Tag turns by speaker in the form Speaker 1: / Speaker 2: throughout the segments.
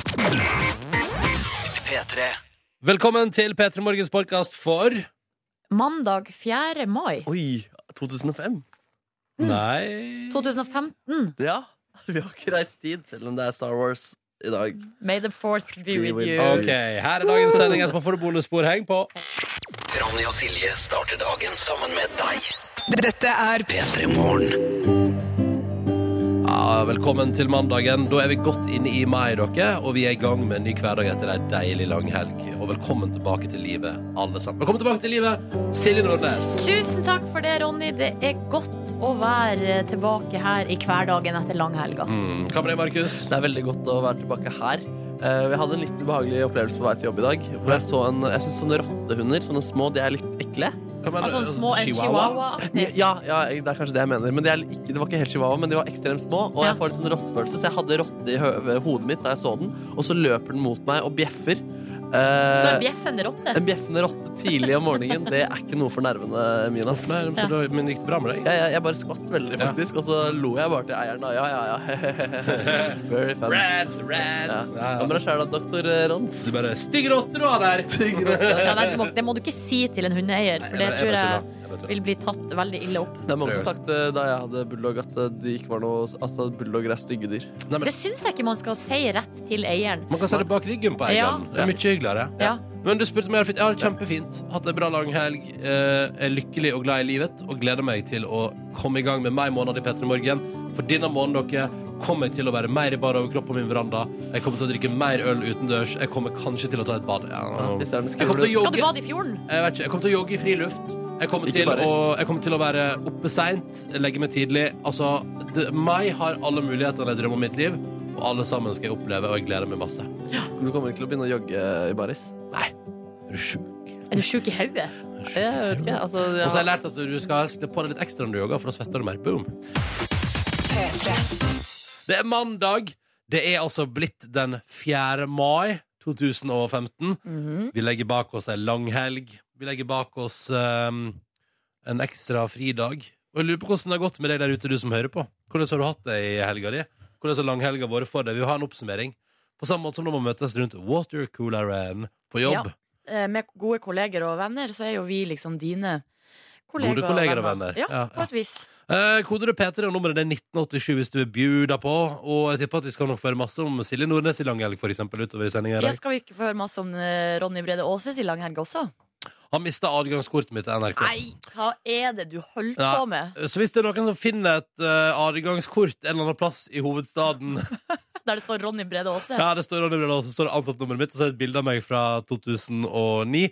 Speaker 1: P3.
Speaker 2: Velkommen til P3 Morgens podkast for
Speaker 3: Mandag 4. mai
Speaker 1: Oi, 2005?
Speaker 2: Nei
Speaker 3: 2015.
Speaker 1: Ja, vi har ikke rett tid, selv om det er Star Wars i dag.
Speaker 3: May the fourth be
Speaker 1: Be
Speaker 3: with
Speaker 1: with
Speaker 3: you.
Speaker 1: us.
Speaker 2: OK, her er dagens sending. Etterpå får du bonusspor. Heng på.
Speaker 1: Ronny og Silje starter dagen sammen med deg.
Speaker 4: Dette er
Speaker 1: P3 Morgen.
Speaker 2: Ja, velkommen til mandagen. Da er vi godt inne i mai, dere, og vi er i gang med en ny hverdag etter ei deilig lang helg. Og velkommen tilbake til livet, alle sammen. Velkommen tilbake til livet, Silje Nordnes.
Speaker 3: Tusen takk for det, Ronny. Det er godt å være tilbake her i hverdagen etter langhelga.
Speaker 2: Mm, Hva med deg, Markus?
Speaker 5: Det er veldig godt å være tilbake her. Eh, Jeg hadde en litt ubehagelig opplevelse på vei til jobb i dag. Hvor jeg så en, jeg synes sånne rottehunder, sånne små, de er litt ekle.
Speaker 2: Hva med
Speaker 3: Altså små en chihuahua-aktig.
Speaker 5: Ja, ja, det er kanskje det jeg mener. Men de er ikke, det var ikke helt chihuahua, men de var ekstremt små. Og
Speaker 3: Ja.
Speaker 5: jeg får litt sånn rottefølelse, så jeg hadde rotte i hø ved hodet mitt da jeg så den. Og så løper den mot meg og bjeffer. Eh,
Speaker 3: Så en bjeffende rotte.
Speaker 5: en bjeffende rotte tidlig om morgenen, det er ikke noe for nervene mine. Ass.
Speaker 2: Nei, men så da- men gikk det bra med deg?
Speaker 5: Jeg, jeg, jeg bare skvatt veldig,
Speaker 2: Ja.
Speaker 5: faktisk. Og så lo jeg bare til eieren. da. Ja, ja, ja. Very fun.
Speaker 2: Red, red.
Speaker 5: Ja.
Speaker 2: Ja,
Speaker 5: Hva med
Speaker 2: ja.
Speaker 5: deg sjæl da, doktor eh, Rons?
Speaker 2: Du bare Stygg rotte du har der!
Speaker 3: Ja, nei, det, må, det må du ikke si til en hundeeier, for det
Speaker 2: bare-
Speaker 3: tror
Speaker 2: bare
Speaker 3: jeg
Speaker 2: tuller. Jeg bare tuller.
Speaker 3: vil bli tatt veldig ille opp.
Speaker 5: Det er mange som har sagt eh, da jeg hadde bulldog, at eh, det ikke var noe Altså, at bulldogger er stygge dyr.
Speaker 2: Nei, men
Speaker 3: Det syns jeg ikke man skal si rett til eieren.
Speaker 2: Man kan se det bak ryggen på
Speaker 3: Ja.
Speaker 2: egen. Det er mye hyggeligere.
Speaker 3: Ja.
Speaker 2: Men du spurte meg, Alfred. Ja, kjempefint. Hatt en bra lang helg. eh, Er lykkelig og glad i livet. Og gleder meg til å komme i gang med meg måned i P3 Morgen. For denne måneden, dere, kommer jeg til å være mer i bar over kropp på min veranda. Jeg kommer til å drikke mer øl utendørs. Jeg kommer kanskje til å ta et bad. Ja,
Speaker 5: Hvis jeg
Speaker 2: Jeg kommer til å
Speaker 3: Skal du
Speaker 2: jogge.
Speaker 3: bade i fjorden?
Speaker 2: Jeg, vet ikke, jeg kommer til å jogge i friluft. Jeg kommer,
Speaker 5: Ikke
Speaker 2: til
Speaker 5: bare-
Speaker 2: å, jeg kommer til å være oppe seint, legge meg tidlig. Altså, det, meg har alle mulighetene jeg drømmer om i mitt liv, og alle sammen skal jeg oppleve, og jeg gleder meg masse.
Speaker 5: Du kommer ikke til å begynne å jogge i baris?
Speaker 2: Nei, er du sjuk?
Speaker 3: Er du sjuk i hodet?
Speaker 5: Jeg vet ikke. Altså,
Speaker 2: Og så har
Speaker 5: jeg,
Speaker 2: jeg lært at du skal helst på deg litt ekstra når du jogger, for da svetter du mer. Boom. Det er mandag. Det er altså blitt den 4. mai 2015.
Speaker 6: Mhm.
Speaker 2: Vi legger bak oss ei langhelg. Vi legger bak oss ehm, en ekstra fridag. Og jeg lurer på hvordan det har gått med deg der ute, du som hører på. Hvordan har du hatt det i helga di? Hvordan har langhelga vært for deg? Vi har en oppsummering. På samme måte som når man møtes rundt watercooleren på jobb.
Speaker 6: Ja, eh, med gode kolleger og venner, så er jo vi liksom dine kolleger,
Speaker 2: Gode kolleger og venner.
Speaker 6: Ja,
Speaker 2: Ja, ja.
Speaker 6: på et vis.
Speaker 2: Eh, Kodeordet P3 og nummeret det er 1987 hvis du er bjuda på. Og jeg tipper at vi skal nok få høre masse om Silje Nordnes i langhelg for eksempel, utover i sendinga i
Speaker 6: Ja,
Speaker 2: dag.
Speaker 6: skal vi ikke få høre masse om eh, Ronny Brede Aases i langhelg også?
Speaker 2: Han mista adgangskortet mitt til NRK.
Speaker 6: Nei, hva er det du holder
Speaker 2: Ja.
Speaker 6: på med?
Speaker 2: Så hvis det er noen som finner et eh, adgangskort en eller annen plass i hovedstaden
Speaker 6: Der det står Ronny Brede Aase?
Speaker 2: Ja, det står Ronny Brødal, og så står det ansattnummeret mitt, og så er det et bilde av meg fra 2009,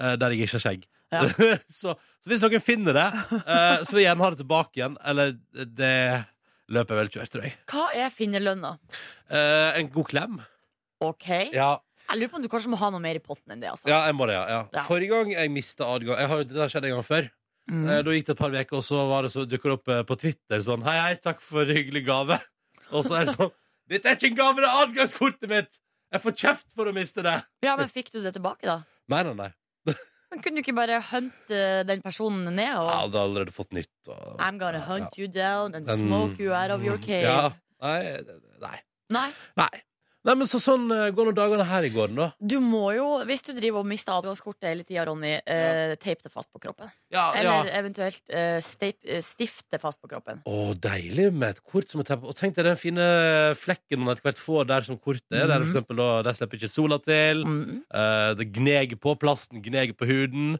Speaker 2: eh, der jeg ikke har skjegg.
Speaker 6: Ja.
Speaker 2: så, så hvis noen finner det, eh, så vil jeg gjerne ha det tilbake igjen. Eller det løpet jeg vel kjørt, tror jeg.
Speaker 6: Hva er finnerlønna?
Speaker 2: Eh, en god klem.
Speaker 6: OK?
Speaker 2: Ja,
Speaker 6: Jeg lurer på om du kanskje må ha noe mer i potten enn det, altså.
Speaker 2: Ja, jeg må det, ja. ja.
Speaker 6: Ja.
Speaker 2: Forrige gang jeg mista adgang jeg har, jo- Det har skjedd en gang før.
Speaker 6: Mm.
Speaker 2: Eh, Da gikk det et par uker, og så, var det så dukker det opp eh, på Twitter sånn Hei, hei, takk for hyggelig gave. Og så er det sånn Dette er ikke en gave, det er adgangskortet mitt! Jeg får kjeft for å miste det!
Speaker 6: Ja, men fikk du det tilbake, da?
Speaker 2: Nei, nei, nei.
Speaker 6: Men kunne du ikke bare hunte den personen ned
Speaker 2: Jeg
Speaker 6: og
Speaker 2: hadde allerede fått nytt. Og...
Speaker 6: I'm gonna hunt you down and
Speaker 2: Den-
Speaker 6: smoke you out of your cave.
Speaker 2: Ja. Nei, nei.
Speaker 6: Nei,
Speaker 2: Nei. Nei, men så sånn eh, går nå dagene her i gården, da.
Speaker 6: du må jo, hvis du driver og mister adgangskortet hele tida, Ronny, eh, tape det fast på kroppen.
Speaker 2: Ja,
Speaker 6: Eller eventuelt eh, steip- eh, stifte fast på kroppen.
Speaker 2: Å, deilig med et kort som er teppet. Og tenk deg den fine flekken man etter hvert får der som kortet er. Der for eksempel, da, der slipper ikke sola til.
Speaker 6: Mm.
Speaker 2: Eh, det gneger på plasten, gneger på huden.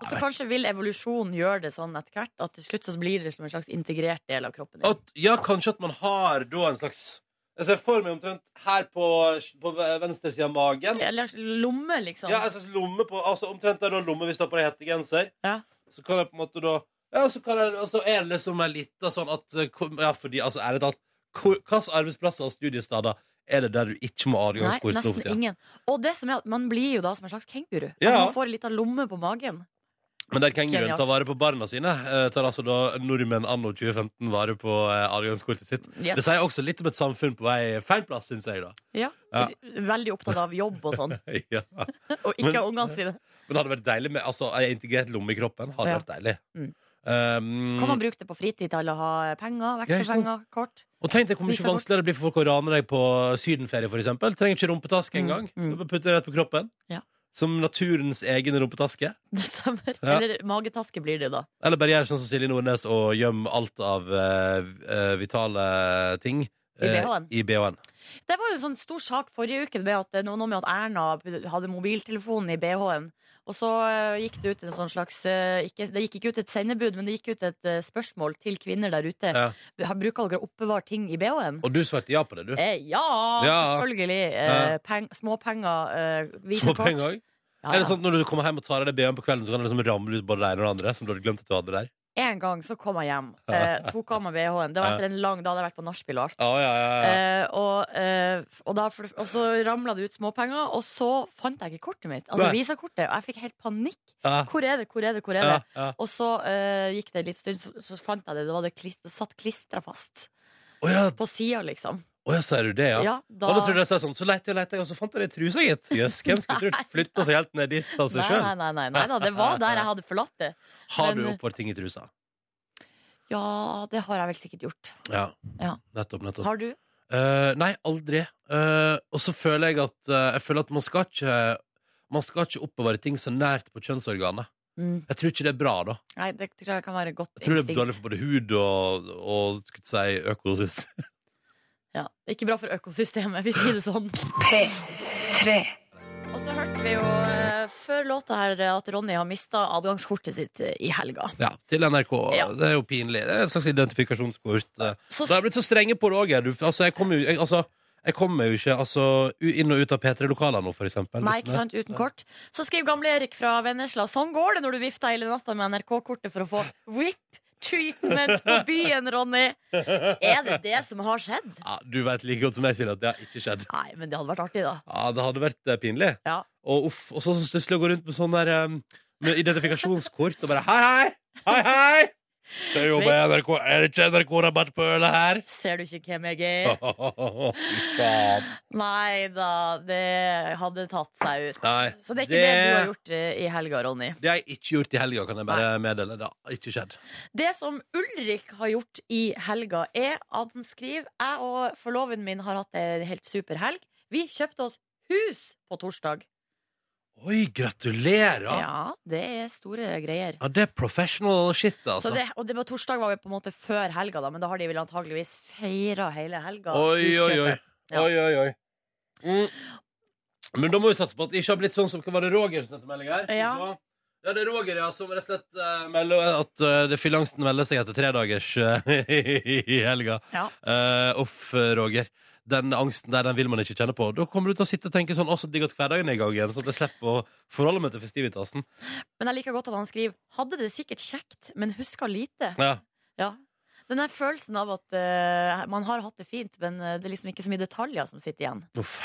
Speaker 6: Og så kanskje vil evolusjonen gjøre det sånn etter hvert at til slutt så blir det som en slags integrert del av kroppen. din.
Speaker 2: At, ja, kanskje at man har da en slags Jeg ser for meg omtrent her på, på venstre side av magen.
Speaker 6: Eller lomme, liksom.
Speaker 2: Ja, en slags lomme på Altså omtrent der du har lomme hvis du har på deg hettegenser.
Speaker 6: Ja.
Speaker 2: Så kan jeg på en måte da Ja, så kan jeg, altså, er det liksom en lita sånn at eh, kom- Ja, fordi altså, ærlig talt, hvor- hvilke arbeidsplasser og studiesteder er det der du ikke må ha
Speaker 6: Nei,
Speaker 2: adgangskort? nå for
Speaker 6: nesten
Speaker 2: tiden?
Speaker 6: ingen. Og det som er at man blir jo da som en slags kenguru.
Speaker 2: Ja.
Speaker 6: Altså Man får en liten lomme på magen.
Speaker 2: Men der kenguruen
Speaker 6: Genialt.
Speaker 2: tar vare på barna sine, eh, tar altså da nordmenn anno 2015 vare på eh, adgangskortet sitt.
Speaker 6: Yes.
Speaker 2: Det sier også litt om et samfunn på vei feil plass, syns jeg, da.
Speaker 6: Ja.
Speaker 2: Ja.
Speaker 6: Veldig opptatt av jobb og sånn,
Speaker 2: ja.
Speaker 6: og
Speaker 2: Men-
Speaker 6: ikke av ungene sine.
Speaker 2: Men det hadde vært deilig med altså, ei integrert lomme i kroppen. Hadde
Speaker 6: Ja.
Speaker 2: vært deilig.
Speaker 6: Mm.
Speaker 2: Um,
Speaker 6: Kan man bruke det på fritid til å ha penger,
Speaker 2: Ja, ikke sant.
Speaker 6: vekslepenger, kort?
Speaker 2: Og tenk deg hvor mye
Speaker 3: Visa kort.
Speaker 2: vanskeligere det blir for folk å rane deg på sydenferie, for eksempel. Trenger ikke rumpetaske engang.
Speaker 6: mm.
Speaker 2: Du bare putter det rett på kroppen.
Speaker 6: Ja.
Speaker 2: Som naturens egen rumpetaske.
Speaker 6: Det stemmer.
Speaker 2: Ja.
Speaker 6: Eller magetaske blir det jo da.
Speaker 2: Eller bare gjør sånn som Silje Nordnes og gjem alt av eh, eh, vitale ting
Speaker 6: I
Speaker 2: eh,
Speaker 6: BH-en.
Speaker 2: i BH-en.
Speaker 6: Det var jo en sånn stor sak forrige uke med at, noe noe med at Erna hadde mobiltelefonen i BH-en. Og så eh, gikk det ut en sånn slags eh, ikke, Det gikk ikke ut et sendebud, men det gikk ut et eh, spørsmål til kvinner der ute.
Speaker 2: Ja.
Speaker 6: Bruker dere å oppbevare ting i BH-en?
Speaker 2: Og du svarte ja på det, du.
Speaker 6: Eh, ja,
Speaker 2: Ja.
Speaker 6: selvfølgelig.
Speaker 2: Ja.
Speaker 6: Eh, peng, småpenger, eh,
Speaker 2: Små
Speaker 6: visekort.
Speaker 2: penger òg.
Speaker 6: Ja,
Speaker 2: Er det
Speaker 6: ja.
Speaker 2: sånn at når du kommer hjem og tar av deg BH-en på kvelden, så kan det liksom ramle ut både det ene og det andre? Som du hadde glemt at du hadde der?
Speaker 6: En gang så kom jeg hjem, eh, tok av meg BH-en. Det var etter en lang Da hadde jeg vært på nachspiel og alt.
Speaker 2: Ja, ja, ja, ja.
Speaker 6: Eh, og, eh, og, da, for- og så ramla det ut småpenger, og så fant jeg ikke kortet mitt. Altså
Speaker 2: Nei.
Speaker 6: visakortet. Og jeg fikk helt panikk.
Speaker 2: ja.
Speaker 6: Hvor er det, hvor er det, hvor er
Speaker 2: ja,
Speaker 6: det?
Speaker 2: ja.
Speaker 6: Og så eh, gikk det en liten stund, så, så fant jeg det. Det, var det, klist, det satt klistra fast
Speaker 2: Å ja,
Speaker 6: på sida, liksom.
Speaker 2: å ja, sier du det, ja?
Speaker 6: Ja, da
Speaker 2: Alle trodde jeg sa sånn, så lette jeg og lette jeg, og så fant jeg det i trusa, gitt. Jøss, hvem skulle trodd?
Speaker 6: Nei.
Speaker 2: Flytta seg helt ned dit av seg
Speaker 6: Nei,
Speaker 2: sjøl.
Speaker 6: nei, nei, nei, nei da. Det var der jeg hadde forlatt det.
Speaker 2: Har du
Speaker 6: Men-
Speaker 2: oppbevart ting i trusa?
Speaker 6: Ja, det har jeg vel sikkert gjort.
Speaker 2: Ja.
Speaker 6: Ja.
Speaker 2: Nettopp, nettopp.
Speaker 6: Har du?
Speaker 2: Eh, nei, aldri. Eh, og så føler jeg at eh, Jeg føler at man skal ikke Man skal ikke oppbevare ting så nært på kjønnsorganet.
Speaker 6: Mm.
Speaker 2: Jeg tror ikke det er bra, da.
Speaker 6: Nei, det tror jeg kan være et godt
Speaker 2: Jeg tror det er dårlig
Speaker 6: instinkt.
Speaker 2: for både hud og, og skulle jeg si økosis.
Speaker 6: Ja, ikke bra for økosystemet, vi sier det sånn. Og så hørte vi jo eh, før låta her eh, at Ronny har mista adgangskortet sitt eh, i helga.
Speaker 2: Ja, til NRK.
Speaker 6: Ja.
Speaker 2: Det er jo pinlig. Det er et slags identifikasjonskort. eh.
Speaker 6: Så
Speaker 2: Da har jeg blitt så strenge på det òg. Altså, jeg kommer jo jeg, altså, jeg kommer jo ikke altså, u- inn og ut av P3-lokaler nå, for eksempel.
Speaker 6: Nei, ikke sant, uten kort. Så skriver gamle Erik fra Vennesla sånn går det når du vifter hele natta med NRK-kortet for å få whip treatment på byen, Ronny. Er det det som har skjedd?
Speaker 2: Ja, du vet like godt som jeg, Silje, at det har ikke skjedd.
Speaker 6: Nei, men det hadde vært artig, da.
Speaker 2: Ja, det hadde vært eh, pinlig.
Speaker 6: Ja.
Speaker 2: Og uff, og så plutselig å gå rundt med sånn der um, med identifikasjonskort og bare hei, hei, hei, hei! Så jeg jobber i NRK. Er det ikke NRK-rabatt på ølet her?
Speaker 6: Ser du ikke hvem jeg er?
Speaker 2: Fy faen.
Speaker 6: Nei da, det hadde tatt seg ut.
Speaker 2: Nei,
Speaker 6: Så det er ikke det,
Speaker 2: det-
Speaker 6: du har gjort eh, i helga, Ronny.
Speaker 2: Det har jeg ikke gjort i helga, kan jeg bare meddele. Det har ikke skjedd.
Speaker 6: Det som Ulrik har gjort i helga, er at han skriver Jeg og forloven min har hatt en helt super helg. Vi kjøpte oss hus på torsdag.
Speaker 2: Oi, gratulerer!
Speaker 6: Ja,
Speaker 2: Ja,
Speaker 6: det er store greier.
Speaker 2: det er professional shit,
Speaker 6: Så
Speaker 2: altså.
Speaker 6: det, og det med torsdag var jo på en måte før helga, da, men da har de vel antageligvis feira hele helga.
Speaker 2: Oi, oi, oi.
Speaker 6: huskjøpet. Ja.
Speaker 2: Oi, oi, oi. Mm. Men da må vi satse på at det ikke har blitt sånn som Hva var det Roger som sendte melding her? Skal vi
Speaker 6: Ja.
Speaker 2: se. ja, det er Roger, ja, som rett og slett eh, melder at eh, det fyllangsten melder seg etter tre dagers eh, i helga.
Speaker 6: Ja.
Speaker 2: Eh, uff, Roger. Den angsten der den vil man ikke kjenne på. Da kommer du til å sitte og tenke sånn Å, så digg at hverdagen er i gang igjen, så at jeg slipper å forholde meg til festivitasen.
Speaker 6: Men jeg liker godt at han skriver Hadde det sikkert kjekt, men huska lite.
Speaker 2: Ja.
Speaker 6: Ja. Den der følelsen av at eh, man har hatt det fint, men eh, det er liksom ikke så mye detaljer som sitter igjen.
Speaker 2: Uff.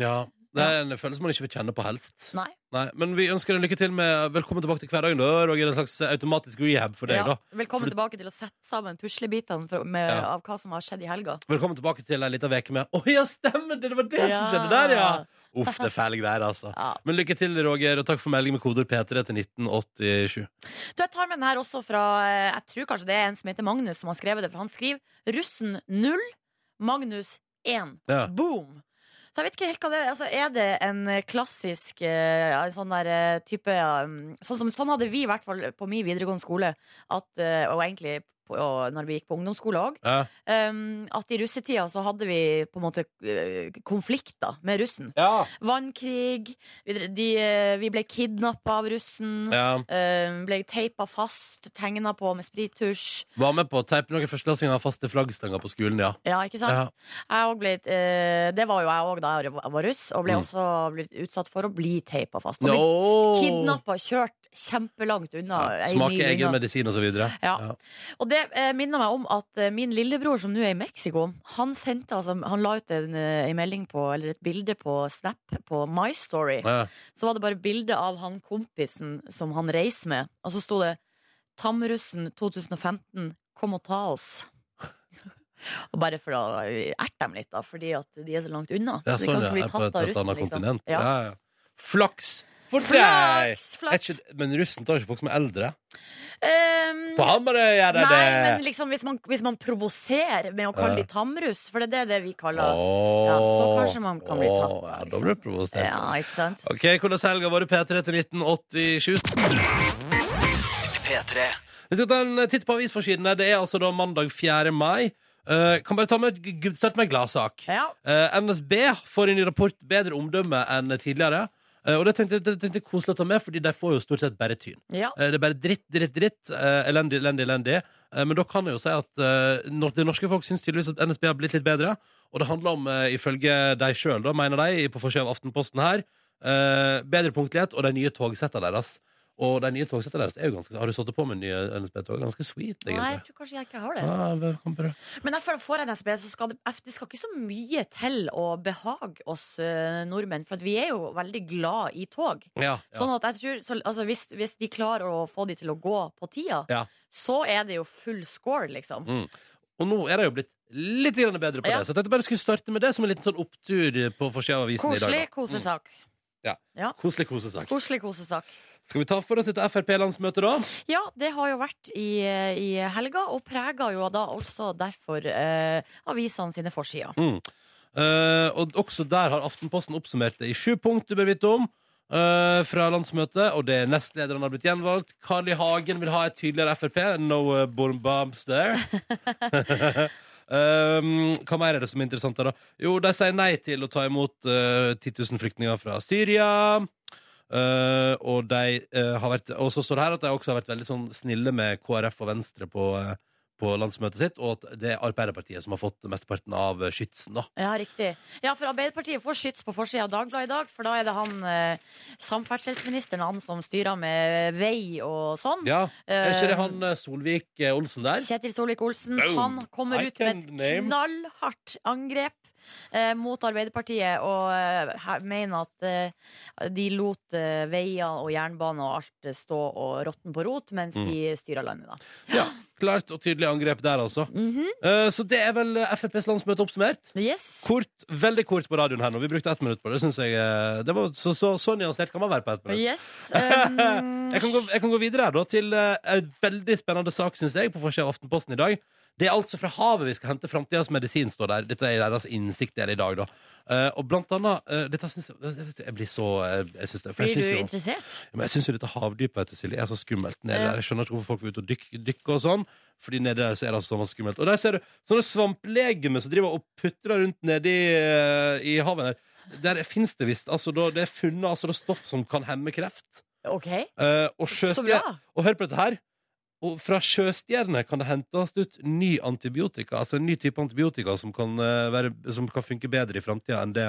Speaker 2: Ja. Det er en følelse man ikke vil kjenne på helst.
Speaker 6: Nei.
Speaker 2: Nei, Men vi ønsker deg lykke til med Velkommen tilbake til hverdagen, da, Roger. En slags eh, automatisk rehab for deg,
Speaker 6: Ja,
Speaker 2: da.
Speaker 6: Velkommen
Speaker 2: For du-
Speaker 6: tilbake til å sette sammen puslebitene for, med,
Speaker 2: Ja.
Speaker 6: av hva som har skjedd i helga.
Speaker 2: Velkommen tilbake til ei lita uke med Å ja, stemmer det! Det var det som
Speaker 6: Ja.
Speaker 2: skjedde der, ja! Uff, det er fæle greier, altså.
Speaker 6: Ja.
Speaker 2: Men lykke til, Roger, og takk for melding med koder P3 til 1987.
Speaker 6: Du, Jeg tar med den her også fra eh, Jeg tror kanskje det er en som heter Magnus som har skrevet det, for han skriver 'Russen 0, Magnus 1'.
Speaker 2: Ja.
Speaker 6: Boom! Så jeg vet ikke helt hva det er. Altså, er det en eh, klassisk eh, ja, en sånn der eh, type ja, mm, sånn, som, sånn hadde vi i hvert fall på min videregående skole, at, eh, og egentlig på, og når vi gikk på ungdomsskole òg,
Speaker 2: Ja.
Speaker 6: at i russetida så hadde vi på en måte eh, konflikter med russen. Vannkrig. Vi, dre- de, eh, vi ble kidnappa av russen.
Speaker 2: ja.
Speaker 6: eh, ble teipa fast, tegna på med sprittusj.
Speaker 2: Var med på å teipe noen førsteklassinger av faste flaggstanger på skolen, ja.
Speaker 6: Ja, ikke sant?
Speaker 2: Ja.
Speaker 6: Jeg også ble, eh, det var jo jeg òg da jeg var russ, og ble
Speaker 2: Mm.
Speaker 6: også blitt utsatt for å bli teipa fast. Og
Speaker 2: No.
Speaker 6: blitt kidnappa, kjørt kjempelangt unna.
Speaker 2: Ja.
Speaker 6: ei mil
Speaker 2: Smake egen
Speaker 6: unna.
Speaker 2: medisin og så videre.
Speaker 6: Ja. Og det eh, minner meg om at eh, min lillebror som nå er i Mexico, han sendte altså, Han la ut en, eh, en melding på, eller et bilde på Snap på My Story.
Speaker 2: Ja.
Speaker 6: Så var det bare bilde av han kompisen som han reiser med, og så sto det 'Tamrussen 2015, kom og ta oss'. og bare for å erte dem litt, da, fordi at de er så langt unna.
Speaker 2: Ja,
Speaker 6: så de
Speaker 2: sånn,
Speaker 6: kan
Speaker 2: ja.
Speaker 6: ikke
Speaker 2: På
Speaker 6: bli tatt
Speaker 2: et,
Speaker 6: av
Speaker 2: et
Speaker 6: russen,
Speaker 2: annet
Speaker 6: liksom.
Speaker 2: kontinent.
Speaker 6: Ja.
Speaker 2: Ja, ja. Flaks for deg!
Speaker 6: Flaks,
Speaker 2: Er
Speaker 6: flaks.
Speaker 2: ikke, men russen tar ikke folk som er eldre.
Speaker 6: Ehm,
Speaker 2: På Hamarøy gjør de det!
Speaker 6: Nei, men liksom hvis man, hvis man provoserer med å kalle
Speaker 2: Ja.
Speaker 6: de tamrus, for det er det, det vi kaller
Speaker 2: Åh.
Speaker 6: Ja, så kanskje man kan bli tatt,
Speaker 2: Åh, Ja,
Speaker 6: liksom.
Speaker 2: da blir du provosert.
Speaker 6: Ja, ikke sant?
Speaker 2: Ok, hvordan helga var det P3 til 1987?
Speaker 1: P3.
Speaker 2: Vi skal ta en titt på avisforsidene. Det er altså da mandag 4. mai. Eh, kan bare ta med, g- g- starte med en gladsak.
Speaker 6: Ja.
Speaker 2: Eh, NSB får i ny rapport bedre omdømme enn tidligere. Eh, og det tenkte det tenkte jeg koselig å ta med, fordi de får jo stort sett bare tyn.
Speaker 6: Ja.
Speaker 2: Eh, det er bare dritt, dritt, dritt. eh, elendig, elendig, elendig. Eh, men da kan jeg jo si at eh, nor- det norske folk syns tydeligvis at NSB har blitt litt bedre. Og det handler om, eh, ifølge de sjøl, mener de, på forsiden av Aftenposten her, eh, bedre punktlighet og de nye togsettene deres. Og de nye togsettene deres er jo ganske Har du satt på med nye NSB-tog? Ganske sweet,
Speaker 6: Nei, jeg
Speaker 2: egentlig.
Speaker 6: tror kanskje jeg ikke har det.
Speaker 2: Ah, velkommen på det.
Speaker 6: Men jeg føler for NSB så skal det, det skal ikke så mye til å behage oss eh, nordmenn, for at vi er jo veldig glad i tog.
Speaker 2: ja, ja.
Speaker 6: Sånn at jeg tror, så, altså hvis, hvis de klarer å få de til å gå på tida,
Speaker 2: Ja. Mm.
Speaker 6: så er det jo full score, liksom.
Speaker 2: Og nå er de jo blitt litt grann bedre på
Speaker 6: Ja.
Speaker 2: det. Så jeg tenkte bare skulle starte med det som en liten sånn opptur på forsida av avisen i
Speaker 6: Koselig
Speaker 2: dag. Mm.
Speaker 6: kosesak.
Speaker 2: Da. Koselig kosesak.
Speaker 6: Koselig kosesak.
Speaker 2: Skal vi ta for oss et Frp-landsmøte, da?
Speaker 6: Ja, det har jo vært i, i helga, og prega jo da også derfor eh, avisene sine forsider.
Speaker 2: Eh, og også der har Aftenposten oppsummert det i sju punkt du bør vite om eh, fra landsmøtet. Og det er nestlederen har blitt gjenvalgt. Carl I. Hagen vil ha et tydeligere Frp. No eh, bomb bombs there. Um, hva mer er det som er interessant her, da? Jo, de sier nei til å ta imot eh, 10 000 flyktninger fra Syria. Eh, og de eh, har vært Og så står det her at de også har vært veldig sånn snille med KrF og Venstre på, eh, på landsmøtet sitt, og at det er Arbeiderpartiet som har fått mesteparten av eh, skytsen, da.
Speaker 6: Ja, riktig. Ja, for Arbeiderpartiet får skyts på forsida av Dagbladet i dag, for da er det han eh, samferdselsministeren, han som styrer med vei og sånn.
Speaker 2: Ja, Er ikke det han eh, Solvik eh, Olsen der?
Speaker 6: Kjetil Solvik-Olsen.
Speaker 2: Boom.
Speaker 6: Han kommer
Speaker 2: I
Speaker 6: ut med et
Speaker 2: can name.
Speaker 6: knallhardt angrep. eh, mot Arbeiderpartiet, og eh, her- mener at eh, de lot eh, veier og jernbane og alt eh, stå og råtne på rot, mens
Speaker 2: Mm.
Speaker 6: de styrer landet, da.
Speaker 2: Ja, Klart og tydelig angrep der, altså. Eh, Så det er vel eh, FrPs landsmøte oppsummert.
Speaker 6: Yes.
Speaker 2: Kort, Veldig kort på radioen her nå. Vi brukte ett minutt på det. Synes jeg, eh, det var, så, så, så nyansert kan man være på ett minutt.
Speaker 6: Yes. Um,
Speaker 2: Jeg kan, gå, jeg kan gå videre her da til eh, en veldig spennende sak, synes jeg, på forsida av Aftenposten i dag. Det er altså fra havet vi skal hente framtidas medisin, står der. Dette er deres innsikt der i dag, da. Eh, og blant annet eh, Dette syns jeg jeg vet- Jeg blir så eh, jeg synes det, for jeg
Speaker 6: blir
Speaker 2: synes
Speaker 6: du
Speaker 2: jo-
Speaker 6: interessert?
Speaker 2: Ja, Men jeg syns jo dette havdypet vet du, Silje, er så skummelt nede
Speaker 6: Ja.
Speaker 2: der. Jeg skjønner ikke hvorfor folk vil ut og dykke, dykke og sånn. Fordi nede der så er det altså så masse skummelt. Og der ser du sånne svamplegemer som driver og putrer rundt nedi uh, i havet der. Der fins det visst altså, da, Det er funnet altså, da, stoff som kan hemme kreft.
Speaker 6: OK,
Speaker 2: Eh, og,
Speaker 6: så
Speaker 2: sjøstjer-
Speaker 6: bra.
Speaker 2: og hør på dette her. Og fra sjøstjerne kan det hentes ut ny antibiotika, altså en ny type antibiotika som kan, eh, være, som kan funke bedre i framtida enn det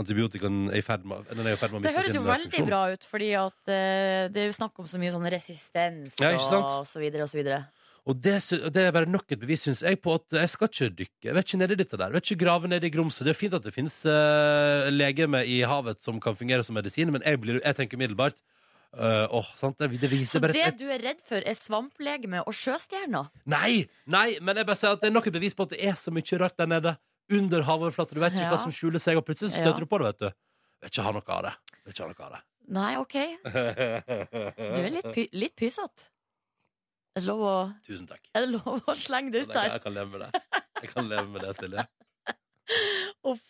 Speaker 2: antibiotikaen er i ferd med, den er i ferd med å
Speaker 6: Det
Speaker 2: miste
Speaker 6: høres jo
Speaker 2: sin
Speaker 6: veldig
Speaker 2: funksjon.
Speaker 6: bra ut, fordi at eh, det er jo snakk om så mye sånn resistens
Speaker 2: Ja, ikke sant?
Speaker 6: og så videre og så videre.
Speaker 2: Og det, sy- og det er bare nok et bevis, syns jeg, på at jeg skal ikke dykke. Jeg vet ikke nedi dette der. Jeg vet ikke grave nedi grumset. Det er fint at det fins uh, legemer i havet som kan fungere som medisin, men jeg, blir, jeg tenker umiddelbart eh, Åh, sant? Det, det viser
Speaker 6: Så
Speaker 2: bare
Speaker 6: det
Speaker 2: et,
Speaker 6: du er redd for, er svamplegeme og sjøstjerner?
Speaker 2: Nei! Nei, men jeg bare sier at det er nok et bevis på at det er så mye rart der nede. Under havoverflata. Du vet ikke
Speaker 6: Ja.
Speaker 2: hva som skjuler seg, og plutselig så
Speaker 6: Ja.
Speaker 2: støter du på det, vet du. Jeg Vil ikke ha noe av det. Jeg Vil ikke ha noe av det.
Speaker 6: Nei, OK. Du er litt, py litt pysete. Er det lov å,
Speaker 2: Tusen takk.
Speaker 6: er det lov å slenge
Speaker 2: Jeg
Speaker 6: det ut
Speaker 2: kan,
Speaker 6: der?
Speaker 2: jeg kan leve med det. Jeg kan leve med det, Silje.
Speaker 6: Uff.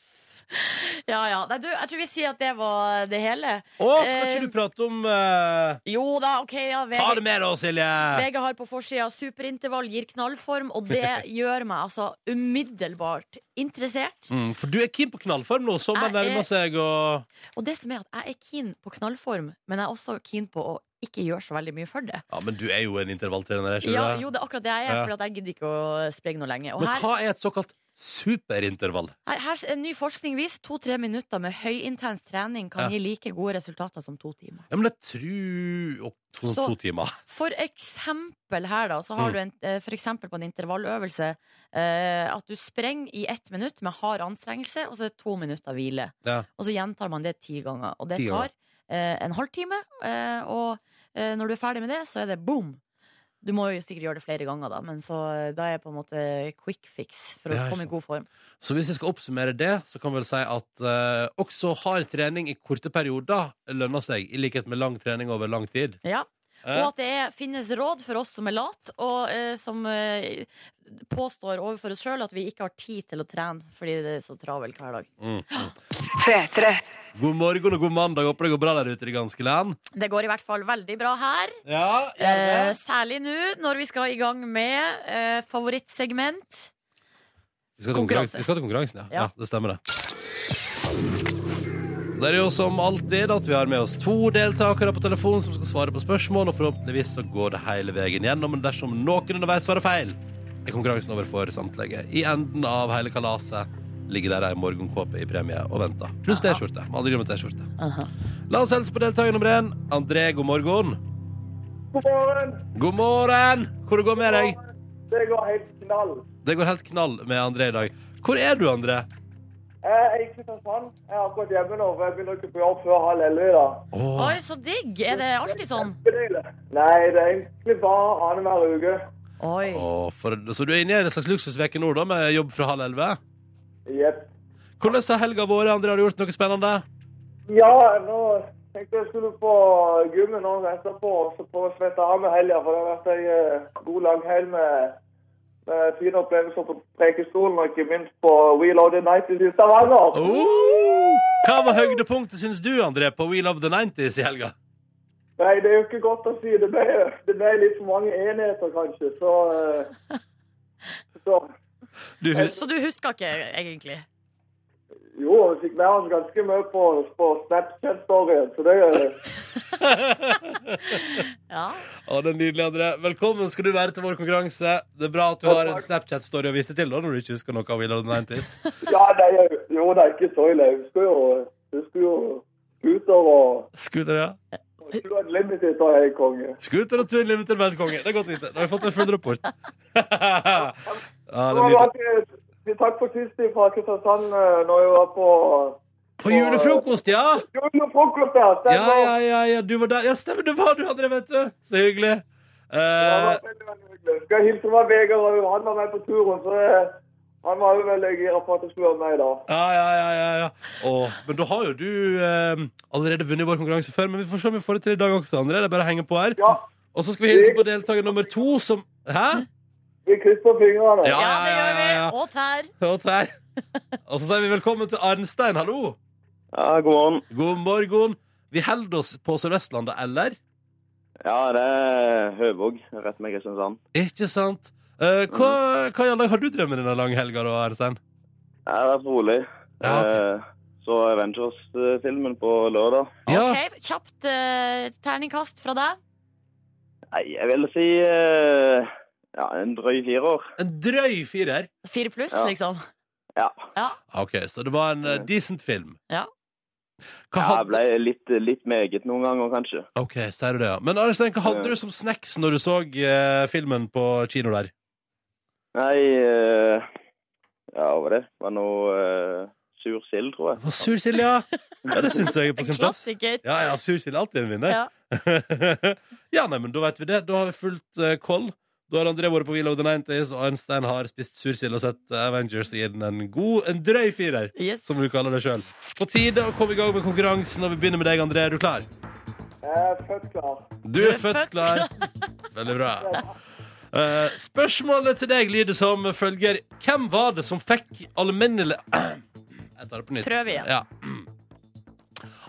Speaker 6: Ja ja. Nei, du, jeg tror vi sier at det var det hele.
Speaker 2: Å, skal ikke du prate om eh,
Speaker 6: Jo da, OK. Ja,
Speaker 2: Ta
Speaker 6: VG,
Speaker 2: det med, da, Silje!
Speaker 6: VG har på forsida 'Superintervall gir knallform', og det gjør meg altså umiddelbart interessert.
Speaker 2: Mm, for du er keen på knallform nå. Sommeren
Speaker 6: Jeg er-
Speaker 2: nærmer seg, og
Speaker 6: Og det som er at jeg er keen på knallform, men jeg er også keen på å ikke gjøre så veldig mye for det.
Speaker 2: Ja, men du er jo en intervalltrener. er ikke du
Speaker 6: Ja,
Speaker 2: det?
Speaker 6: jo, det er akkurat det jeg er,
Speaker 2: Ja.
Speaker 6: for jeg gidder ikke å sprenge noe lenge. Og
Speaker 2: Men
Speaker 6: her,
Speaker 2: hva er et såkalt superintervall?
Speaker 6: her, her en ny forskning viser to-tre minutter med høyintens trening kan
Speaker 2: Ja.
Speaker 6: gi like gode resultater som to timer.
Speaker 2: Ja, men jeg tror oh, to,
Speaker 6: Så-
Speaker 2: to timer.
Speaker 6: For eksempel her, da, så har
Speaker 2: Mm.
Speaker 6: du en, eh, for eksempel på en intervalløvelse eh, at du sprenger i ett minutt med hard anstrengelse, og så er det to minutter hvile.
Speaker 2: Ja.
Speaker 6: Og så gjentar man det ti ganger. Og det
Speaker 2: Ti ganger.
Speaker 6: tar eh, en halvtime, eh, og eh, når du er ferdig med det, så er det boom! Du må jo sikkert gjøre det flere ganger, da, men så eh, da er jeg på en måte quick fix for å
Speaker 2: Ja, ikke
Speaker 6: komme i
Speaker 2: sant.
Speaker 6: god form.
Speaker 2: Så hvis jeg skal oppsummere det, så kan vi vel si at eh, også hard trening i korte perioder lønner seg, i likhet med lang trening over lang tid.
Speaker 6: Ja.
Speaker 2: Eh,
Speaker 6: Og at det er, finnes råd for oss som er lat, og eh, som eh, påstår overfor oss sjøl at vi ikke har tid til å trene fordi det er så travelt hver dag.
Speaker 2: mm, mm. God morgen og god mandag. Håper det går bra der ute i det ganske land.
Speaker 6: Det går i hvert fall veldig bra her.
Speaker 2: Ja,
Speaker 6: Eh, særlig nå når vi skal i gang med eh, favorittsegment.
Speaker 2: Vi skal, til konkurransen.
Speaker 6: Konkurranse.
Speaker 2: vi skal til konkurransen, ja.
Speaker 6: Ja.
Speaker 2: ja. Det stemmer, det. Det er jo som alltid at vi har med oss to deltakere på telefon som skal svare på spørsmål, og forhåpentligvis så går det hele veien gjennom. Men dersom noen underveis svarer feil, er konkurransen over for samtlige. I enden av hele kalaset ligger der ei morgenkåpe i premie og venter. Pluss T-skjorte. Med andre grunn med T-skjorte. La oss hilse på deltaker nummer én. André, god morgen.
Speaker 4: God morgen.
Speaker 2: God morgen! Hvor det går med deg?
Speaker 4: Det går helt knall.
Speaker 2: Det går helt knall med André i dag. Hvor er du, André?
Speaker 4: Jeg er i Kristiansand. Jeg er akkurat hjemme nå, for jeg begynner ikke på jobb før halv elleve i dag.
Speaker 2: Åh.
Speaker 6: Oi, så digg! Er det alltid sånn?
Speaker 4: Nei, det er egentlig bare annenhver uke.
Speaker 6: Oi.
Speaker 2: Åh, for, så du er inne i en slags luksusveke nå, da, med jobb fra halv elleve?
Speaker 4: Jepp.
Speaker 2: Hvordan har helga vært, André? Har du gjort noe spennende?
Speaker 4: Ja, nå tenkte jeg skulle på gymmen nå etterpå, og så prøve å svette av med helga, for det har vært ei eh, god lang helg med, med fine opplevelser på Prekestolen, og ikke minst på We Love the Night i Stavanger.
Speaker 2: Oh. Åh! Hva var høydepunktet, syns du, André, på We Love the 90s i helga?
Speaker 4: Nei, det er jo ikke godt å si. Det ble, det ble litt for mange enheter, kanskje. Så, eh, så
Speaker 2: Du, hus
Speaker 6: Så du husker ikke, egentlig?
Speaker 4: Jo, vi fikk med oss ganske mye på, på Snapchat-storyen, så det
Speaker 6: Ja.
Speaker 2: Åh, det er nydelig, André. Velkommen skal du være til vår konkurranse. Det er bra at du har en Snapchat-story å vise til da, når du ikke husker noe av We Love the 90s.
Speaker 4: Ja, det er jo- jo det er ikke så ille. Jeg husker jo, jeg husker jo scooter og
Speaker 2: Scooter, ja.
Speaker 4: og Scooter Unlimited og jeg er konge.
Speaker 2: Scooter og Twin Limited Band Konge. Det er godt å vite. Da har vi fått en full rapport. ja, det er
Speaker 4: Nå var
Speaker 2: nydelig.
Speaker 4: det- vi Takk for sist fra Kristiansand eh, når jeg var på
Speaker 2: På julefrokost, ja!
Speaker 4: julefrokost der.
Speaker 2: Ja,
Speaker 4: stemmer.
Speaker 2: ja, ja, ja, du var der. Ja, stemmer, det var du, André, vet du. Så hyggelig.
Speaker 4: Det
Speaker 2: Eh,
Speaker 4: var veldig, veldig hyggelig. Skal hilse fra Vegard, og han var med på turen, så eh, han var jo veldig gira på at jeg skulle være med i dag.
Speaker 2: ja, ja, ja, ja, ja. Åh, men da har jo du eh, allerede vunnet vår konkurranse før, men vi får se om vi får det til i dag også, André. Det er bare å henge på her.
Speaker 4: Ja,
Speaker 2: Og så skal vi hilse på deltaker nummer to, som Hæ?
Speaker 4: vi krysser fingrene.
Speaker 2: Ja,
Speaker 6: ja, det gjør vi.
Speaker 2: ja, ja.
Speaker 6: Og tær.
Speaker 2: Og der. Og så sier vi velkommen til Arnstein, hallo.
Speaker 7: Ja, god morgen.
Speaker 2: God morgen. Vi holder oss på Sør-Vestlandet, eller?
Speaker 7: Ja, det er Høvåg, rett med Kristiansand.
Speaker 2: Ikke sant? Eh,
Speaker 7: Mm.
Speaker 2: hva, hva i all dag har du drevet med denne langhelga, da, Arnstein?
Speaker 7: Jeg har vært rolig.
Speaker 2: Ja, ok.
Speaker 7: Eh, Så Avengers-filmen på lørdag.
Speaker 2: Ja.
Speaker 6: Ok, Kjapt eh, terningkast fra deg.
Speaker 7: Nei, jeg vil si eh, ja, en drøy fire år.
Speaker 2: En drøy firer.
Speaker 6: Fire pluss,
Speaker 7: Ja.
Speaker 6: liksom.
Speaker 7: Ja.
Speaker 2: Ah, Ok, så det var en eh, decent film.
Speaker 6: Ja.
Speaker 2: Hva
Speaker 7: ja jeg
Speaker 2: hadde...
Speaker 7: ble litt, litt meget noen ganger, kanskje.
Speaker 2: Ok, sier du det, ja. Men Arnstein, hva hadde
Speaker 7: Ja.
Speaker 2: du som snacks når du så eh, filmen på kino der?
Speaker 7: Nei eh, Ja, hva var det? Det var noe eh, sur sild, tror jeg.
Speaker 2: Hva, sur sild, ja. Ja, det syns jeg er på
Speaker 6: En
Speaker 2: sin plass.
Speaker 6: klassiker.
Speaker 2: Ja, ja, sur sild er alltid en vinner.
Speaker 6: Ja.
Speaker 2: Ja. nei, men da vet vi det. Da har vi fulgt eh, koll. Da har André vært på Wheel of the 90s, og Arnstein har spist sursild og sett eh, Avengers og gitt den en god, en drøy firer,
Speaker 6: Yes.
Speaker 2: som du kaller det sjøl. På tide å komme i gang med konkurransen, og vi begynner med deg, André. Er du klar?
Speaker 4: Jeg er født klar.
Speaker 2: Du er født klar. Veldig bra. Eh, spørsmålet til deg lyder som følger Hvem var det som fikk alminnelig Jeg tar det på nytt.
Speaker 6: Prøv igjen.
Speaker 2: Ja.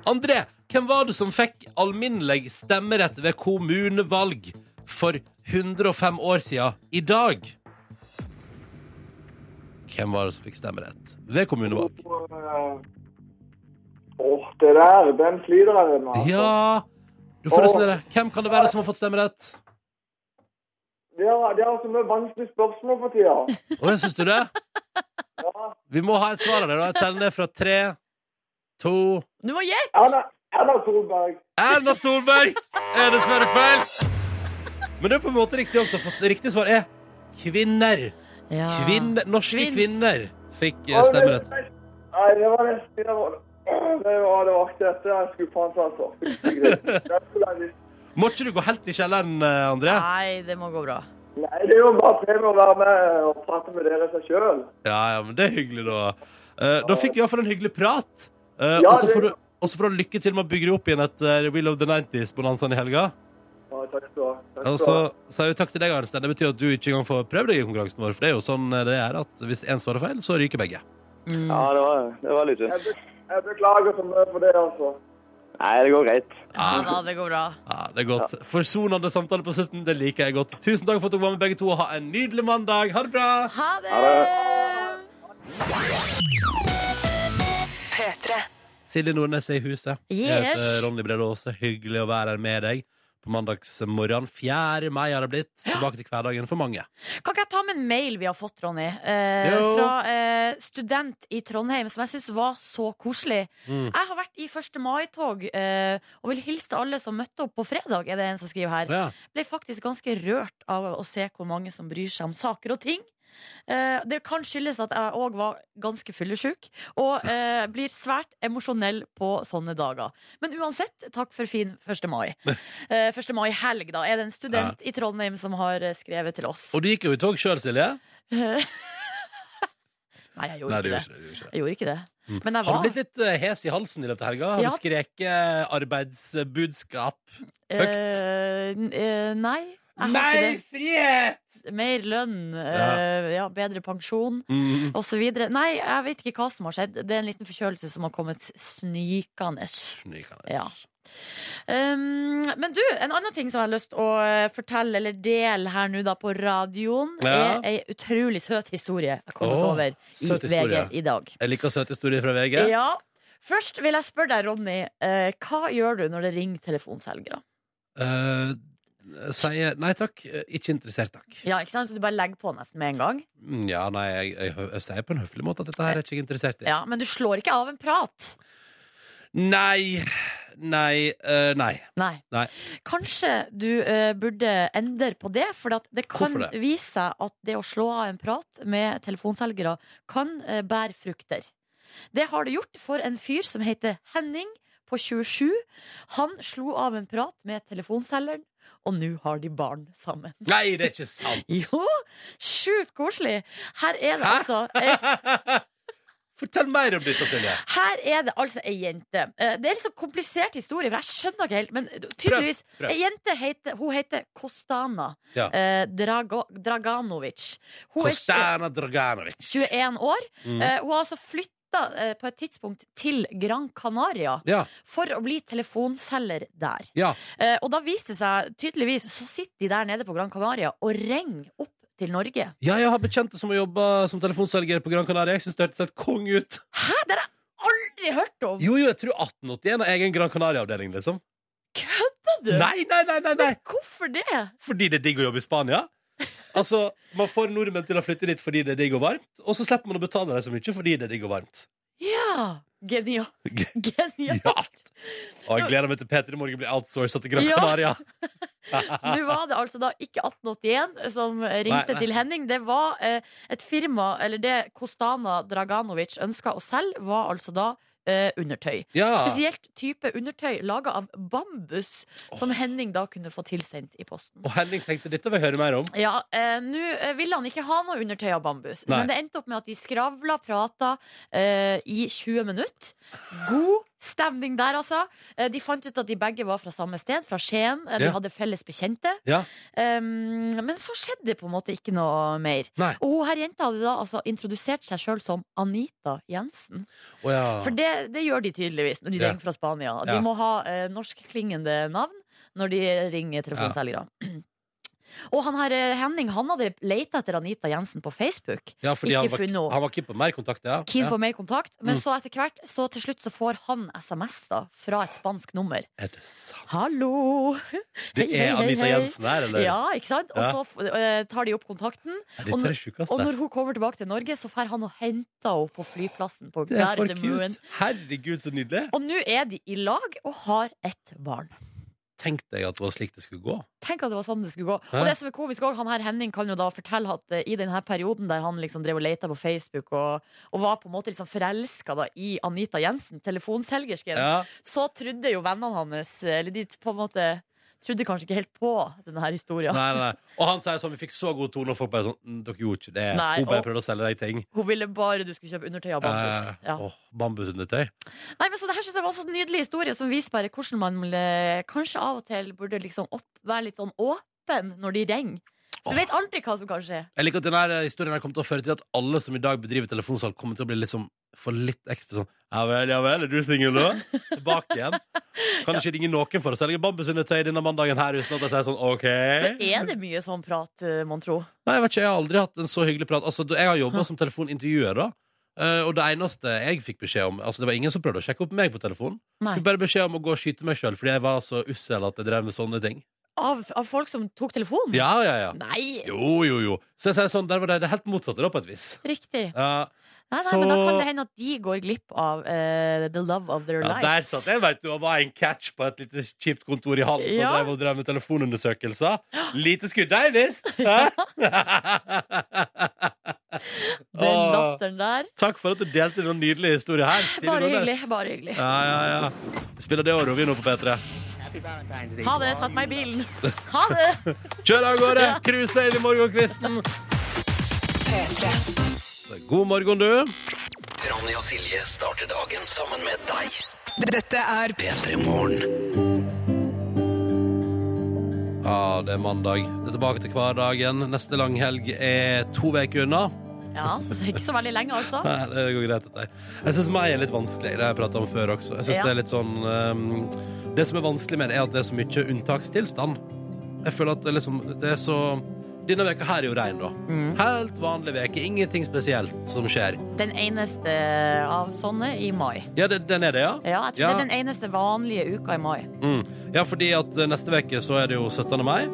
Speaker 2: André, hvem var det som fikk alminnelig stemmerett ved kommunevalg for 105 år siden i dag? Hvem var det som fikk stemmerett ved kommunevalg?
Speaker 4: Og, eh, Åh, det der, den flyter jeg med. altså.
Speaker 2: Ja Du får resonnere. Hvem kan det være som har fått stemmerett?
Speaker 4: Det er, det er så mye vanskelige spørsmål for tida.
Speaker 2: Å, jeg syns du det?
Speaker 4: Ja.
Speaker 2: Vi må ha et svar av det. da. Jeg teller ned fra tre, to
Speaker 6: Du må gjette!
Speaker 4: Erna, Erna Solberg.
Speaker 2: Erna Solberg er dessverre feil. Men det er på en måte riktig også, for riktig svar er kvinner.
Speaker 6: Ja.
Speaker 2: Kvinner- norske
Speaker 6: Kvinns.
Speaker 2: kvinner fikk eh, stemmerett.
Speaker 4: Nei, det var nesten det var, det var, det var ikke dette jeg skulle faen ta, altså. Det er jo langt.
Speaker 2: Må ikke du gå helt i kjelleren, eh, André?
Speaker 6: Nei, det må gå bra.
Speaker 4: Nei, det er jo bare premie å være med og prate med dere seg sjøl.
Speaker 2: Ja, ja, men det er hyggelig, da. Eh, da fikk vi iallfall en hyggelig prat. Eh,
Speaker 4: Ja,
Speaker 2: og så
Speaker 4: det-
Speaker 2: får du- og så får du lykke til med å bygge opp igjen etter Will of the 90s-bonanzaen i helga.
Speaker 4: Takk skal du ha. Takk
Speaker 2: Og
Speaker 4: skal du ha.
Speaker 2: så sier vi takk til deg, Arnstein. Det betyr at du ikke engang får prøvd deg i konkurransen vår. For det er jo sånn det er at hvis én svarer feil, så ryker begge.
Speaker 6: Mm.
Speaker 7: Ja, det var, det var litt synd.
Speaker 4: Jeg be- Jeg beklager så mye for det, altså.
Speaker 7: Nei, det går greit.
Speaker 6: Ja da, det går bra.
Speaker 2: Ja, det er godt. Forsonende samtale på slutten. Det liker jeg godt. Tusen takk for at dere var med, begge to. Ha en nydelig mandag. Ha det bra.
Speaker 6: Ha det!
Speaker 2: Silje Nordnes er i huset. Jeg
Speaker 6: Yes.
Speaker 2: heter Ronny Brede Aase. Hyggelig å være her med deg på mandagsmorgen. 4. mai har det blitt. Tilbake til hverdagen for mange.
Speaker 6: Kan ikke jeg ta med en mail vi har fått, Ronny? Eh,
Speaker 2: Jo.
Speaker 6: fra eh, student i Trondheim, som jeg syns var så koselig.
Speaker 2: Mm.
Speaker 6: Jeg har vært i 1. mai-tog eh, og vil hilse til alle som møtte opp på fredag, er det en som skriver her.
Speaker 2: Ja.
Speaker 6: Ble faktisk ganske rørt av å se hvor mange som bryr seg om saker og ting. Eh, det kan skyldes at jeg òg var ganske fyllesyk, og eh, blir svært emosjonell på sånne dager. Men uansett, takk for fin 1. mai. Eh, 1. mai-helg, da, er det en student i Trondheim som har eh, skrevet til oss.
Speaker 2: Og du gikk jo i tog sjøl, Silje.
Speaker 6: Nei, jeg gjorde
Speaker 2: Nei, det
Speaker 6: ikke det.
Speaker 2: gjorde ikke det, du gjorde ikke det.
Speaker 6: Jeg gjorde ikke det.
Speaker 2: Mm.
Speaker 6: Men
Speaker 2: Har
Speaker 6: jeg
Speaker 2: du
Speaker 6: var
Speaker 2: blitt litt eh, hes i halsen i løpet av helga? Har
Speaker 6: Ja.
Speaker 2: du skreket eh, arbeidsbudskap? høyt?
Speaker 6: eh, n- eh, nei. Jeg har
Speaker 2: Nei,
Speaker 6: ikke
Speaker 2: frihet!
Speaker 6: det. Mer lønn, eh, ja, bedre pensjon
Speaker 2: Mm.
Speaker 6: osv. Nei, jeg vet ikke hva som har skjedd. Det er en liten forkjølelse som har kommet snikende.
Speaker 2: Nykende.
Speaker 6: Ja. Um, men du, en annen ting som jeg har lyst å eh, fortelle eller dele her nå da på radioen,
Speaker 2: Ja.
Speaker 6: er ei utrolig søt historie jeg har kommet
Speaker 2: Åh,
Speaker 6: over
Speaker 2: søt
Speaker 6: i VG
Speaker 2: historie.
Speaker 6: i dag.
Speaker 2: Jeg liker søte historier fra VG.
Speaker 6: Ja. Først vil jeg spørre deg, Ronny, eh, hva gjør du når det ringer telefonselgere?
Speaker 2: Eh, sier nei takk, eh, ikke interessert takk.
Speaker 6: Ja, ikke sant? Så du bare legger på nesten med en gang.
Speaker 2: Mm, Ja, nei, jeg, jeg, jeg, sier på en høflig måte at dette her er ikke jeg interessert i.
Speaker 6: Ja, Men du slår ikke av en prat.
Speaker 2: Nei, nei, eh, nei.
Speaker 6: Nei.
Speaker 2: Nei.
Speaker 6: Kanskje du eh, burde endre på det, for at det kan
Speaker 2: Hvorfor det?
Speaker 6: vise seg at det å slå av en prat med telefonselgere kan eh, bære frukter. Det har det gjort for en fyr som heter Henning på 27. Han slo av en prat med telefonselgeren, og nå har de barn sammen.
Speaker 2: Nei, det er ikke sant!
Speaker 6: Jo, sjukt koselig! Her er det
Speaker 2: Hæ?
Speaker 6: altså ei,
Speaker 2: Fortell mer om dette, Silje.
Speaker 6: her er det altså ei jente. Eh, Det er litt sånn komplisert historie, for jeg skjønner ikke helt. Men tydeligvis
Speaker 2: prøv.
Speaker 6: Ei jente heter, hun heter Kostana
Speaker 2: Ja.
Speaker 6: eh, Drago, Draganovic. Hun er
Speaker 2: Kostana Draganovic.
Speaker 6: 21 år.
Speaker 2: Mm.
Speaker 6: Eh, hun har altså flytta eh, på et tidspunkt til Gran Canaria
Speaker 2: Ja,
Speaker 6: for å bli telefonselger der.
Speaker 2: ja.
Speaker 6: Eh, og da viste det seg tydeligvis så sitter de der nede på Gran Canaria og ringer opp til Norge.
Speaker 2: ja, jeg har bekjente som har jobba som telefonselger på Gran Canaria. Jeg syns det hørtes helt kong ut.
Speaker 6: Hæ, det har jeg aldri hørt om!
Speaker 2: Jo, jo, jeg tror 1881 har egen Gran Canaria-avdeling, liksom.
Speaker 6: Kødder du?
Speaker 2: Nei, nei, nei, nei, nei!
Speaker 6: Men hvorfor det?
Speaker 2: Fordi det er digg å jobbe i Spania. Altså, Man får nordmenn til å flytte dit fordi det er digg og varmt, og så slipper man å betale dem så mye fordi det er digg og varmt.
Speaker 6: Ja! Genialt.
Speaker 2: Ge-
Speaker 6: Genialt.
Speaker 2: Og jeg gleder meg til Peter i morgen blir outsourcet til Gran
Speaker 6: Ja.
Speaker 2: Canaria.
Speaker 6: Nå var det altså da ikke 1881 som ringte
Speaker 2: Nei, nei.
Speaker 6: til Henning. Det var eh, et firma, eller det Kostana Draganovic ønska å selge, var altså da eh, undertøy.
Speaker 2: Ja.
Speaker 6: Spesielt type undertøy laga av bambus, som Henning da kunne få tilsendt i posten.
Speaker 2: Og Henning tenkte dette vil jeg høre mer om.
Speaker 6: Ja, eh, Nå eh, ville han ikke ha noe undertøy av bambus,
Speaker 2: sånn? Nei.
Speaker 6: men det endte opp med at de skravla, prata eh, i 20 minutter. God stemning der, altså. Eh, de fant ut at de begge var fra samme sted, fra Skien. Eh, de
Speaker 2: Ja.
Speaker 6: hadde felles bekjente.
Speaker 2: Ja.
Speaker 6: Um, men så skjedde det på en måte ikke noe mer.
Speaker 2: Nei.
Speaker 6: Og hun her jenta hadde da altså introdusert seg sjøl som Anita Jensen.
Speaker 2: Å ja.
Speaker 6: For det, det gjør de tydeligvis når de
Speaker 2: Ja.
Speaker 6: ringer fra Spania. De
Speaker 2: Ja.
Speaker 6: må ha eh, norskklingende navn når de ringer telefonselgere. Og han her eh, Henning han hadde leita etter Anita Jensen på Facebook.
Speaker 2: ja, fordi
Speaker 6: ikke
Speaker 2: han var,
Speaker 6: funnet henne.
Speaker 2: han var keen på mer kontakt, ja.
Speaker 6: Keen
Speaker 2: ja.
Speaker 6: på mer kontakt, men
Speaker 2: Mm.
Speaker 6: så etter hvert Så til slutt så får han SMS da fra et spansk nummer.
Speaker 2: Er det sant?
Speaker 6: Hallo!
Speaker 2: Det
Speaker 6: Hei,
Speaker 2: er
Speaker 6: hei, hei,
Speaker 2: Anita
Speaker 6: hei.
Speaker 2: Jensen her, eller?
Speaker 6: Ja, ikke sant? Og
Speaker 2: Ja.
Speaker 6: så eh, tar de opp kontakten.
Speaker 2: Er dette
Speaker 6: Og
Speaker 2: er
Speaker 6: når-
Speaker 2: det sjukeste.
Speaker 6: Og når hun kommer tilbake til Norge, så får han og henter henne på flyplassen på
Speaker 2: Det er for
Speaker 6: Gardermoen.
Speaker 2: kult. Herregud, så nydelig.
Speaker 6: Og nå er de i lag og har ett barn.
Speaker 2: Tenk deg at det var slik det skulle gå.
Speaker 6: Tenk at det var sånn det skulle gå.
Speaker 2: Hæ?
Speaker 6: Og det som er komisk også, han her Henning kan jo da fortelle at eh, i denne perioden der han liksom drev og leta på Facebook og, og var på en måte liksom forelska da i Anita Jensen, telefonselgersken,
Speaker 2: Ja.
Speaker 6: så trodde jo vennene hans, eller de på en måte trodde kanskje ikke helt på denne historien.
Speaker 2: Nei, nei, nei. Og han sier sånn, vi fikk så god tone, og folk bare sånn "Mm, Dere gjorde ikke det.
Speaker 6: Nei,
Speaker 2: Hun bare
Speaker 6: og-
Speaker 2: prøvde å selge deg ting.
Speaker 6: Hun ville bare du skulle kjøpe undertøy av bambus.
Speaker 2: Eh,
Speaker 6: Ja.
Speaker 2: åh, Bambusundertøy.
Speaker 6: Nei, men så det her synes jeg var en sånn nydelig historie som viser bare hvordan man eh, kanskje av og til burde liksom opp, være litt sånn åpen når de ringer. Du
Speaker 2: Åh. Eh?
Speaker 6: vet aldri hva som kan skje.
Speaker 2: Jeg liker at denne historien her kommer til å føre til at alle som i dag bedriver telefonsalg, kommer til å bli litt sånn, få litt ekstra sånn Ja vel, ja vel, er du singel nå? Tilbake igjen. Kan ikke ringe noen for å selge bambusundertøy denne mandagen her uten at jeg sier sånn OK?
Speaker 6: Men er det mye sånn prat, eh, mon tro?
Speaker 2: Nei, jeg vet ikke, jeg har aldri hatt en så hyggelig prat Altså, Jeg har jobba som telefonintervjuer da eh, Og det eneste jeg fikk beskjed om Altså, det var ingen som prøvde å sjekke opp meg på telefonen
Speaker 6: Nei.
Speaker 2: Fikk bare beskjed om å gå og skyte meg selv Fordi jeg var så ussel at jeg drev med sånne ting
Speaker 6: Av, av folk som tok telefonen?
Speaker 2: Ja, ja, ja
Speaker 6: Nei!
Speaker 2: Jo, jo, jo Så jeg sier sånn, der var det, det helt motsatte da på et vis
Speaker 6: Riktig.
Speaker 2: Ja,
Speaker 6: Nei, nei,
Speaker 2: Så-
Speaker 6: Men da kan det hende at de går glipp av eh, the love of their
Speaker 2: ja der
Speaker 6: lives.
Speaker 2: satt jeg, vet du Og var en catch på et lite kjipt kontor i Halden
Speaker 6: Ja.
Speaker 2: Og drev, og drev med telefonundersøkelser Lite skudd deg, visst Hæ?
Speaker 6: Den
Speaker 2: Åh,
Speaker 6: latteren der.
Speaker 2: Takk for at du delte den nydelige historien her Silje
Speaker 6: Bare
Speaker 2: Nordnes.
Speaker 6: hyggelig. bare hyggelig
Speaker 2: Ja, ja, ja. Vi spiller det året vi nå på P3.
Speaker 6: Ha det. Satt meg i bilen. Ha det!
Speaker 2: Kjør av gårde! Cruise inn i morgenkvisten! God morgen, du.
Speaker 1: Ronny og Silje starter dagen sammen med deg.
Speaker 8: Dette er
Speaker 1: P3 Morgen.
Speaker 2: Ja, det er mandag. Det er tilbake til hverdagen. Neste langhelg er to uker unna.
Speaker 6: Ja, så det er ikke så veldig lenge, altså.
Speaker 2: Nei, det går greit, dette her. Jeg syns meg er litt vanskelig. Det har jeg prata om før også. Jeg synes
Speaker 6: Ja.
Speaker 2: Det er litt sånn ehm, Det som er vanskelig med det, er at det er så mye unntakstilstand. Jeg føler at det liksom Det er så Denne veka her er jo rein, da.
Speaker 6: Mm.
Speaker 2: Helt vanlig veke. Ingenting spesielt som skjer.
Speaker 6: Den eneste av sånne i mai.
Speaker 2: Ja, det, den er det, ja?
Speaker 6: Ja, jeg tror
Speaker 2: Ja.
Speaker 6: det er den eneste vanlige uka i mai.
Speaker 2: Mm. Ja, fordi at eh, neste veke så er det jo 17. mai.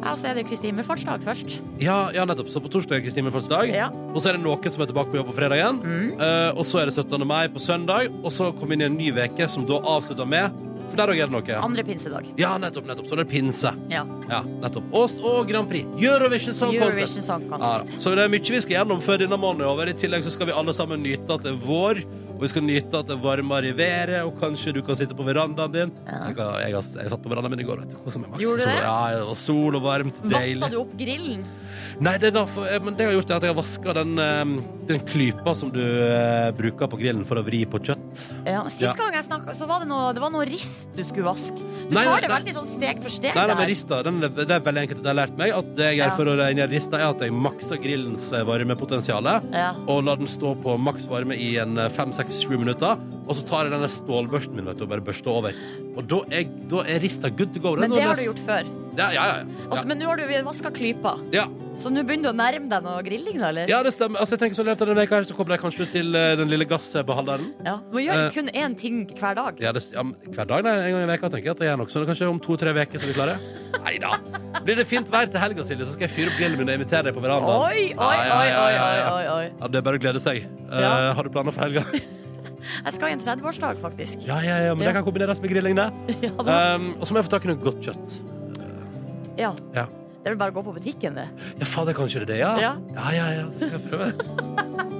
Speaker 6: Ja, og så er det jo Kristi himmelfartsdag først.
Speaker 2: Ja, ja nettopp. Så på torsdag er Kristi himmelfartsdag.
Speaker 6: Ja. Mm.
Speaker 2: Og så er det noen som er tilbake på jobb på fredag igjen. Eh, og så er det 17. mai på søndag. Og så kommer vi inn i en ny veke som da avslutter med For der òg er det noe.
Speaker 6: Andre pinsedag.
Speaker 2: Ja, nettopp. nettopp. Så det er pinse.
Speaker 6: Ja.
Speaker 2: Ja, nettopp. Og, og Grand Prix. Eurovision Song Contest.
Speaker 6: Eurovision Song
Speaker 2: Ja, da.
Speaker 6: Contest.
Speaker 2: så det er mye vi skal gjennom før denne måneden er over. I tillegg så skal vi alle sammen nyte at det er vår, og vi skal nyte at det er varmere i været, og kanskje du kan sitte på verandaen din. Jeg, har- jeg, har- jeg satt på verandaen min i går, vet du. Koset meg maks.
Speaker 6: Gjorde du
Speaker 2: Sol-
Speaker 6: det?
Speaker 2: Ja, og sol og varmt.
Speaker 6: Vatta
Speaker 2: Deilig.
Speaker 6: du opp grillen?
Speaker 2: Nei, det, er derfor, eh, men det jeg har gjort, er at jeg har vaska den, eh, den klypa som du eh, bruker på grillen for å vri på kjøtt.
Speaker 6: Ja. og Sist
Speaker 2: Ja.
Speaker 6: gang jeg snakka, så var det noe, det var noe rist du skulle vaske. Du
Speaker 2: Nei,
Speaker 6: tar
Speaker 2: nei,
Speaker 6: det
Speaker 2: nei.
Speaker 6: veldig sånn steg for steg
Speaker 2: Nei, nei, men
Speaker 6: der.
Speaker 2: rista, den, er- det er veldig enkelt. Det har lært meg at det jeg gjør
Speaker 6: Ja.
Speaker 2: for å regne rista, er at jeg makser grillens eh, varmepotensial.
Speaker 6: Ja.
Speaker 2: og lar den stå på maks varme i en eh, fem, seks, sju minutter. Og så tar jeg denne stålbørsten min vet du, og bare børster over. Og da er, da er rista good to go. Den
Speaker 6: Men det
Speaker 2: er-
Speaker 6: har du gjort før.
Speaker 2: Ja, ja, ja.
Speaker 6: Også,
Speaker 2: ja.
Speaker 6: Men nå har du vaska klypa,
Speaker 2: Ja,
Speaker 6: så nå begynner du å nærme deg noe grilling, da, eller?
Speaker 2: ja, det stemmer. Altså, jeg tenker så i løpet av denne veka her, så kommer jeg kanskje til eh, den lille gassbeholderen.
Speaker 6: Du må gjøre
Speaker 2: Eh.
Speaker 6: kun én ting hver dag.
Speaker 2: Ja, det, ja, men hver dag, nei, en gang i veka tenker jeg at jeg gjør nok sånn. Kanskje om to-tre veker så er vi klare. Nei da. Blir det fint vær til helga, Silje, så skal jeg fyre opp grillen min og invitere deg på verandaen.
Speaker 6: Oi, oi, oi,
Speaker 2: Ja,
Speaker 6: oi,
Speaker 2: ja, ja,
Speaker 6: oi,
Speaker 2: ja, ja.
Speaker 6: oi, oi.
Speaker 2: Ja, det er bare å glede seg. Eh,
Speaker 6: Ja.
Speaker 2: har du planer for helga?
Speaker 6: Jeg skal i en 30-årsdag, faktisk.
Speaker 2: Ja, ja, ja, men det
Speaker 6: Ja.
Speaker 2: kan kombineres med grilling, det.
Speaker 6: Ja, da.
Speaker 2: Um, og så må jeg få tak i noe godt kjøtt.
Speaker 6: ja.
Speaker 2: Ja.
Speaker 6: Det er vel bare å gå på butikken, det.
Speaker 2: Ja, fader, kanskje det er det, ja?
Speaker 6: Ja.
Speaker 2: ja, ja, ja, det skal jeg prøve.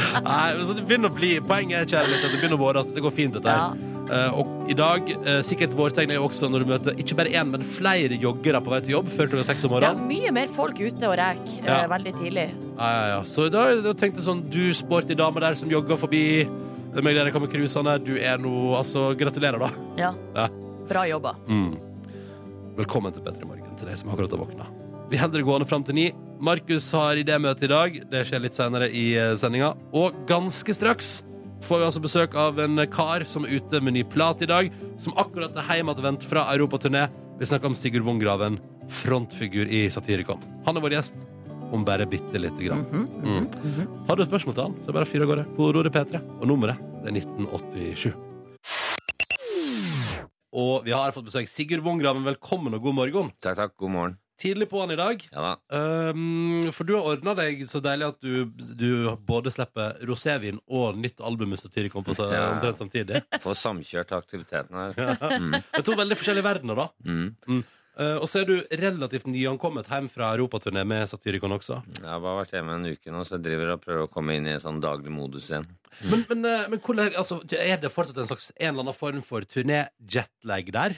Speaker 2: Nei, men så det begynner å bli Poenget er kjære litt, at det begynner å våres. Det går fint, dette her. Eh, og i dag, eh, sikkert vårtegn er jo også når du møter ikke bare én, men flere joggere på vei til jobb før klokka seks om
Speaker 6: Ja,
Speaker 2: morgenen.
Speaker 6: mye mer folk ute og rek
Speaker 2: Ja.
Speaker 6: eh, veldig tidlig.
Speaker 2: Ja, ja, ja. Så i dag da tenkte jeg sånn Du sporty dame der som jogger forbi. Det er mulig dere kommer cruisende. Du er nå Altså, gratulerer, da.
Speaker 6: Ja.
Speaker 2: Ja.
Speaker 6: Bra jobba.
Speaker 2: Mm. Velkommen til Petter i morgen, til deg som akkurat har våkna. Vi holder det gående fram til ni. Markus har idémøte i dag. Det skjer litt senere i eh, sendinga. Og ganske straks får vi altså besøk av en kar som er ute med ny plat i dag, som akkurat er hjemmetilvendt fra europaturné. Vi snakker om Sigurd Vongraven, frontfigur i Satirikon. Han er vår gjest om bare bitte lite grann. Mm. Har du et spørsmål til han, så bare fyr av gårde. Kodeordet P3, og nummeret det er 1987. Og vi har fått besøk. Sigurd Vongraven, velkommen og god morgen.
Speaker 9: Takk, takk. God morgen.
Speaker 2: Tidlig på'n i dag.
Speaker 9: Ja da.
Speaker 2: Ehm, for du har ordna deg så deilig at du, du både slipper rosévin og nytt album med Satirikon på seg
Speaker 9: Ja.
Speaker 2: omtrent samtidig.
Speaker 9: Få samkjørt aktiviteten her. Mm.
Speaker 2: Det er to veldig forskjellige verdener, da.
Speaker 9: Mm.
Speaker 2: Eh, og så er du relativt nyankommet hjem fra europaturné med Satirikon også.
Speaker 9: Jeg har bare vært hjemme en uke nå, så jeg driver og prøver å komme inn i en sånn daglig modus igjen.
Speaker 2: Men, men, eh, men hvordan, altså, er det fortsatt en slags en eller annen form for turné-jetlag der?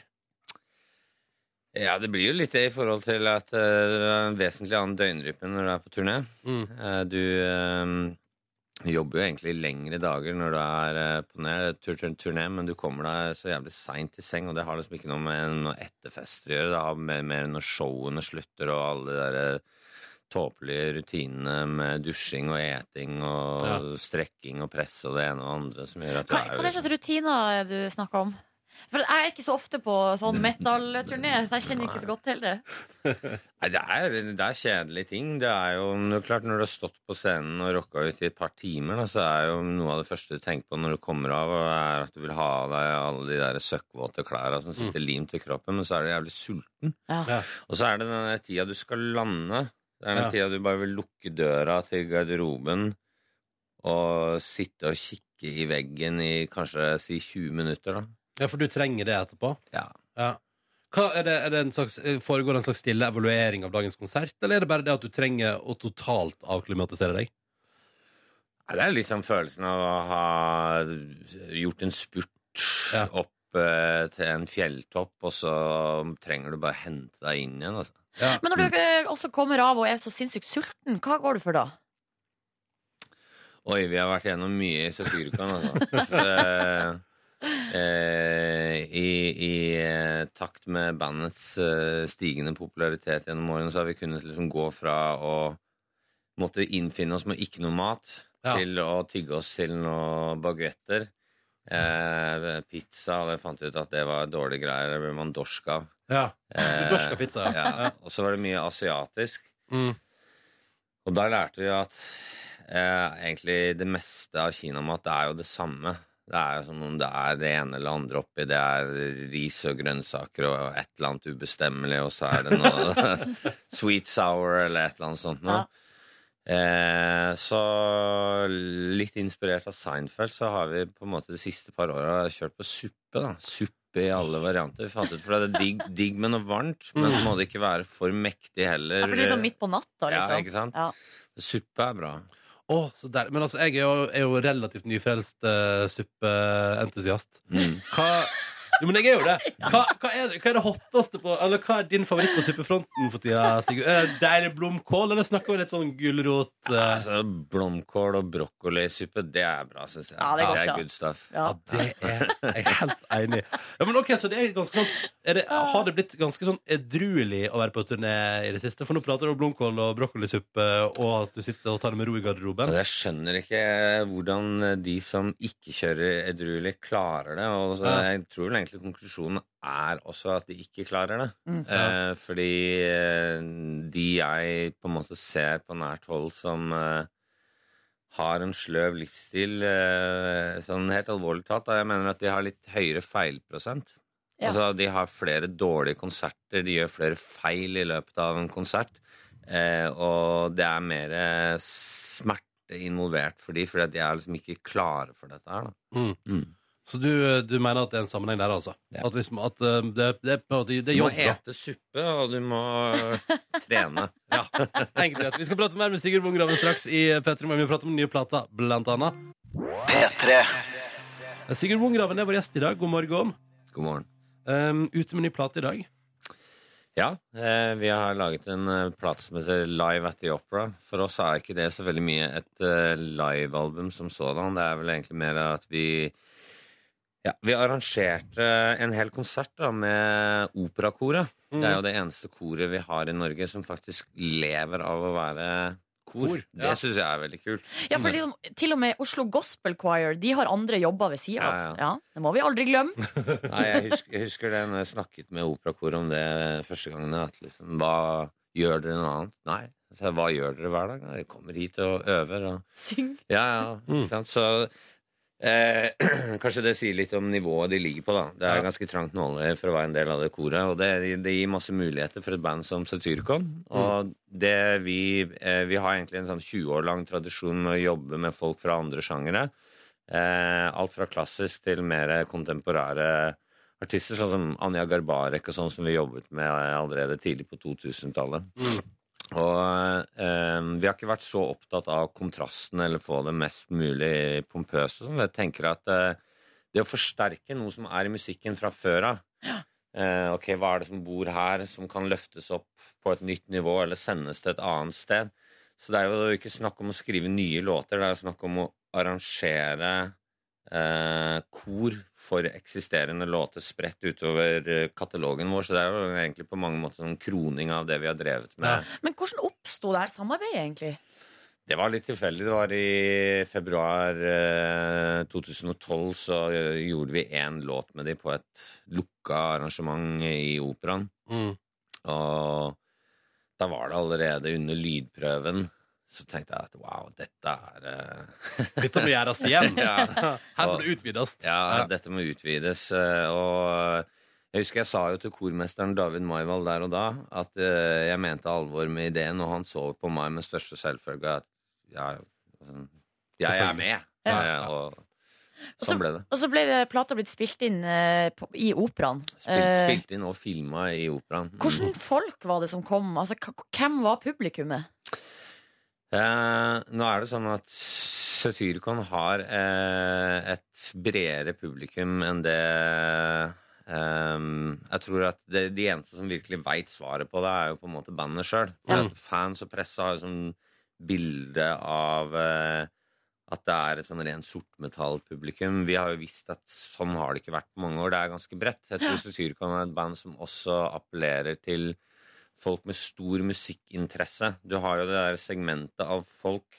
Speaker 9: Ja, det blir jo litt det i forhold til at eh, det er en vesentlig annen døgnrytme når du er på turné.
Speaker 2: Mm.
Speaker 9: Eh, Du eh, jobber jo egentlig lengre dager når du er eh, på turné- tur- tur- turné, men du kommer deg så jævlig seint i seng, og det har liksom ikke noe med noe etterfester å gjøre. Det har mer, mer når showene slutter og alle de derre tåpelige rutinene med dusjing og eting og
Speaker 2: Ja.
Speaker 9: strekking og press og det ene og det andre som gjør at
Speaker 6: Hva, hva er det slags rutiner er du snakker om? For jeg er ikke så ofte på sånn metal-turné, så jeg kjenner ikke så godt til det.
Speaker 9: Nei, det er, det er kjedelige ting. Det er jo det er klart Når du har stått på scenen og rocka ut i et par timer, da, så er jo noe av det første du tenker på når du kommer av, er at du vil ha av deg alle de der søkkvåte klærne som sitter limt i kroppen, men så er du jævlig sulten.
Speaker 6: Ja.
Speaker 2: Ja.
Speaker 9: Og så er det den der tida du skal lande. Det er den
Speaker 2: Ja.
Speaker 9: tida du bare vil lukke døra til garderoben og sitte og kikke i veggen i kanskje si 20 minutter, da.
Speaker 2: Ja, for du trenger det etterpå?
Speaker 9: Ja.
Speaker 2: Hva, er det, er det en slags, eh, foregår det en slags stille evaluering av dagens konsert, eller er det bare det at du trenger å totalt avklimatisere deg?
Speaker 9: Nei, det er liksom følelsen av å ha gjort en spurt
Speaker 2: Ja.
Speaker 9: opp eh, til en fjelltopp, og så trenger du bare hente deg inn igjen. Altså.
Speaker 6: Men når du eh, også kommer av og er så sinnssykt sulten, hva går du for da?
Speaker 9: Oi, vi har vært gjennom mye i Satyricon, altså. Eh, eh, I i eh, takt med bandets eh, stigende popularitet gjennom årene, så har vi kunnet liksom gå fra å måtte innfinne oss med ikke noe mat,
Speaker 2: Ja.
Speaker 9: til å tygge oss til noen baguetter. Eh, pizza, og jeg fant ut at det var dårlige greier. Det ble man dorsk av.
Speaker 2: Ja.
Speaker 9: Eh,
Speaker 2: Du dorska pizza, ja.
Speaker 9: ja. Og så var det mye asiatisk.
Speaker 2: Mm.
Speaker 9: Og da lærte vi jo at eh, egentlig det meste av kinamat det er jo det samme. Det er jo som om det er det ene eller andre oppi. Det er ris og grønnsaker og et eller annet ubestemmelig, og så er det noe sweet sour eller et eller annet sånt noe.
Speaker 6: Ja.
Speaker 9: Eh, så litt inspirert av Seinfeld så har vi på en måte de siste par åra kjørt på suppe, da. Suppe i alle varianter. Vi fant ut for det er digg, digg med noe varmt, men så må det ikke være for mektig
Speaker 6: Mm.
Speaker 9: heller.
Speaker 6: Ja, for det er sånn midt på natta,
Speaker 9: Ja,
Speaker 6: liksom.
Speaker 9: ikke sant?
Speaker 6: Ja.
Speaker 9: Suppe er bra.
Speaker 2: Å, så der. Men altså, jeg er jo, er jo relativt nyfrelst eh, suppeentusiast.
Speaker 9: Mm.
Speaker 2: Hva Jo, men jeg er jo det. Hva, hva, er, det- hva er det hotteste på Eller hva er din favoritt på suppefronten for tida, Sigurd? Er det deilig blomkål, eller snakker vi litt sånn gulrot? eh?
Speaker 9: Altså, blomkål og brokkolisuppe, det er bra, syns jeg.
Speaker 6: Ja, det er godt, ja.
Speaker 9: good stuff.
Speaker 6: Ja.
Speaker 2: Ja, det er jeg er helt enig i. Ja, men ok, så det er ganske sånn er det, Har det blitt ganske sånn edruelig å være på turné i det siste? For nå prater du om blomkål og brokkolisuppe, og at du sitter og tar det med ro i garderoben.
Speaker 9: Og jeg skjønner ikke eh, hvordan de som ikke kjører edruelig, klarer det. Og så,
Speaker 2: Ja.
Speaker 9: jeg tror vel egentlig konklusjonen er også at de ikke klarer det.
Speaker 6: Mm.
Speaker 9: Eh, fordi eh, de jeg på en måte ser på nært hold som eh, har en sløv livsstil, eh, sånn helt alvorlig tatt, da jeg mener at de har litt høyere feilprosent.
Speaker 6: Ja.
Speaker 9: Altså, de har flere dårlige konserter, de gjør flere feil i løpet av en konsert. Eh, og det er mer eh, smerte involvert for de, fordi at de er liksom ikke klare for dette her. Da.
Speaker 2: Mm.
Speaker 9: Mm.
Speaker 2: Så du, du mener at det er en sammenheng der, altså?
Speaker 9: Ja.
Speaker 2: At, hvis, at eh, det, det, er på en måte- det
Speaker 9: Du
Speaker 2: er
Speaker 9: må
Speaker 2: jobb, da.
Speaker 9: ete suppe, og du må eh, trene.
Speaker 2: Ja, enkelt og greit. Vi skal prate mer med Sigurd Bongraven straks i P3 Morgen. Vi prater om den nye plata, blant annet. Eh,
Speaker 1: P3.
Speaker 2: Sigurd Bongraven er vår gjest i dag. God morgen.
Speaker 9: God morgen.
Speaker 2: Um, ute med ny plate i dag.
Speaker 9: Ja, eh, vi har laget en eh, plate som heter Live at the Opera. For oss er ikke det så veldig mye et eh, livealbum som sådan. Det er vel egentlig mer at vi ja, Vi arrangerte en hel konsert da, med operakoret. Det er jo det eneste koret vi har i Norge som faktisk lever av å være kor.
Speaker 2: Kor, ja.
Speaker 9: Det syns jeg er veldig kult.
Speaker 6: Ja, for liksom, til og med Oslo Gospel Choir De har andre jobber ved siden av.
Speaker 9: Ja,
Speaker 6: Ja, Det må vi aldri glemme.
Speaker 9: Nei, jeg husker, jeg husker det når jeg snakket med operakoret om det første gangen. At liksom, hva gjør dere noe annet? Nei. Så, jeg, hva gjør dere hver dag? Nei, dere kommer hit og øver. Og
Speaker 6: Syng.
Speaker 9: Ja, ja.
Speaker 2: Mm.
Speaker 9: Ikke sant? Så eh, kanskje det sier litt om nivået de ligger på, da. Det er
Speaker 2: Ja.
Speaker 9: ganske trangt nåløye for å være en del av det koret. Og det, det gir masse muligheter for et band som Satyricon. Og det vi eh, Vi har egentlig en sånn 20 år lang tradisjon med å jobbe med folk fra andre sjangere. Eh, alt fra klassisk til mer kontemporære artister, sånn som Anja Garbarek og sånn, som vi jobbet med allerede tidlig på 2000-tallet. Og eh, vi har ikke vært så opptatt av kontrasten eller få det mest mulig pompøse. og Sånn. Jeg tenker at eh, det å forsterke noe som er i musikken fra før av, eh, Ok, hva er det som bor her, som kan løftes opp på et nytt nivå eller sendes til et annet sted? Så det er jo ikke snakk om å skrive nye låter, det er jo snakk om å arrangere eh, kor for eksisterende låter spredt utover eh, katalogen vår. Så det er jo egentlig på mange måter en kroning av det vi har drevet med.
Speaker 2: Ja.
Speaker 6: Men hvordan oppsto det her samarbeidet, egentlig?
Speaker 9: Det var litt tilfeldig. Det var i februar eh, 2012 så eh, gjorde vi én låt med de på et lukka arrangement i operaen.
Speaker 2: Mm.
Speaker 9: Og da var det allerede under lydprøven. Så tenkte jeg at wow, dette er eh,
Speaker 2: Dette må gjøres igjen.
Speaker 9: ja,
Speaker 2: Her må det utvides.
Speaker 9: ja, dette må utvides. eh, Og jeg husker jeg sa jo til kormesteren David Maival der og da at eh, jeg mente alvor med ideen, og han så på meg med største selvfølge at ja, sånn, jeg er med. Ja, ja, og sånn ble det.
Speaker 6: Og så ble det plata blitt spilt inn eh, på, i operaen.
Speaker 9: Spilt,
Speaker 6: Eh,
Speaker 9: spilt inn og filma i operaen. Mm.
Speaker 6: Hvordan folk var det som kom? Altså, k- hvem var publikummet?
Speaker 9: Eh, nå er det sånn at Satyricon har eh, et bredere publikum enn det ehm, Jeg tror at det, de eneste som virkelig veit svaret på det, er jo på en måte bandet sjøl.
Speaker 2: Ja.
Speaker 9: Fans og presse har jo sånn bilde av eh, at det er et sånn rent sortmetallpublikum. Vi har jo visst at sånn har det ikke vært på mange år. Det er ganske bredt. Jeg tror Satyricon er et band som også appellerer til folk med stor musikkinteresse. Du har jo det der segmentet av folk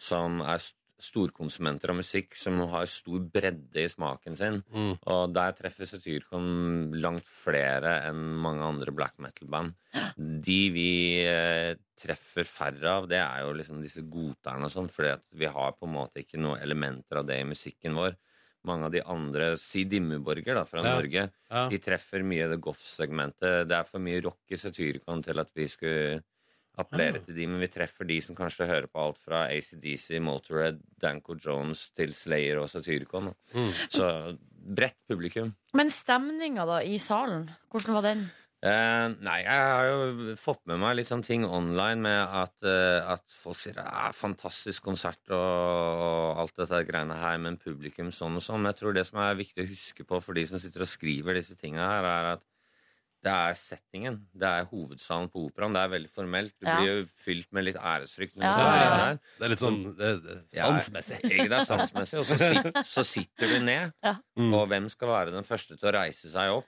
Speaker 9: som er st- storkonsumenter av musikk, som har stor bredde i smaken sin.
Speaker 2: Mm.
Speaker 9: Og der treffer Satyricon langt flere enn mange andre black metal-band. De vi eh, treffer færre av, det er jo liksom disse goterne og sånn, fordi at vi har på en måte ikke noen elementer av det i musikken vår. Mange av de andre, si Dimmeborger da, fra
Speaker 2: Ja.
Speaker 9: Norge,
Speaker 2: Ja.
Speaker 9: de treffer mye det goth-segmentet. Det er for mye rock i Satyricon til at vi skulle appellere til de, men vi treffer de som kanskje hører på alt fra ACDC, Motorhead, Danko Jones til Slayer og Satyricon. da.
Speaker 2: Mm.
Speaker 9: Så bredt publikum.
Speaker 6: Men stemninga da i salen, hvordan var den?
Speaker 9: Eh, nei, jeg har jo fått med meg litt sånn ting online med at, eh, at folk sier det er fantastisk konsert og, og alt dette greiene her, men publikum sånn og sånn. Men jeg tror det som er viktig å huske på for de som sitter og skriver disse tinga her, er at det er settingen. Det er hovedsalen på operaen. Det er veldig formelt. Du
Speaker 6: Ja.
Speaker 9: blir jo fylt med litt æresfrykt når du
Speaker 6: Ja,
Speaker 9: kommer
Speaker 6: ja, ja.
Speaker 9: inn der.
Speaker 2: Det er litt sånn det, det,
Speaker 9: Ja,
Speaker 2: stansmessig.
Speaker 9: Ikke det er standsmessig. Og så, sit, så sitter du ned,
Speaker 6: Ja.
Speaker 9: og hvem skal være den første til å reise seg opp?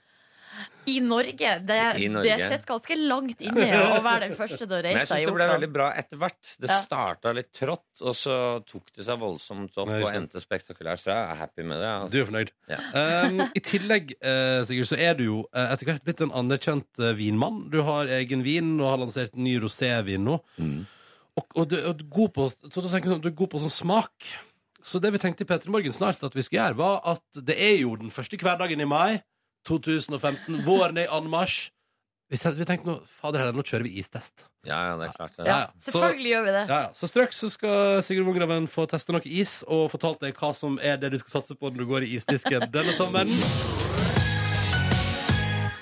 Speaker 6: I Norge? Det,
Speaker 9: I Norge.
Speaker 6: det sitter ganske langt inne å være den første til å
Speaker 9: Men jeg
Speaker 6: reise
Speaker 9: syns
Speaker 6: seg i
Speaker 9: det ble
Speaker 6: operaen.
Speaker 9: veldig bra etter hvert. Det
Speaker 6: Ja.
Speaker 9: starta litt trått, og så tok det seg voldsomt opp
Speaker 2: Nei, ikke
Speaker 9: og
Speaker 2: sant.
Speaker 9: endte spektakulært. Så jeg er happy med det.
Speaker 2: Du
Speaker 9: Altså.
Speaker 2: er fornøyd.
Speaker 9: Ja.
Speaker 2: Um, I tillegg eh, Sigurd, så er du jo eh, etter hvert blitt en anerkjent eh, vinmann. Du har egen vin og har lansert en ny rosévin nå.
Speaker 9: Mm.
Speaker 2: Og, og, du, og du er god på, så da tenker jeg sånn, du er god på sånn smak. Så det vi tenkte i Peter Morgen snart at vi skulle gjøre, var at det er jo den første hverdagen i mai 2015. Våren er i anmarsj. Vi tenkte, vi tenkte nå, fader heller, nå kjører vi istest.
Speaker 9: Ja, ja, det er klart. Det.
Speaker 2: Ja, ja. Så-
Speaker 6: Selvfølgelig gjør vi det.
Speaker 2: ja, ja. Så straks så skal Sigurd Wongraven få teste noe is og fortalt deg hva som er det du skal satse på når du går i isdisken denne sommeren.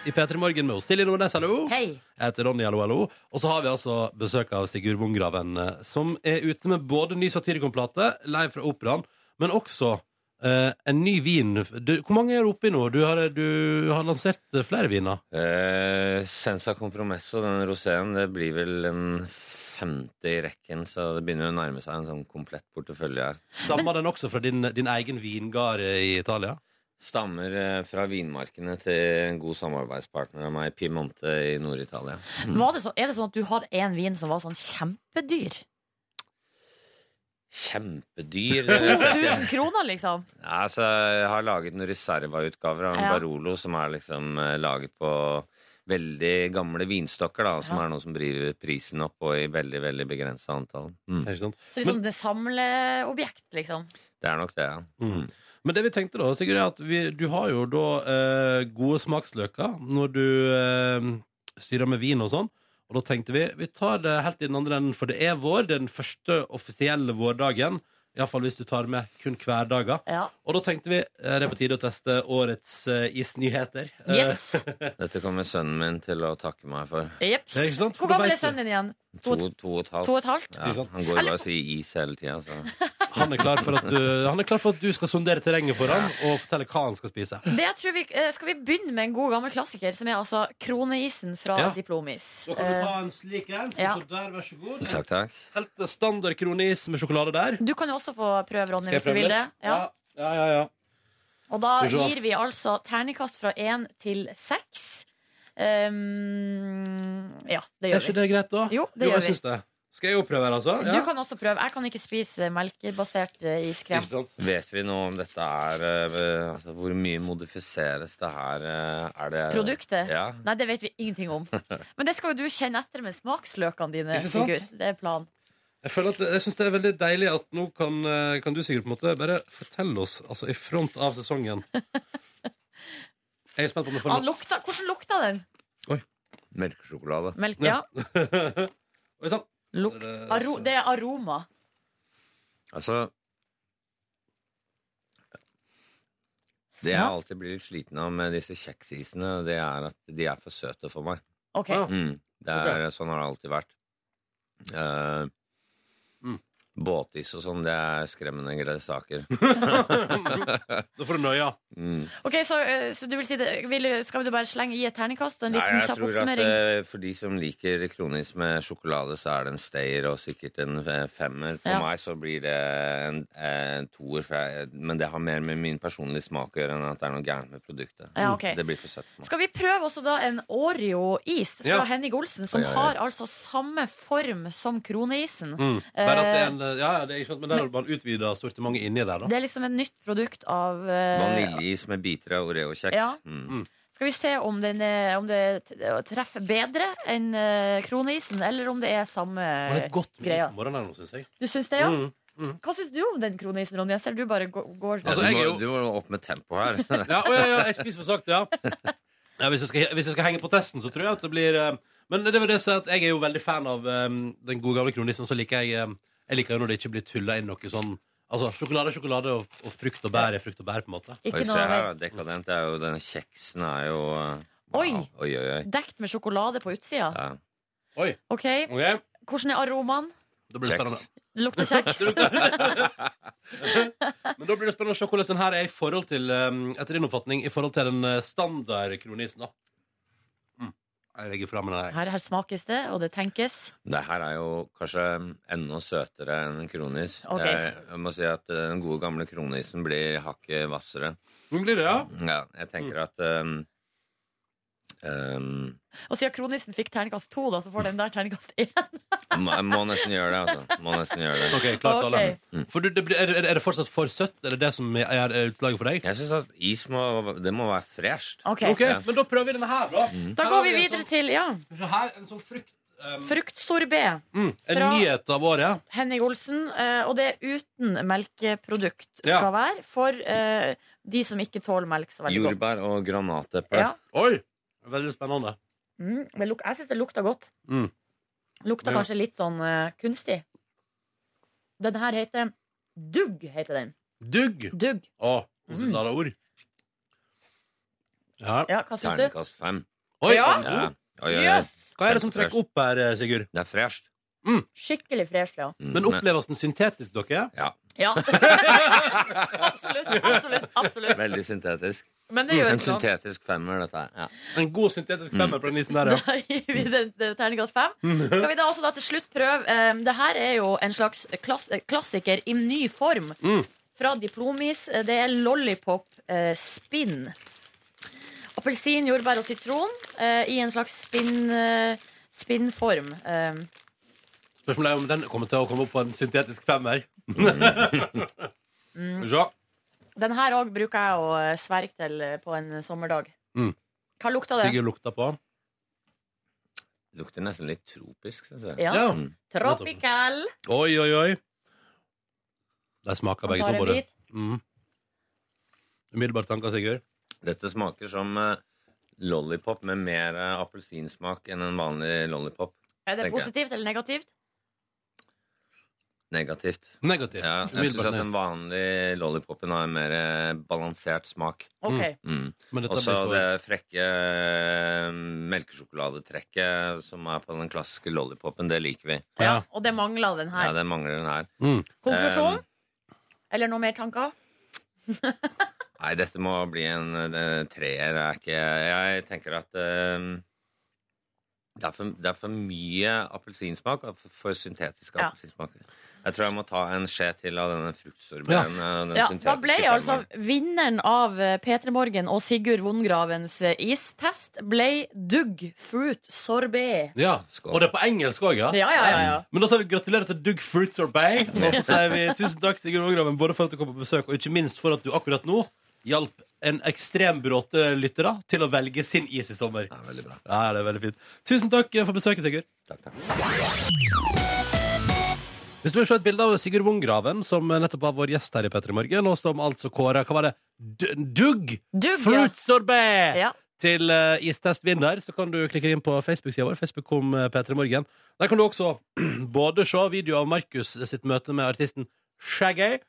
Speaker 2: I P3 Morgen med oss Silje Nordnes, hallo.
Speaker 6: Hei.
Speaker 2: Jeg heter Ronny, hallo, hallo. Og så har vi altså besøk av Sigurd Wongraven, eh, som er ute med både ny Satyricon-plate, live fra operaen, men også eh, en ny vin. Du, hvor mange er du oppe i nå? Du har, du har lansert eh, flere viner.
Speaker 9: Eh, Sensa Compromesso, den roséen, det blir vel en femte i rekken, så det begynner å nærme seg en sånn komplett portefølje her.
Speaker 2: Stammer den også fra din, din egen vingard eh, i Italia?
Speaker 9: Stammer eh, fra vinmarkene til en god samarbeidspartner av meg, Piemonte i Nord-Italia.
Speaker 2: Mm.
Speaker 6: Var det så, er det sånn at du har en vin som var sånn kjempedyr?
Speaker 9: Kjempedyr.
Speaker 6: 2000 kroner, liksom?
Speaker 9: Ja, altså, jeg har laget noen reservautgaver av en
Speaker 6: Ja.
Speaker 9: Barolo som er liksom eh, laget på veldig gamle vinstokker, da, som
Speaker 6: Ja.
Speaker 9: er noe som driver prisen opp og i veldig veldig begrensa antall. Mm.
Speaker 2: Ikke sant?
Speaker 6: Så liksom det samleobjekt, liksom?
Speaker 9: Det er nok det, ja.
Speaker 2: Mm. Men det vi tenkte da, Sigurd, er at vi, du har jo da eh, gode smaksløker når du eh, styrer med vin og sånn. Og da tenkte vi vi tar det helt i den andre enden, for det er vår. Det er den første offisielle vårdagen. Iallfall hvis du tar med kun hverdager.
Speaker 6: Ja.
Speaker 2: Og da tenkte vi eh, det er på tide å teste årets eh, isnyheter. Eh,
Speaker 6: Yes.
Speaker 9: Dette kommer sønnen min til å takke meg for.
Speaker 6: Jeps.
Speaker 2: Ja, ikke sant? For
Speaker 6: Hvor
Speaker 2: da
Speaker 6: gammel
Speaker 2: vet
Speaker 6: er sønnen din igjen?
Speaker 9: To,
Speaker 6: To-
Speaker 9: to og et halvt.
Speaker 6: To og et halvt?
Speaker 9: Ja,
Speaker 2: Ikke sant?
Speaker 9: han går jo bare og sier is hele tida, så
Speaker 2: Han er klar for at du, han er klar for at du skal sondere terrenget for han og fortelle hva han skal spise.
Speaker 6: Det jeg tror vi, eh, skal vi begynne med en god gammel klassiker, som er altså kroneisen fra
Speaker 2: Ja.
Speaker 6: Diplomis.
Speaker 2: Da kan du ta en slik en. Sånn
Speaker 6: Ja.
Speaker 2: som der, vær så god.
Speaker 9: Takk, takk.
Speaker 2: Helt standard kronis med sjokolade der.
Speaker 6: Eh, Du kan jo også få prøve, Ronny, hvis du vil det. Ja.
Speaker 2: Ja, ja, ja. ja.
Speaker 6: Og da
Speaker 2: Skal vi se.
Speaker 6: gir vi altså terningkast fra én til seks. Um, ja, det
Speaker 2: Er
Speaker 6: gjør
Speaker 2: ikke
Speaker 6: vi.
Speaker 2: det greit, da?
Speaker 6: Jo, det gjør
Speaker 2: jeg
Speaker 6: vi.
Speaker 2: syns det. Skal jeg jo prøve her, altså?
Speaker 6: Du kan også prøve. Jeg kan ikke spise melkebasert eh, iskrem.
Speaker 2: Ikke sant?
Speaker 9: Vet vi noe om dette er eh, altså, Hvor mye modifiseres det her? eh, Er det
Speaker 6: Produktet?
Speaker 9: Ja.
Speaker 6: Nei, det vet vi ingenting om. Men det skal jo du kjenne etter med smaksløkene dine.
Speaker 2: Ikke sant?
Speaker 6: Sigurd. Det er planen.
Speaker 2: Jeg føler at, jeg synes det er veldig deilig at nå kan, eh, kan du sikkert på en måte bare fortelle oss altså, i front av sesongen. Jeg er spent på om jeg får
Speaker 6: Han Ah, lukta, hvordan lukta den?
Speaker 9: Melkesjokolade.
Speaker 6: Melk, ja.
Speaker 2: Oi sann.
Speaker 6: Lukt. Aro, det er aroma.
Speaker 9: Altså Det jeg
Speaker 6: Ja.
Speaker 9: alltid blir litt sliten av med disse kjeksisene, det er at de er for søte for meg.
Speaker 6: Ok.
Speaker 2: Ja.
Speaker 9: Mm. Det er, Sånn har det alltid vært. Eh,
Speaker 2: Mm.
Speaker 9: Båtis og sånn, det er skremmende greie saker.
Speaker 2: Da får du nøya.
Speaker 9: Mm.
Speaker 6: Ok, så, eh, så du vil si det vil, Skal du bare slenge i et terningkast og en
Speaker 9: Nei,
Speaker 6: liten
Speaker 9: jeg
Speaker 6: kjapp
Speaker 9: tror at
Speaker 6: oppsummering?
Speaker 9: eh, For de som liker kronis med sjokolade, så er det en stayer og sikkert en eh, femmer. For
Speaker 6: Ja.
Speaker 9: meg så blir det en, en toer, for jeg, men det har mer med min personlige smak å gjøre enn at det er noe gærent med produktet.
Speaker 6: Ja, ok.
Speaker 9: Det blir for søtt for meg.
Speaker 6: Skal vi prøve også da en Oreo-is fra
Speaker 2: Ja.
Speaker 6: Henning Olsen, som
Speaker 9: Oi, oi, oi.
Speaker 6: har altså samme form som kroneisen?
Speaker 2: Mm. Bare at det er en, ja, ja, det er ikke sant, men der har man utvida sortimentet inni der, da.
Speaker 6: Eh, Det er liksom et nytt produkt av eh,
Speaker 9: Vaniljeis med biter av Oreo-kjeks.
Speaker 6: Ja.
Speaker 9: Mm.
Speaker 6: Skal vi se om, den, er- om det t- treffer bedre enn eh, kroneisen, eller om det er samme
Speaker 2: Det er litt godt med is
Speaker 6: greia.
Speaker 2: på morgenen her nå, syns jeg.
Speaker 6: Du syns det, ja?
Speaker 2: Mm.
Speaker 6: Hva syns du om den kroneisen, Ronny? Jeg ser du bare gå- går
Speaker 9: Ja,
Speaker 2: Altså,
Speaker 9: du,
Speaker 2: jeg er
Speaker 9: må,
Speaker 2: jo-
Speaker 9: du må opp med tempo her.
Speaker 2: Ja, å, ja, ja, jeg spiser for sakte, ja. ja hvis, jeg skal, hvis jeg skal henge på testen, så tror jeg at det blir eh, Men det var det å si at jeg er jo veldig fan av eh, den gode gamle kronisen, så liker jeg eh, Jeg liker jo når det ikke blir tulla inn noe sånn Altså, sjokolade er sjokolade, og, og frukt og bær er frukt og bær, på en måte.
Speaker 9: Oi,
Speaker 6: Ikke
Speaker 9: se
Speaker 6: noe
Speaker 9: her, da.
Speaker 6: mer.
Speaker 9: dekadent. Det er jo, denne kjeksen er jo eh,
Speaker 6: Oi.
Speaker 9: wow. Oi, oi, oi.
Speaker 6: Dekt med sjokolade på utsida.
Speaker 9: Ja.
Speaker 2: Oi,
Speaker 6: OK,
Speaker 2: ok,
Speaker 6: hvordan er aromaen?
Speaker 2: da blir det
Speaker 9: Kjeks.
Speaker 2: spennende.
Speaker 6: Det lukter kjeks.
Speaker 2: Men da blir det spennende å se hvordan den her er i forhold til eh, etter din oppfatning, i forhold til den eh, standard kronisen, da. Mm. Jeg legger fra meg den her.
Speaker 6: Her, her smakes det, og det tenkes.
Speaker 9: Det her er jo kanskje enda søtere enn kronis.
Speaker 6: Ok,
Speaker 9: Jeg,
Speaker 6: så-
Speaker 9: jeg må si at eh, den gode gamle kronisen blir hakket hvassere.
Speaker 2: Men blir det, ja?
Speaker 9: Ja, jeg
Speaker 2: Mm.
Speaker 9: tenker at um, um,
Speaker 6: Og siden kronisen fikk terningkast to, da, så får den der terningkast én.
Speaker 9: må, Jeg må nesten gjøre det, altså. Må nesten gjøre det.
Speaker 2: Ok, klart alle.
Speaker 6: Ok.
Speaker 2: For du, det, blir- er, er det fortsatt for søtt? Er det det som er, er utlaget for deg?
Speaker 9: Jeg syns at is må, det må være fresht.
Speaker 6: Ok,
Speaker 2: Ok, men da prøver vi denne her, da.
Speaker 6: Da
Speaker 2: Her
Speaker 6: går
Speaker 2: har
Speaker 6: vi
Speaker 2: en
Speaker 6: videre
Speaker 2: sånn,
Speaker 6: til ja,
Speaker 2: Se her, en sånn frukt... Um,
Speaker 6: fruktsorbé.
Speaker 2: mm, en
Speaker 6: fra-
Speaker 2: nyhet av året.
Speaker 6: Henning Olsen, eh, og det er uten melkeprodukt
Speaker 2: Ja.
Speaker 6: skal være for eh, de som ikke tåler melk så veldig godt.
Speaker 9: Jordbær og granateple.
Speaker 6: Ja.
Speaker 2: Oi! Veldig spennende.
Speaker 6: Mm, det luk jeg syns det lukta godt.
Speaker 2: Mm.
Speaker 6: Lukta
Speaker 2: Ja.
Speaker 6: kanskje litt sånn eh, kunstig. Den her heter Dugg, heter den.
Speaker 2: Dugg.
Speaker 6: Dugg.
Speaker 2: Å, så
Speaker 6: Mm.
Speaker 2: klare ord. Ja.
Speaker 6: Ja, hva syns du?
Speaker 9: Ternekast fem.
Speaker 2: Oi,
Speaker 6: Ja.
Speaker 2: den er
Speaker 9: Ja.
Speaker 2: god.
Speaker 9: Oi, oi, oi.
Speaker 6: Jøss!
Speaker 2: Hva er det som trekker opp her, eh, Sigurd?
Speaker 9: Det er fresht.
Speaker 6: Skikkelig fresh, ja.
Speaker 9: Mm,
Speaker 2: Men oppleves den syntetisk, dere?
Speaker 6: ja. absolutt, absolutt, absolutt.
Speaker 9: Veldig syntetisk.
Speaker 6: Men det gjør
Speaker 9: Mm, En
Speaker 6: ikke noe.
Speaker 9: syntetisk femmer, dette her. Ja.
Speaker 2: En god syntetisk femmer på den isen der, ja.
Speaker 6: Da gir vi den den terningkast fem. Skal vi da også da til slutt prøve um, Det her er jo en slags klass, klassiker i ny form.
Speaker 2: Mm.
Speaker 6: Fra Diplomis. eh, Det er lollipop eh, spinn. Appelsin, jordbær og sitron eh, i en slags spinn eh, spinnform. Eh,
Speaker 2: Spørsmålet er om den kommer til å komme opp på en syntetisk femmer.
Speaker 6: Mm.
Speaker 2: Skal vi se.
Speaker 6: den her òg bruker jeg å eh, sverge til eh, på en sommerdag.
Speaker 2: Mm.
Speaker 6: Hva lukta det?
Speaker 2: Sigurd lukta på.
Speaker 9: Lukter nesten litt tropisk, syns jeg.
Speaker 6: Ja.
Speaker 2: Ja.
Speaker 9: Mm.
Speaker 6: Tropical.
Speaker 2: Oi, oi, oi. De smaker
Speaker 6: Han
Speaker 2: begge
Speaker 6: tar
Speaker 2: to
Speaker 6: en
Speaker 2: på det.
Speaker 6: bit.
Speaker 2: Mm. Umiddelbare tanker, Sigurd?
Speaker 9: Dette smaker som eh, lollipop med mer eh, appelsinsmak enn en vanlig lollipop.
Speaker 6: Er det
Speaker 9: tenker jeg.
Speaker 6: positivt eller negativt?
Speaker 9: Negativt.
Speaker 2: Negativt.
Speaker 9: Ja, jeg syns
Speaker 2: Umiddelbart
Speaker 9: at
Speaker 2: ned.
Speaker 9: den vanlige lollipopen har en mer eh, balansert smak.
Speaker 6: OK.
Speaker 9: Mm.
Speaker 2: Men dette
Speaker 9: Og så
Speaker 2: blir for...
Speaker 9: det frekke eh, melkesjokoladetrekket som er på den klassiske lollipopen, det liker vi.
Speaker 2: Ja.
Speaker 6: Og det mangla den
Speaker 9: Ja,
Speaker 6: her.
Speaker 9: det mangler den her.
Speaker 2: Mm.
Speaker 6: Konklusjon?
Speaker 9: Eh,
Speaker 6: Eller noen mer tanker?
Speaker 9: Nei, dette må bli en eh, treer. Jeg, er ikke, jeg tenker at eh, det, er for, det er for mye appelsinsmak og for, for syntetisk
Speaker 6: Ja.
Speaker 9: appelsinsmak. Jeg tror jeg må ta en skje til av denne eh, fruktsorben.
Speaker 6: Ja, da ble altså vinneren av eh, P3 Morgen og Sigurd Vondgravens eh, istest ble Dugg Fruit Sorbet.
Speaker 2: Ja. Og det er på engelsk òg,
Speaker 6: Ja, ja, ja. ja.
Speaker 2: Men da sier vi gratulerer til Doug Fruits or Bay. Og så sier vi tusen takk Sigurd Vågraven, både for at du kom på besøk, og ikke minst for at du akkurat nå hjalp en ekstrembråte lytter da, til å velge sin is i sommer. Ja, veldig bra. Ja, det er veldig fint. Tusen takk for besøket, Sigurd. Hvis du vil se et bilde av Sigurd Wongraven, som nettopp var vår gjest her i P3 Morgen, og som altså kåra Hva var det? D- Dugg
Speaker 6: Dugg, ja.
Speaker 2: fruktsorbet!
Speaker 6: Ja.
Speaker 2: Til eh, istestvinner, så kan du klikke inn på Facebook-sida vår. Facebook kom P3 Morgen. Der kan du også både se video av Markus sitt møte med artisten Shaggy,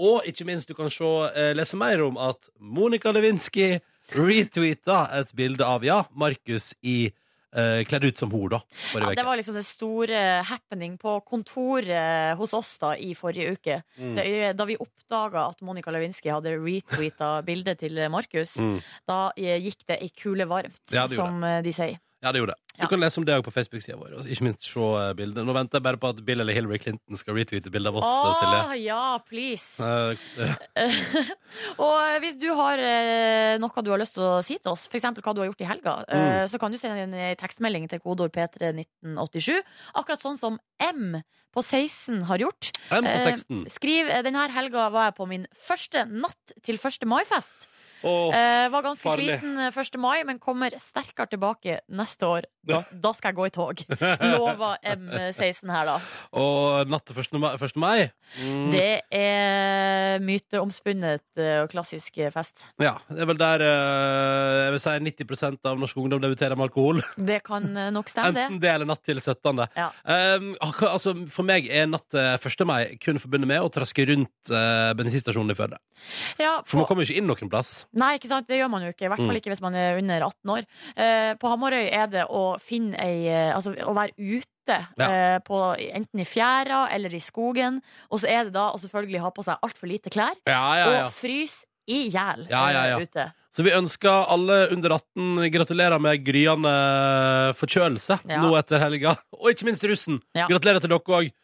Speaker 2: og ikke minst du kan se, eh, lese mer om at Monica Lewinsky retweeta et bilde av, ja, Markus i eh, kledd ut som hor, da.
Speaker 6: Ja,
Speaker 2: forrige
Speaker 6: det
Speaker 2: uke.
Speaker 6: var liksom det store happening på kontoret eh, hos oss da i forrige uke.
Speaker 2: Mm.
Speaker 6: Det- eh, Da vi oppdaga at Monica Lewinsky hadde retweeta bildet til eh, Markus,
Speaker 2: Mm.
Speaker 6: da eh, gikk det ei kule varmt,
Speaker 2: Ja, det gjorde
Speaker 6: som eh, de sier.
Speaker 2: Ja, det gjorde det. Du
Speaker 6: Ja.
Speaker 2: kan lese om det også på Facebook-sida vår. Og ikke minst se eh, bildet. Nå venter jeg bare på at Bill eller Hillary Clinton skal retweete bildet av oss, eh, Silje.
Speaker 6: Å Ah, ja, please!
Speaker 2: Eh, eh,
Speaker 6: Og hvis du har eh, noe du har lyst til å si til oss, f.eks. hva du har gjort i helga,
Speaker 2: Mm.
Speaker 6: eh, så kan du sende en eh, tekstmelding til kodeord P31987. Akkurat sånn som M på 16 har gjort.
Speaker 2: M på
Speaker 6: Eh,
Speaker 2: 16.
Speaker 6: Skriv eh, denne helga var jeg på min første natt til 1. mai-fest.
Speaker 2: Åh,
Speaker 6: Eh, var ganske
Speaker 2: farlig.
Speaker 6: sliten eh, 1. mai, men kommer sterkere tilbake neste år. Da, da skal jeg gå i tog. Lova M16 her, da.
Speaker 2: og natt til 1. mai. 1. mai. Mm,
Speaker 6: Det er myteomspunnet eh, og klassisk eh, fest.
Speaker 2: ja, det er vel der eh, jeg vil si 90 av norsk ungdom debuterer med alkohol.
Speaker 6: Det kan eh, nok stemme, det.
Speaker 2: Enten det eller natt til 17.
Speaker 6: Ja.
Speaker 2: Um, hva- altså, for meg er natt til 1. mai kun forbundet med å traske rundt eh, bensinstasjonen i Førde.
Speaker 6: Ja,
Speaker 2: For Mm. man
Speaker 6: på-
Speaker 2: kommer jo ikke inn noen plass.
Speaker 6: Nei, ikke sant? det gjør man jo ikke. I hvert fall ikke hvis man er under 18 år. Eh, på Hamarøy er det å finne ei eh, Altså å være ute.
Speaker 2: Ja.
Speaker 6: eh, På, enten i fjæra eller i skogen. Og så er det da å selvfølgelig ha på seg altfor lite klær.
Speaker 2: Ja, ja, ja.
Speaker 6: Og fryse i hjel
Speaker 2: Ja, ja, ja.
Speaker 6: eh, ute.
Speaker 2: Så vi ønsker alle under 18 gratulerer med gryende forkjølelse
Speaker 6: Ja.
Speaker 2: nå etter helga. Og ikke minst russen.
Speaker 6: Ja.
Speaker 2: Gratulerer til dere òg.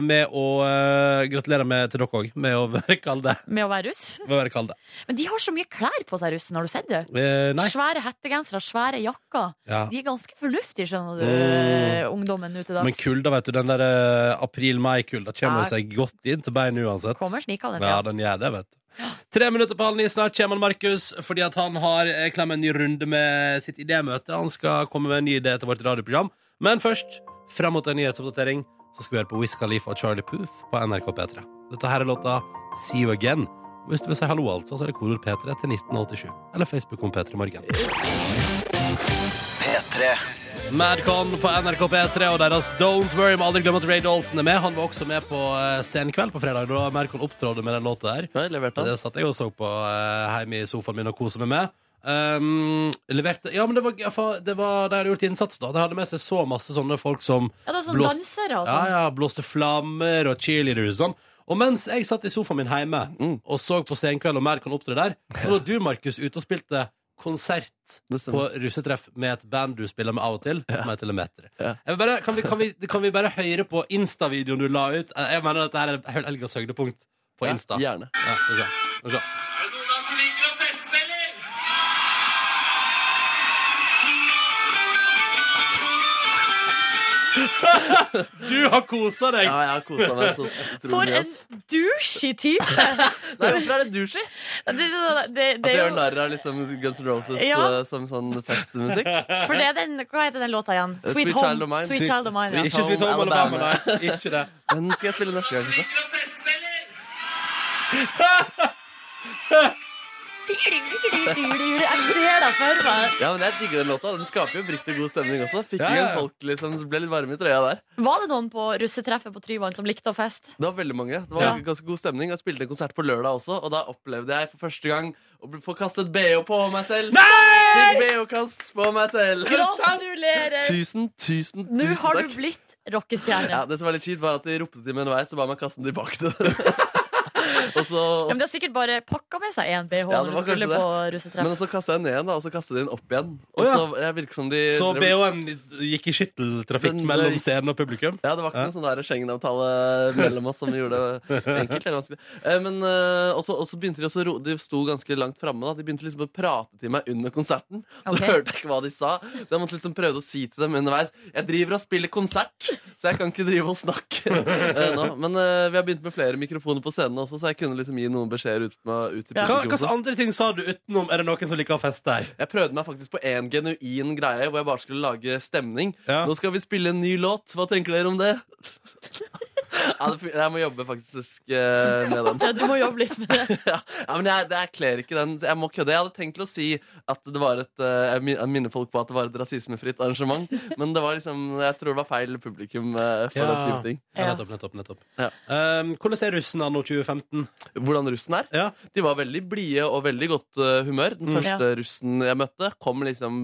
Speaker 2: Med å eh, Gratulerer med, til dere òg med å være kalde.
Speaker 6: Med å være russ.
Speaker 2: Med å være kalde.
Speaker 6: Men de har så mye klær på seg, russen. Har du sett det?
Speaker 2: Eh, nei.
Speaker 6: Svære hettegensere, svære jakker.
Speaker 2: Ja.
Speaker 6: De er ganske fornuftige, skjønner du, eh,
Speaker 2: Mm.
Speaker 6: ungdommen nå til
Speaker 2: Men
Speaker 6: dags.
Speaker 2: kulda, vet du. Den der eh, april-mai-kulda kommer
Speaker 6: Ja.
Speaker 2: seg godt inn til beinet uansett.
Speaker 6: Kommer snikende.
Speaker 2: Ja, den gjør det, vet du. Tre minutter på halv ni, snart kommer han Markus, fordi at han har eh, klem en ny runde med sitt idémøte. Han skal komme med en ny idé til vårt radioprogram. Men først, fram mot en nyhetsoppdatering, så skal vi høre på Wiz Khalifa og Charlie Puth på NRK P3. Dette her er låta See You Again. Og Hvis du vil si hallo, altså, så er det kodord P3 til 1987. Eller Facebook om P3 Morgen.
Speaker 1: P3.
Speaker 2: Madcon på NRK P3 og deres Don't Worry. Må aldri glemme at Ray Dalton er med. Han var også med på eh, Scenekveld på fredag, da Madcon opptrådte med den låta her.
Speaker 5: Ja, jeg leverte
Speaker 2: Det
Speaker 5: den.
Speaker 2: satt jeg og så på eh, hjemme i sofaen min og koset meg med. Um, leverte Ja, men det var, gøy, for det var De hadde gjort innsats, da. De hadde med seg så masse sånne folk som
Speaker 6: Ja, det er sånn
Speaker 2: Blåst-
Speaker 6: dansere og
Speaker 2: ja,
Speaker 6: sånn.
Speaker 2: ja, blåste flammer og cheerleaders og sånn. Og mens jeg satt i sofaen min hjemme og så på Senkveld og mer kan opptre der, så var du, Markus, ute og spilte konsert
Speaker 5: Det
Speaker 2: på
Speaker 5: stemmer.
Speaker 2: russetreff med et band du spiller med av og til, som heter Lemeter.
Speaker 5: Ja.
Speaker 2: Jeg vil bare, kan, vi, kan, vi, kan vi bare høre på Insta-videoen du la ut? Eh, Jeg mener at dette er helgas høydepunkt på Insta. Ja,
Speaker 5: Gjerne.
Speaker 2: skal vi se. Skal vi se. Du har kosa deg!
Speaker 5: Ja, jeg har kosa meg så
Speaker 6: For
Speaker 5: utrolig. ass.
Speaker 6: en douchey type!
Speaker 5: Nei, hvorfor er det douchey?
Speaker 6: Det, er sånn- det,
Speaker 5: At
Speaker 6: det
Speaker 5: vi
Speaker 6: er
Speaker 5: gjør
Speaker 6: jo,
Speaker 5: narr av liksom Guns N' Roses
Speaker 6: Ja.
Speaker 5: eh, som sånn festmusikk.
Speaker 6: for det er den, hva heter den låta igjen?
Speaker 5: Eh, Sweet
Speaker 6: Sweet
Speaker 5: Child of
Speaker 6: Home.
Speaker 5: Mine.
Speaker 6: Sweet Child of Mine, ja.
Speaker 2: Ikke Sweet Home Alabama,
Speaker 5: Alabama.
Speaker 2: nei. Ikke det.
Speaker 5: Den skal jeg spille neste gang, kanskje.
Speaker 6: Jeg ser deg for meg.
Speaker 5: Ja, men jeg digger den låta. Den skaper jo oppriktig god stemning også. Fikk
Speaker 2: Ja,
Speaker 5: igjen
Speaker 2: ja.
Speaker 5: folk liksom, det ble litt varme i trøya der.
Speaker 6: Var det noen på russetreffet på Tryvann som likte å feste?
Speaker 5: Det var veldig mange. Det var
Speaker 2: Ja.
Speaker 5: ganske god stemning. Og jeg spilte en konsert på lørdag også, og da opplevde jeg for første gang å bli- få kastet BH på meg selv. Fikk BH-kast på meg selv.
Speaker 6: Gratulerer!
Speaker 5: Tusen, tusen,
Speaker 6: Nå
Speaker 5: tusen
Speaker 6: har du
Speaker 5: takk.
Speaker 6: blitt rockestjerne.
Speaker 5: Ja, det som var litt kjipt, var at de ropte til meg underveis, så ba jeg meg kaste den tilbake til Og så, og
Speaker 6: Ja, men de har sikkert bare pakka med seg én BH
Speaker 5: Ja, det var
Speaker 6: når de
Speaker 5: kanskje
Speaker 6: skulle på
Speaker 5: så, men
Speaker 6: russetreff.
Speaker 5: så kasta jeg den ned igjen, da, og så kastet jeg den opp igjen.
Speaker 2: Å,
Speaker 5: Og
Speaker 2: ja.
Speaker 5: så jeg virker som de
Speaker 2: Så
Speaker 5: drev-
Speaker 2: BH-en gikk i skytteltrafikk
Speaker 5: Den-
Speaker 2: mellom scenen og publikum?
Speaker 5: Ja, det var ikke
Speaker 2: Ja.
Speaker 5: noen sånn der Schengen-avtale mellom oss som gjorde det enkelt. Eller vanskelig. Eh, Men eh, også, også begynte de også å ro- De sto ganske langt framme. da. De begynte liksom å prate til meg under konserten. Så
Speaker 6: Ok.
Speaker 5: hørte jeg ikke hva de sa. Så jeg måtte liksom prøve å si til dem underveis Jeg driver og spiller konsert, så jeg kan ikke drive og snakke eh, nå. Men eh, vi har begynt med flere mikrofoner på scenen også, så jeg kunne liksom gi noen beskjeder ut, med, ut til
Speaker 2: Hva, hva
Speaker 5: publikum.
Speaker 2: slags andre ting sa du utenom 'er det noen som liker å feste her'?
Speaker 5: Jeg prøvde meg faktisk på en genuin greie hvor jeg bare skulle lage stemning.
Speaker 2: Ja.
Speaker 5: Nå skal vi spille en ny låt. Hva tenker dere om det? ja, det fun- jeg må jobbe faktisk eh, med den.
Speaker 6: Ja, du må jobbe litt med det.
Speaker 5: ja, ja, men jeg, jeg kler ikke den. så Jeg må kødde. Jeg hadde tenkt til å si at det var et eh, Jeg min- jeg minner folk på at det var et rasismefritt arrangement, men det var liksom jeg tror det var feil publikum eh, for
Speaker 2: Ja.
Speaker 5: den type ting.
Speaker 2: Ja, nettopp, nettopp, nettopp.
Speaker 5: Ja.
Speaker 2: Um, hvordan er russen anno 2015?
Speaker 5: Hvordan russen er?
Speaker 2: Ja.
Speaker 5: De var veldig blide og veldig godt eh, humør. Den første russen jeg møtte, kom liksom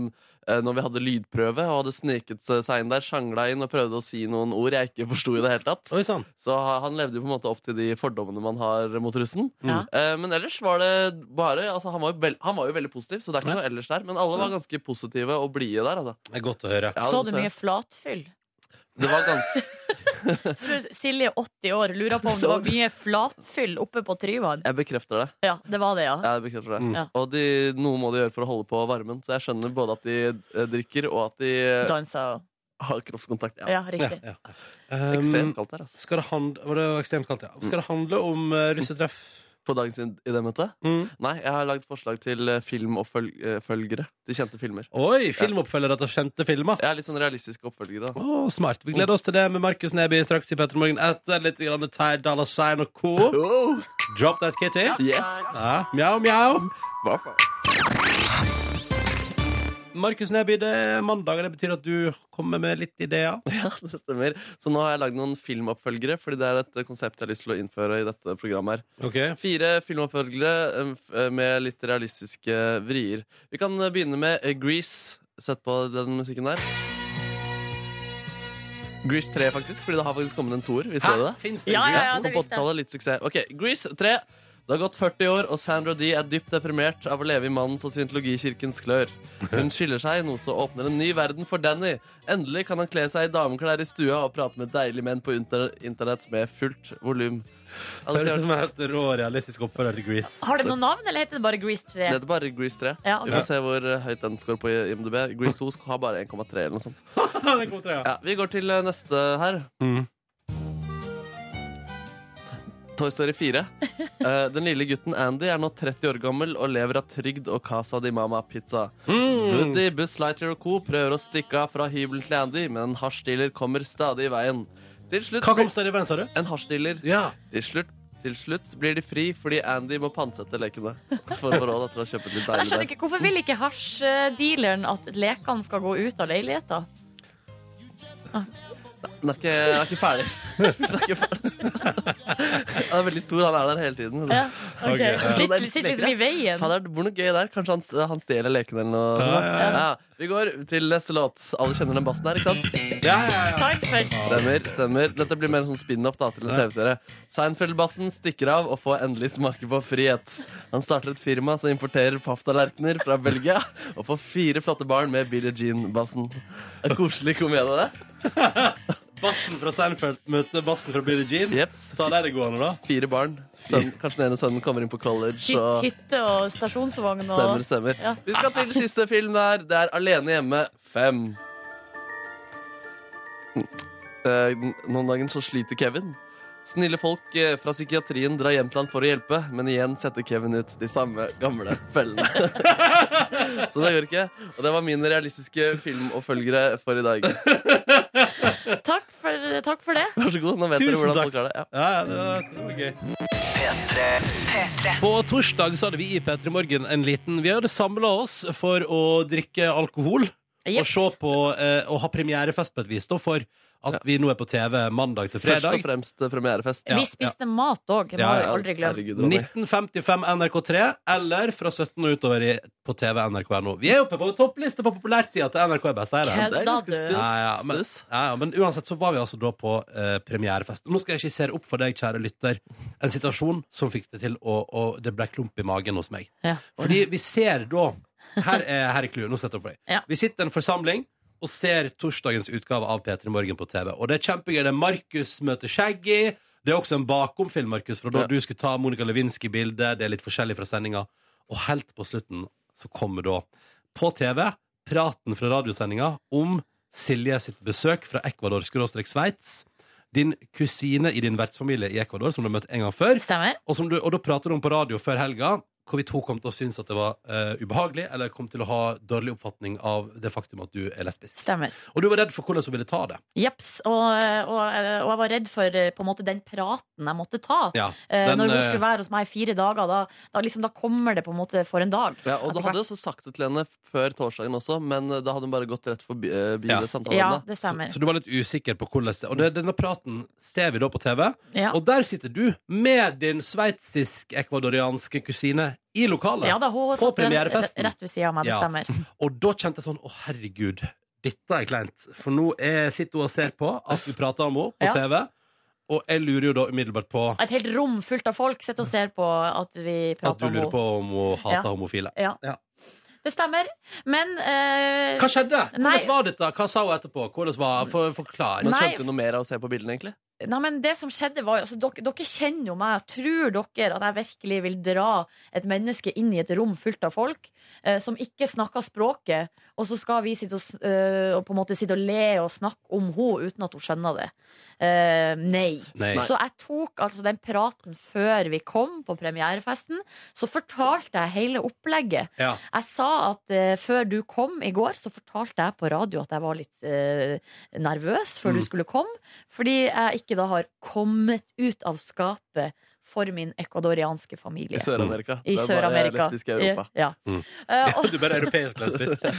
Speaker 5: eh, når vi hadde lydprøve og hadde sneket seg seg inn der, sjangla inn og prøvde å si noen ord jeg ikke forsto i det hele tatt.
Speaker 2: Oi sann.
Speaker 5: Så ha- han levde jo på en måte opp til de fordommene man har mot russen.
Speaker 6: Ja.
Speaker 5: Eh, Men ellers var det bare altså han, var jo vel- han var jo veldig positiv, så det er ikke
Speaker 2: Ja.
Speaker 5: noe ellers der. Men alle var ganske positive og blide der, altså.
Speaker 2: Det er godt å høre.
Speaker 5: Ja,
Speaker 6: Så
Speaker 5: det-
Speaker 6: du mye flatfyll?
Speaker 5: Det var ganske
Speaker 6: Så du, Silje, 80 år, lurer på om det
Speaker 5: Så-
Speaker 6: var mye flatfyll oppe på Tryvann.
Speaker 5: Jeg bekrefter det.
Speaker 6: Ja, det var det, ja.
Speaker 5: Jeg bekrefter det.
Speaker 6: Ja.
Speaker 5: Og de, noe må de gjøre for å holde på varmen. Så jeg skjønner både at de eh, drikker, og at de eh,
Speaker 6: Dansa og
Speaker 5: har kroppskontakt. Ja.
Speaker 6: Ja, riktig.
Speaker 2: Ja, ja. Um,
Speaker 5: Ekstremt kaldt her, altså.
Speaker 2: skal det handle, var det jo ekstremt kaldt, ja. Skal det handle om eh, russetreff?
Speaker 5: På dagens id- idémøte?
Speaker 2: Mm.
Speaker 5: Nei, jeg har lagd forslag til eh, filmoppfølgere. Til kjente filmer.
Speaker 2: Oi, filmoppfølgere til kjente filmer.
Speaker 5: Jeg er litt sånn realistiske oppfølgere. da
Speaker 2: Å, smart. Vi gleder oss til det med Markus Neby straks i Petter Morgen etter litt grann Ty Dolla Sign og Co.
Speaker 5: Oh,
Speaker 2: Drop That Kitty.
Speaker 5: yes!
Speaker 2: Ja. Mjau, mjau.
Speaker 5: Hva faen?
Speaker 2: Markus Neby, det er mandag, og det betyr at du kommer med litt ideer.
Speaker 5: Ja, det stemmer. Så nå har jeg lagd noen filmoppfølgere, fordi det er et eh, konsept jeg har lyst til å innføre i dette programmet. her
Speaker 2: Ok.
Speaker 5: Fire filmoppfølgere eh, f- eh, med litt realistiske vrier. Vi kan eh, begynne med eh, Grease. Sett på den musikken der. Grease 3, faktisk, fordi det har faktisk kommet en toer. Visste dere det?
Speaker 2: Fins
Speaker 6: Ja, Ah, ja, ja, det
Speaker 5: Kom på
Speaker 6: visste jeg.
Speaker 5: 80-tallet, litt suksess. Ok, Grease 3. Det har gått 40 år, og Sandra Dee er dypt deprimert av å leve i mannens og syntologikirkens klør. Hun skiller seg, noe som åpner en ny verden for Danny. Endelig kan han kle seg i dameklær i stua og prate med deilige menn på inter internett med fullt volum. Hadde
Speaker 2: Høres ut
Speaker 5: ikke
Speaker 2: som en helt liksom rå realistisk oppfølger til Grease.
Speaker 6: Har det noe navn, eller heter det bare Grease 3?
Speaker 5: vært- Det heter bare Grease 3.
Speaker 6: Ja,
Speaker 5: Vi
Speaker 6: ok.
Speaker 5: får se hvor eh, høyt den scorer på IMDb. Grease 2 har bare 1,3 eller noe sånt.
Speaker 2: Den kom til deg, ja.
Speaker 5: Ja, vi går til eh, neste her.
Speaker 2: Mhm.
Speaker 5: Toy Story 4. Eh, den lille gutten Andy er nå 30 år gammel og lever av trygd og Casa di Mama pizza.
Speaker 2: Mm.
Speaker 5: Woody, Buzz Lightyear og co. prøver å stikke av fra hybelen til Andy, men en hasjdealer kommer stadig i veien. Til slutt
Speaker 2: Hva kom til deg i veien, sa du?
Speaker 5: En hasjdealer.
Speaker 2: Ja.
Speaker 5: Til slutt til slutt blir de fri fordi Andy må pantsette lekene. For å få råd etter å ha kjøpt et litt
Speaker 6: Jeg
Speaker 5: deilig
Speaker 6: skjønner ikke, Hvorfor vil ikke hasjdealeren at lekene skal gå ut av leiligheta?
Speaker 5: Den er ikke, den er ikke ferdig. Den er ikke ferdig. Han er veldig stor, han er der hele tiden.
Speaker 6: Ja,
Speaker 2: Ok, ja.
Speaker 6: Sitter sitter liksom i veien.
Speaker 5: Fader, det bor noe gøy der. Kanskje han, han stjeler lekene eller noe.
Speaker 2: Ja, ja, ja.
Speaker 5: Ja, Vi går til neste låt. Alle kjenner den bassen her, ikke sant?
Speaker 6: Seinfeld.
Speaker 5: Stemmer. stemmer Dette blir mer en sånn spin-off da til en TV-serie. Seinfeld-bassen stikker av og får endelig smake på frihet. Han starter et firma som importerer papptallerkener fra Belgia, og får fire flotte barn med Billie Jean-bassen. En Koselig komedie, det.
Speaker 2: Bassen fra Seinfeld møtte bassen fra Billie Jean.
Speaker 5: Jeps.
Speaker 2: Så der er det gående, da.
Speaker 5: Fire barn. Sønnen, kanskje den ene sønnen kommer inn på college. og...
Speaker 6: Hytte og stasjonsvogn
Speaker 5: Stemmer,
Speaker 6: og
Speaker 5: stemmer.
Speaker 6: Ja.
Speaker 5: Vi skal til siste film der. Det er Alene hjemme 5. Mm. Noen dager Eh, så sliter Kevin. Snille folk eh, fra psykiatrien drar hjem til han for å hjelpe, men igjen setter Kevin ut de samme gamle fellene. så det går ikke. Og det var mine realistiske filmoppfølgere for i dag.
Speaker 6: Takk for, takk for det.
Speaker 5: Vær så god. Nå vet
Speaker 2: Tusen
Speaker 5: dere hvordan
Speaker 2: takk.
Speaker 5: folk har det. Ja.
Speaker 2: Ja, ja, det var, det var gøy. På torsdag så hadde vi i P3 Morgen en liten Vi hadde samla oss for å drikke alkohol. og se på eh, og ha premierefest på et vis, da, for at
Speaker 5: Ja.
Speaker 2: vi nå er på TV mandag til
Speaker 5: Først og
Speaker 2: fredag.
Speaker 5: fremst eh, premierefest.
Speaker 2: Ja,
Speaker 6: Vi spiste mat òg, må
Speaker 2: Ja,
Speaker 6: vi
Speaker 2: ja.
Speaker 6: aldri glemme.
Speaker 5: Herregud, Ronny.
Speaker 2: 1955 NRK3, eller fra 17 og utover i, på TV NRK.no. Vi er oppe på topplista på populærtida til NRK. Jeg bare sier det.
Speaker 6: Kødda
Speaker 5: Det er ganske
Speaker 6: du.
Speaker 5: stus.
Speaker 2: Ja, ja, men,
Speaker 5: stus.
Speaker 2: ja, ja, men uansett så var vi altså da på eh, premierefest. Og Nå skal jeg skissere opp for deg, kjære lytter, en situasjon som fikk det til å Og det ble klump i magen hos meg.
Speaker 6: Ja.
Speaker 2: Fordi vi ser da Her er, her er clouet. Nå setter jeg opp for deg.
Speaker 6: Ja.
Speaker 2: Vi sitter i en forsamling og ser torsdagens utgave av P3 Morgen på TV. Og det er kjempegøy. Det er Markus møter Shaggy. Det er også en bakomfilm, Markus, fra da
Speaker 5: Ja.
Speaker 2: du skulle ta Monica Lewinsky-bildet. Det er litt forskjellig fra sendinga. Og helt på slutten så kommer da, på TV, praten fra radiosendinga om Silje sitt besøk fra Ecuador-Sveits. Din kusine i din vertsfamilie i Ecuador, som du har møtt en gang før.
Speaker 6: Stemmer.
Speaker 2: Og, som du, og da pratet hun på radio før helga hvorvidt hun kom til å synes at det var eh, ubehagelig, eller kom til å ha dårlig oppfatning av det faktum at du er lesbisk.
Speaker 6: Stemmer.
Speaker 2: Og du var redd for hvordan hun ville ta det.
Speaker 6: Jeps. Og, og, og jeg var redd for eh, på en måte, den praten jeg måtte ta.
Speaker 2: Ja,
Speaker 6: Eh,
Speaker 2: den,
Speaker 6: Når hun
Speaker 2: eh,
Speaker 6: skulle være hos meg i fire dager, da, da, liksom, da kommer det på en måte for en dag.
Speaker 5: Ja, og du hadde også sagt det til henne før torsdagen også, men eh, da hadde hun bare gått rett forbi eh,
Speaker 2: Ja.
Speaker 5: det samtalen.
Speaker 6: Ja,
Speaker 5: da.
Speaker 6: det
Speaker 2: så,
Speaker 6: stemmer.
Speaker 2: så du var litt usikker på hvordan det Og det, denne praten ser vi da på TV,
Speaker 6: Ja.
Speaker 2: og der sitter du med din sveitsisk-ekvadorianske kusine i lokalet.
Speaker 6: Ja da, hun
Speaker 2: På
Speaker 6: satt rett,
Speaker 2: premierefesten.
Speaker 6: rett ved sida av meg, det
Speaker 2: Ja.
Speaker 6: stemmer.
Speaker 2: Og da kjente jeg sånn Å, herregud, dette er kleint. For nå er, sitter hun og ser på at vi prater om henne på
Speaker 6: Ja.
Speaker 2: TV, og jeg lurer jo da umiddelbart på
Speaker 6: Et helt rom fullt av folk sitter og ser på at vi
Speaker 2: at du
Speaker 6: prater om
Speaker 2: lurer
Speaker 6: henne.
Speaker 2: på om hun hater
Speaker 6: Ja.
Speaker 2: homofile.
Speaker 6: Det stemmer. Men eh,
Speaker 2: Hva skjedde?
Speaker 6: Nei.
Speaker 2: Hvordan var dette? Hva sa hun etterpå? Hvordan var For, Forklar.
Speaker 5: Men
Speaker 6: Nei,
Speaker 5: skjønte hun noe mer av å se på bildene, egentlig?
Speaker 6: Nei, men det som skjedde var jo- altså, dere, dere kjenner jo meg. Tror dere at jeg virkelig vil dra et menneske inn i et rom fullt av folk eh, som ikke snakker språket, og så skal vi sitte og, s- eh, og på en måte sitte og le og snakke om henne uten at hun skjønner det? Eh, nei.
Speaker 2: Nei.
Speaker 6: Så jeg tok altså den praten før vi kom på premierefesten. Så fortalte jeg hele opplegget.
Speaker 2: Ja.
Speaker 6: Jeg sa at eh, før du kom i går, så fortalte jeg på radio at jeg var litt eh, nervøs før
Speaker 2: Mm.
Speaker 6: du skulle komme. Fordi jeg ikke da har kommet ut av skapet for min ecuadorianske familie.
Speaker 5: I Sør-Amerika.
Speaker 6: I
Speaker 5: Det er bare
Speaker 6: Sør-Amerika.
Speaker 5: lesbisk i Europa.
Speaker 6: Ja.
Speaker 2: Mm.
Speaker 6: Eh, og-
Speaker 2: Du bare er europeisk lesbisk. Hva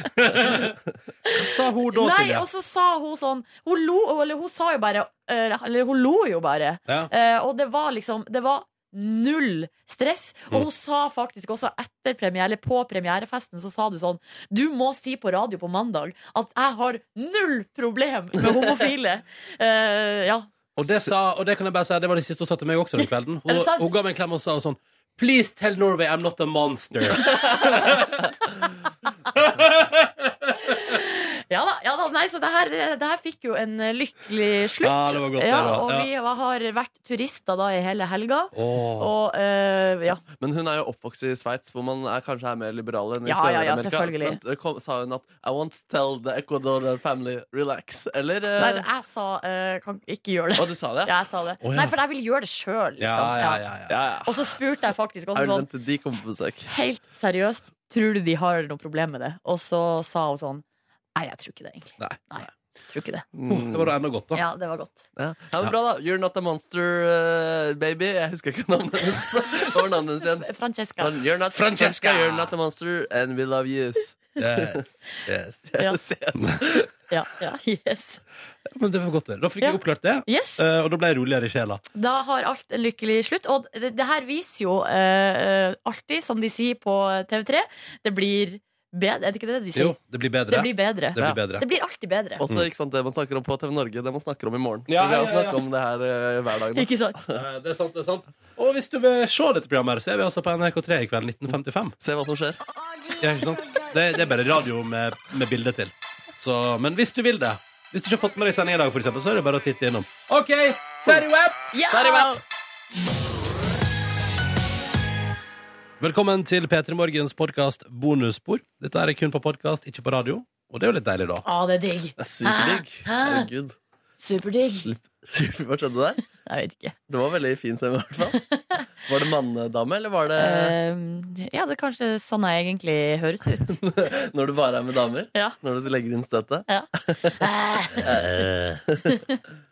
Speaker 2: sa hun da,
Speaker 6: Nei,
Speaker 2: Silje?
Speaker 6: og så sa hun sånn Hun lo, eller hun sa jo bare eh, Eller hun lo jo bare.
Speaker 2: Ja.
Speaker 6: Eh, og det var liksom Det var null stress.
Speaker 2: Mm.
Speaker 6: Og hun sa faktisk også etter premiere, eller på premierefesten, så sa du sånn Du må si på radio på mandag at jeg har null problem med homofile. Eh, ja.
Speaker 2: Og det, sa, og det kan jeg bare si, det var det siste hun sa til meg også den kvelden.
Speaker 6: Er
Speaker 2: Hun,
Speaker 6: det sant?
Speaker 2: hun ga meg en klem og sa sånn Please tell Norway I'm not a monster.
Speaker 6: Ja da, ja da, nei, så det her, det her fikk jo en eh, lykkelig slutt.
Speaker 2: Ja, det var godt, det
Speaker 6: ja,
Speaker 2: var,
Speaker 6: og
Speaker 2: ja.
Speaker 6: vi har vært turister da i hele helga.
Speaker 2: Åh.
Speaker 6: Og eh, ja.
Speaker 5: Men hun er jo oppvokst i Sveits, hvor man er, kanskje er mer liberal enn i
Speaker 6: Ja, ja, ja,
Speaker 5: Sør-Amerika.
Speaker 6: selvfølgelig.
Speaker 5: Så, eh, kom- sa hun at I won't tell the Ecuadorian family relax. Eller eh,
Speaker 6: Nei, jeg sa eh, kan ikke gjøre det.
Speaker 5: Å, du sa det?
Speaker 6: Ja, jeg sa det.
Speaker 2: Å, ja.
Speaker 6: Nei, for jeg vil gjøre det sjøl. Liksom.
Speaker 2: Ja, ja, ja, ja.
Speaker 5: ja. ja.
Speaker 6: Og så spurte jeg faktisk også
Speaker 5: Er du
Speaker 6: sånn
Speaker 5: vent til de kommer på besøk?
Speaker 6: helt seriøst Tror du de har noe problem med det? Og så sa hun sånn Nei, jeg tror ikke det, egentlig.
Speaker 2: Nei.
Speaker 6: Jeg tror ikke det.
Speaker 2: Oh, Det var da enda godt, da.
Speaker 6: Ja, det var godt.
Speaker 5: Mm. Ja. ja, men Bra, da. You're not a monster, eh, baby. Jeg husker ikke navnet hennes. Hva var navnet hennes igjen?
Speaker 6: Francesca.
Speaker 5: Fran- You're not Francesca, you're not a monster, and we love yous.
Speaker 2: Yes. Yes.
Speaker 6: Ja,
Speaker 5: Ses.
Speaker 6: ja, ja, yes.
Speaker 2: Men det var godt, det. Da fikk
Speaker 6: Ja.
Speaker 2: jeg oppklart det.
Speaker 6: yes.
Speaker 2: eh, Og da ble jeg roligere i sjela.
Speaker 6: Da har alt en lykkelig slutt. Og det, det her viser jo eh, eh, alltid, som de sier på TV3, det blir bedre. Er det ikke det de sier?
Speaker 2: Jo, det blir bedre.
Speaker 6: Det blir bedre.
Speaker 2: Det blir bedre.
Speaker 6: Det blir alltid bedre.
Speaker 5: Også ikke sant, det man snakker om på TV Norge, det man snakker om i morgen.
Speaker 2: Ja,
Speaker 5: Vi har
Speaker 2: ja, ja, ja.
Speaker 5: snakket om det her eh, hver dag nå.
Speaker 6: Ikke sant?
Speaker 2: Eh, Det er sant, det er sant. Og hvis du vil se dette programmet, her, så er vi altså på NRK3 i kveld 1955.
Speaker 5: Se hva som skjer.
Speaker 2: Ja, ikke sant? Det, det er bare radio med, med bilde til. Så, men hvis du vil det Hvis du ikke har fått med deg sending i dag, for eksempel, så er det bare å titte innom. OK, ferdig web!
Speaker 6: Ja!
Speaker 2: Velkommen til P3 Morgens podkast Bonusspor. Dette er kun på podkast, ikke på radio. Og det er jo litt deilig, da.
Speaker 6: Å, det er digg.
Speaker 5: Det er Superdigg. Herregud.
Speaker 6: Superdigg.
Speaker 5: Ah, Slipp. Slipp. Hva skjedde der?
Speaker 6: Jeg vet ikke.
Speaker 5: Det var veldig fin stemme, i hvert fall. Var det mannedame, eller var det
Speaker 6: Eh, ja, det er kanskje sånn jeg egentlig høres ut.
Speaker 5: når du bare er med damer?
Speaker 6: Ja.
Speaker 5: Når du legger inn støtet?
Speaker 6: Ja. Eh,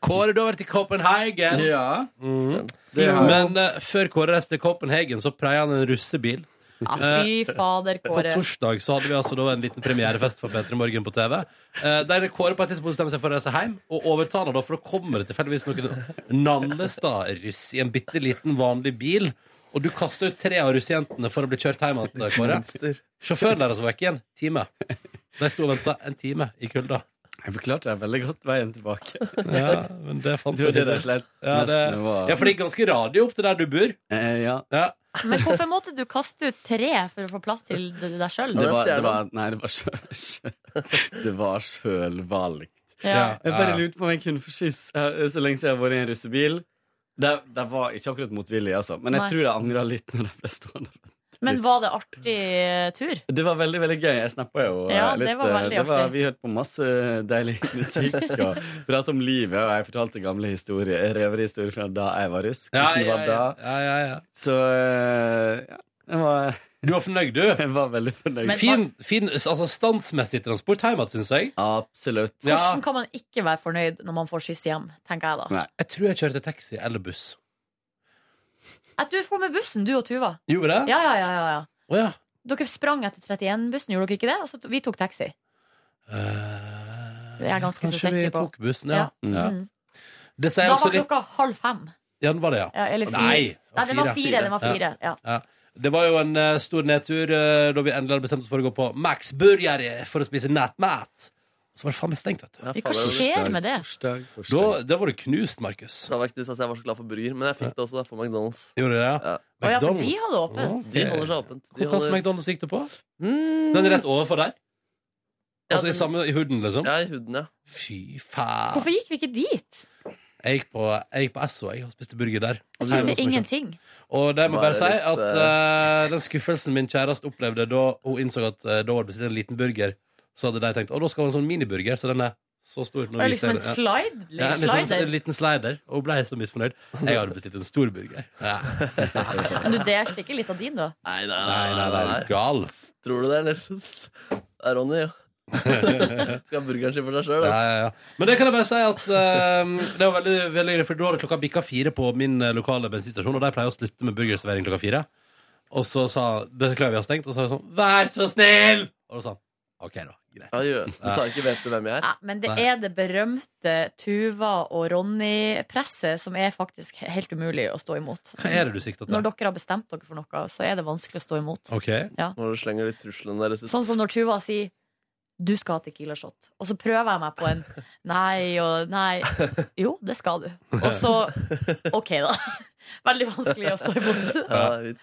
Speaker 2: Kåre, du har vært i Copenhagen.
Speaker 10: Ja.
Speaker 2: Mhm.
Speaker 5: Det
Speaker 6: jo.
Speaker 2: Men eh, før Kåre reiste til Copenhagen, så pleier han en russebil.
Speaker 6: Ja, fy fader,
Speaker 2: På
Speaker 6: Kåre.
Speaker 2: torsdag så hadde vi altså da en liten premierefest for P3 Morgen på TV. Eh, der Kåre på et tidspunkt bestemmer seg for å reise hjem og overta henne, da, for da kommer det tilfeldigvis noen Nannestad-russ i en bitte liten vanlig bil. Og du kaster ut tre av russejentene for å bli kjørt hjem igjen, Kåre.
Speaker 8: Monster.
Speaker 2: Sjåføren deres var vekke i en time. De sto og venta en time i kulda.
Speaker 8: Jeg forklarte deg veldig godt veien tilbake. Jeg
Speaker 2: Ja, men det fant
Speaker 8: tror
Speaker 2: vi
Speaker 8: ikke det er slett.
Speaker 2: Ja, det,
Speaker 8: Nesten var-
Speaker 2: ja, for det gikk ganske radio opp til der du bor.
Speaker 8: Eh, ja.
Speaker 2: Ja.
Speaker 6: Men hvorfor måtte du kaste ut tre for å få plass til d- deg sjøl?
Speaker 8: Det
Speaker 5: det
Speaker 8: var,
Speaker 5: stjeler
Speaker 8: det var, nei, det var sjøl... sjøl- Det var sjølvalgt.
Speaker 6: Ja.
Speaker 8: Jeg bare lurte på om jeg kunne få skyss eh, så lenge siden jeg har vært i en russebil. Det, det var ikke akkurat motvillig, altså. Men jeg
Speaker 6: Nei.
Speaker 8: tror jeg angra litt når jeg ble stående.
Speaker 6: Men var det artig eh, tur?
Speaker 8: Det var veldig veldig gøy. Jeg snappa jo eh,
Speaker 6: Ja, det
Speaker 8: litt.
Speaker 6: var
Speaker 8: eh,
Speaker 6: veldig artig.
Speaker 8: vi hørte på masse deilig musikk og prata om livet, og jeg fortalte gamle historier, røverhistorier fra da jeg var russ.
Speaker 2: Ja,
Speaker 8: Hvordan det
Speaker 2: ja,
Speaker 8: var
Speaker 2: ja.
Speaker 8: da.
Speaker 2: ja, ja, ja.
Speaker 8: Så eh, ja, jeg var,
Speaker 2: Du var fornøyd, du.
Speaker 8: jeg var veldig fornøyd.
Speaker 6: Men-
Speaker 2: Fin, fin altså, standsmessig transport hjem igjen, syns jeg.
Speaker 8: Absolutt.
Speaker 2: Ja.
Speaker 6: Hvordan kan man ikke være fornøyd når man får skyss hjem, tenker jeg da.
Speaker 8: Nei.
Speaker 2: Jeg tror jeg kjørte taxi eller buss.
Speaker 6: At Eh, du for med bussen, du og Tuva.
Speaker 2: Gjorde det?
Speaker 6: Ja, ja, ja, ja, ja.
Speaker 2: Å, ja.
Speaker 6: Dere sprang etter 31-bussen, gjorde dere ikke det? Altså, vi tok taxi.
Speaker 2: Eh,
Speaker 6: Det er jeg ganske så
Speaker 2: kanskje vi
Speaker 6: sikker på.
Speaker 2: tok bussen, ja.
Speaker 8: Ja.
Speaker 2: ja.
Speaker 6: Mm.
Speaker 2: Det sier
Speaker 6: Da
Speaker 2: også
Speaker 6: var
Speaker 2: litt
Speaker 6: klokka halv fem.
Speaker 2: Ja, den var det, ja.
Speaker 6: Ja, eller fire.
Speaker 2: Nei,
Speaker 6: Nei, det var fire. Det var
Speaker 2: Ja.
Speaker 6: fire. Ja.
Speaker 2: Det var jo en eh, stor nedtur eh, da vi endelig hadde bestemt oss for å gå på Max Burger for å spise nattmat. Og så var det faen meg stengt, vet du.
Speaker 5: Ja,
Speaker 6: Hva
Speaker 5: faen, det-
Speaker 6: skjer med det?
Speaker 8: Torsdag, torsdag.
Speaker 2: Da, da var du knust, Markus.
Speaker 5: Da var ikke du, altså, jeg var så glad for burger, men jeg fikk det også da, på McDonald's.
Speaker 2: Gjorde du
Speaker 5: Ja.
Speaker 2: det?
Speaker 6: Å ja, for de hadde åpent.
Speaker 2: Ok.
Speaker 5: De holder seg åpent. De
Speaker 2: Hvor plass
Speaker 5: holder...
Speaker 2: McDonald's gikk du på?
Speaker 5: Mm.
Speaker 2: Den rett overfor der?
Speaker 5: Ja,
Speaker 2: Altså
Speaker 5: den-
Speaker 2: i samme i hooden, liksom?
Speaker 5: Ja, i huden, ja.
Speaker 2: Fy faen.
Speaker 6: Hvorfor gikk vi ikke dit?
Speaker 2: Jeg gikk på, jeg gikk på SO jeg, og spiste burger der. Hjemme hos
Speaker 6: Jeg spiste
Speaker 2: meg selv.
Speaker 6: ingenting.
Speaker 2: Og det må jeg
Speaker 5: Bare
Speaker 2: bare si
Speaker 5: litt,
Speaker 2: at eh, den skuffelsen min kjæreste opplevde da hun innså at eh, da hun hadde bestilt en liten burger, så hadde de tenkt å, da skal hun ha en sånn miniburger, så den er så stor. Nå
Speaker 6: Det var
Speaker 2: viser
Speaker 6: liksom
Speaker 2: jeg
Speaker 6: en
Speaker 2: det. Ja.
Speaker 6: slide.
Speaker 2: Ja, liksom, en, liten, en
Speaker 6: slider.
Speaker 2: liten slider. Og hun ble så misfornøyd. Jeg hadde bestilt en stor burger. Ja.
Speaker 6: Men du delte ikke litt av din, da?
Speaker 5: Nei, nei,
Speaker 2: Nei, nei, nei, er du gal.
Speaker 5: Tror du det, eller? Det er Ronny, jo. Skal ha burgeren sin for seg sjøl,
Speaker 2: Ja,
Speaker 5: ass.
Speaker 2: ja, ja. Men det kan jeg bare si at eh, det var veldig, veldig gøy, for da hadde klokka bikka fire på min eh, lokale bensinstasjon, og de pleier å slutte med burgerservering klokka fire. Og så sa han beklager, vi har stengt, og så sa han sånn vær så snill! Og da sa han OK, da. Greit.
Speaker 5: Ja, gjør. Du sa ikke 'vet du hvem jeg er'?
Speaker 6: Ja, men det er det berømte Tuva og Ronny-presset som er faktisk helt umulig å stå imot.
Speaker 2: Hva er det du sikter
Speaker 6: Når
Speaker 2: til?
Speaker 6: dere har bestemt dere for noe, så er det vanskelig å stå imot.
Speaker 2: OK.
Speaker 5: Når du slenger litt truslene deres ut.
Speaker 6: Sånn som når Tuva sier 'du skal ha Tequila shot', og så prøver jeg meg på en 'nei' og 'nei'. Jo, det skal du. Og så 'ok, da'. Veldig vanskelig å stå imot.
Speaker 5: ja, det er fint.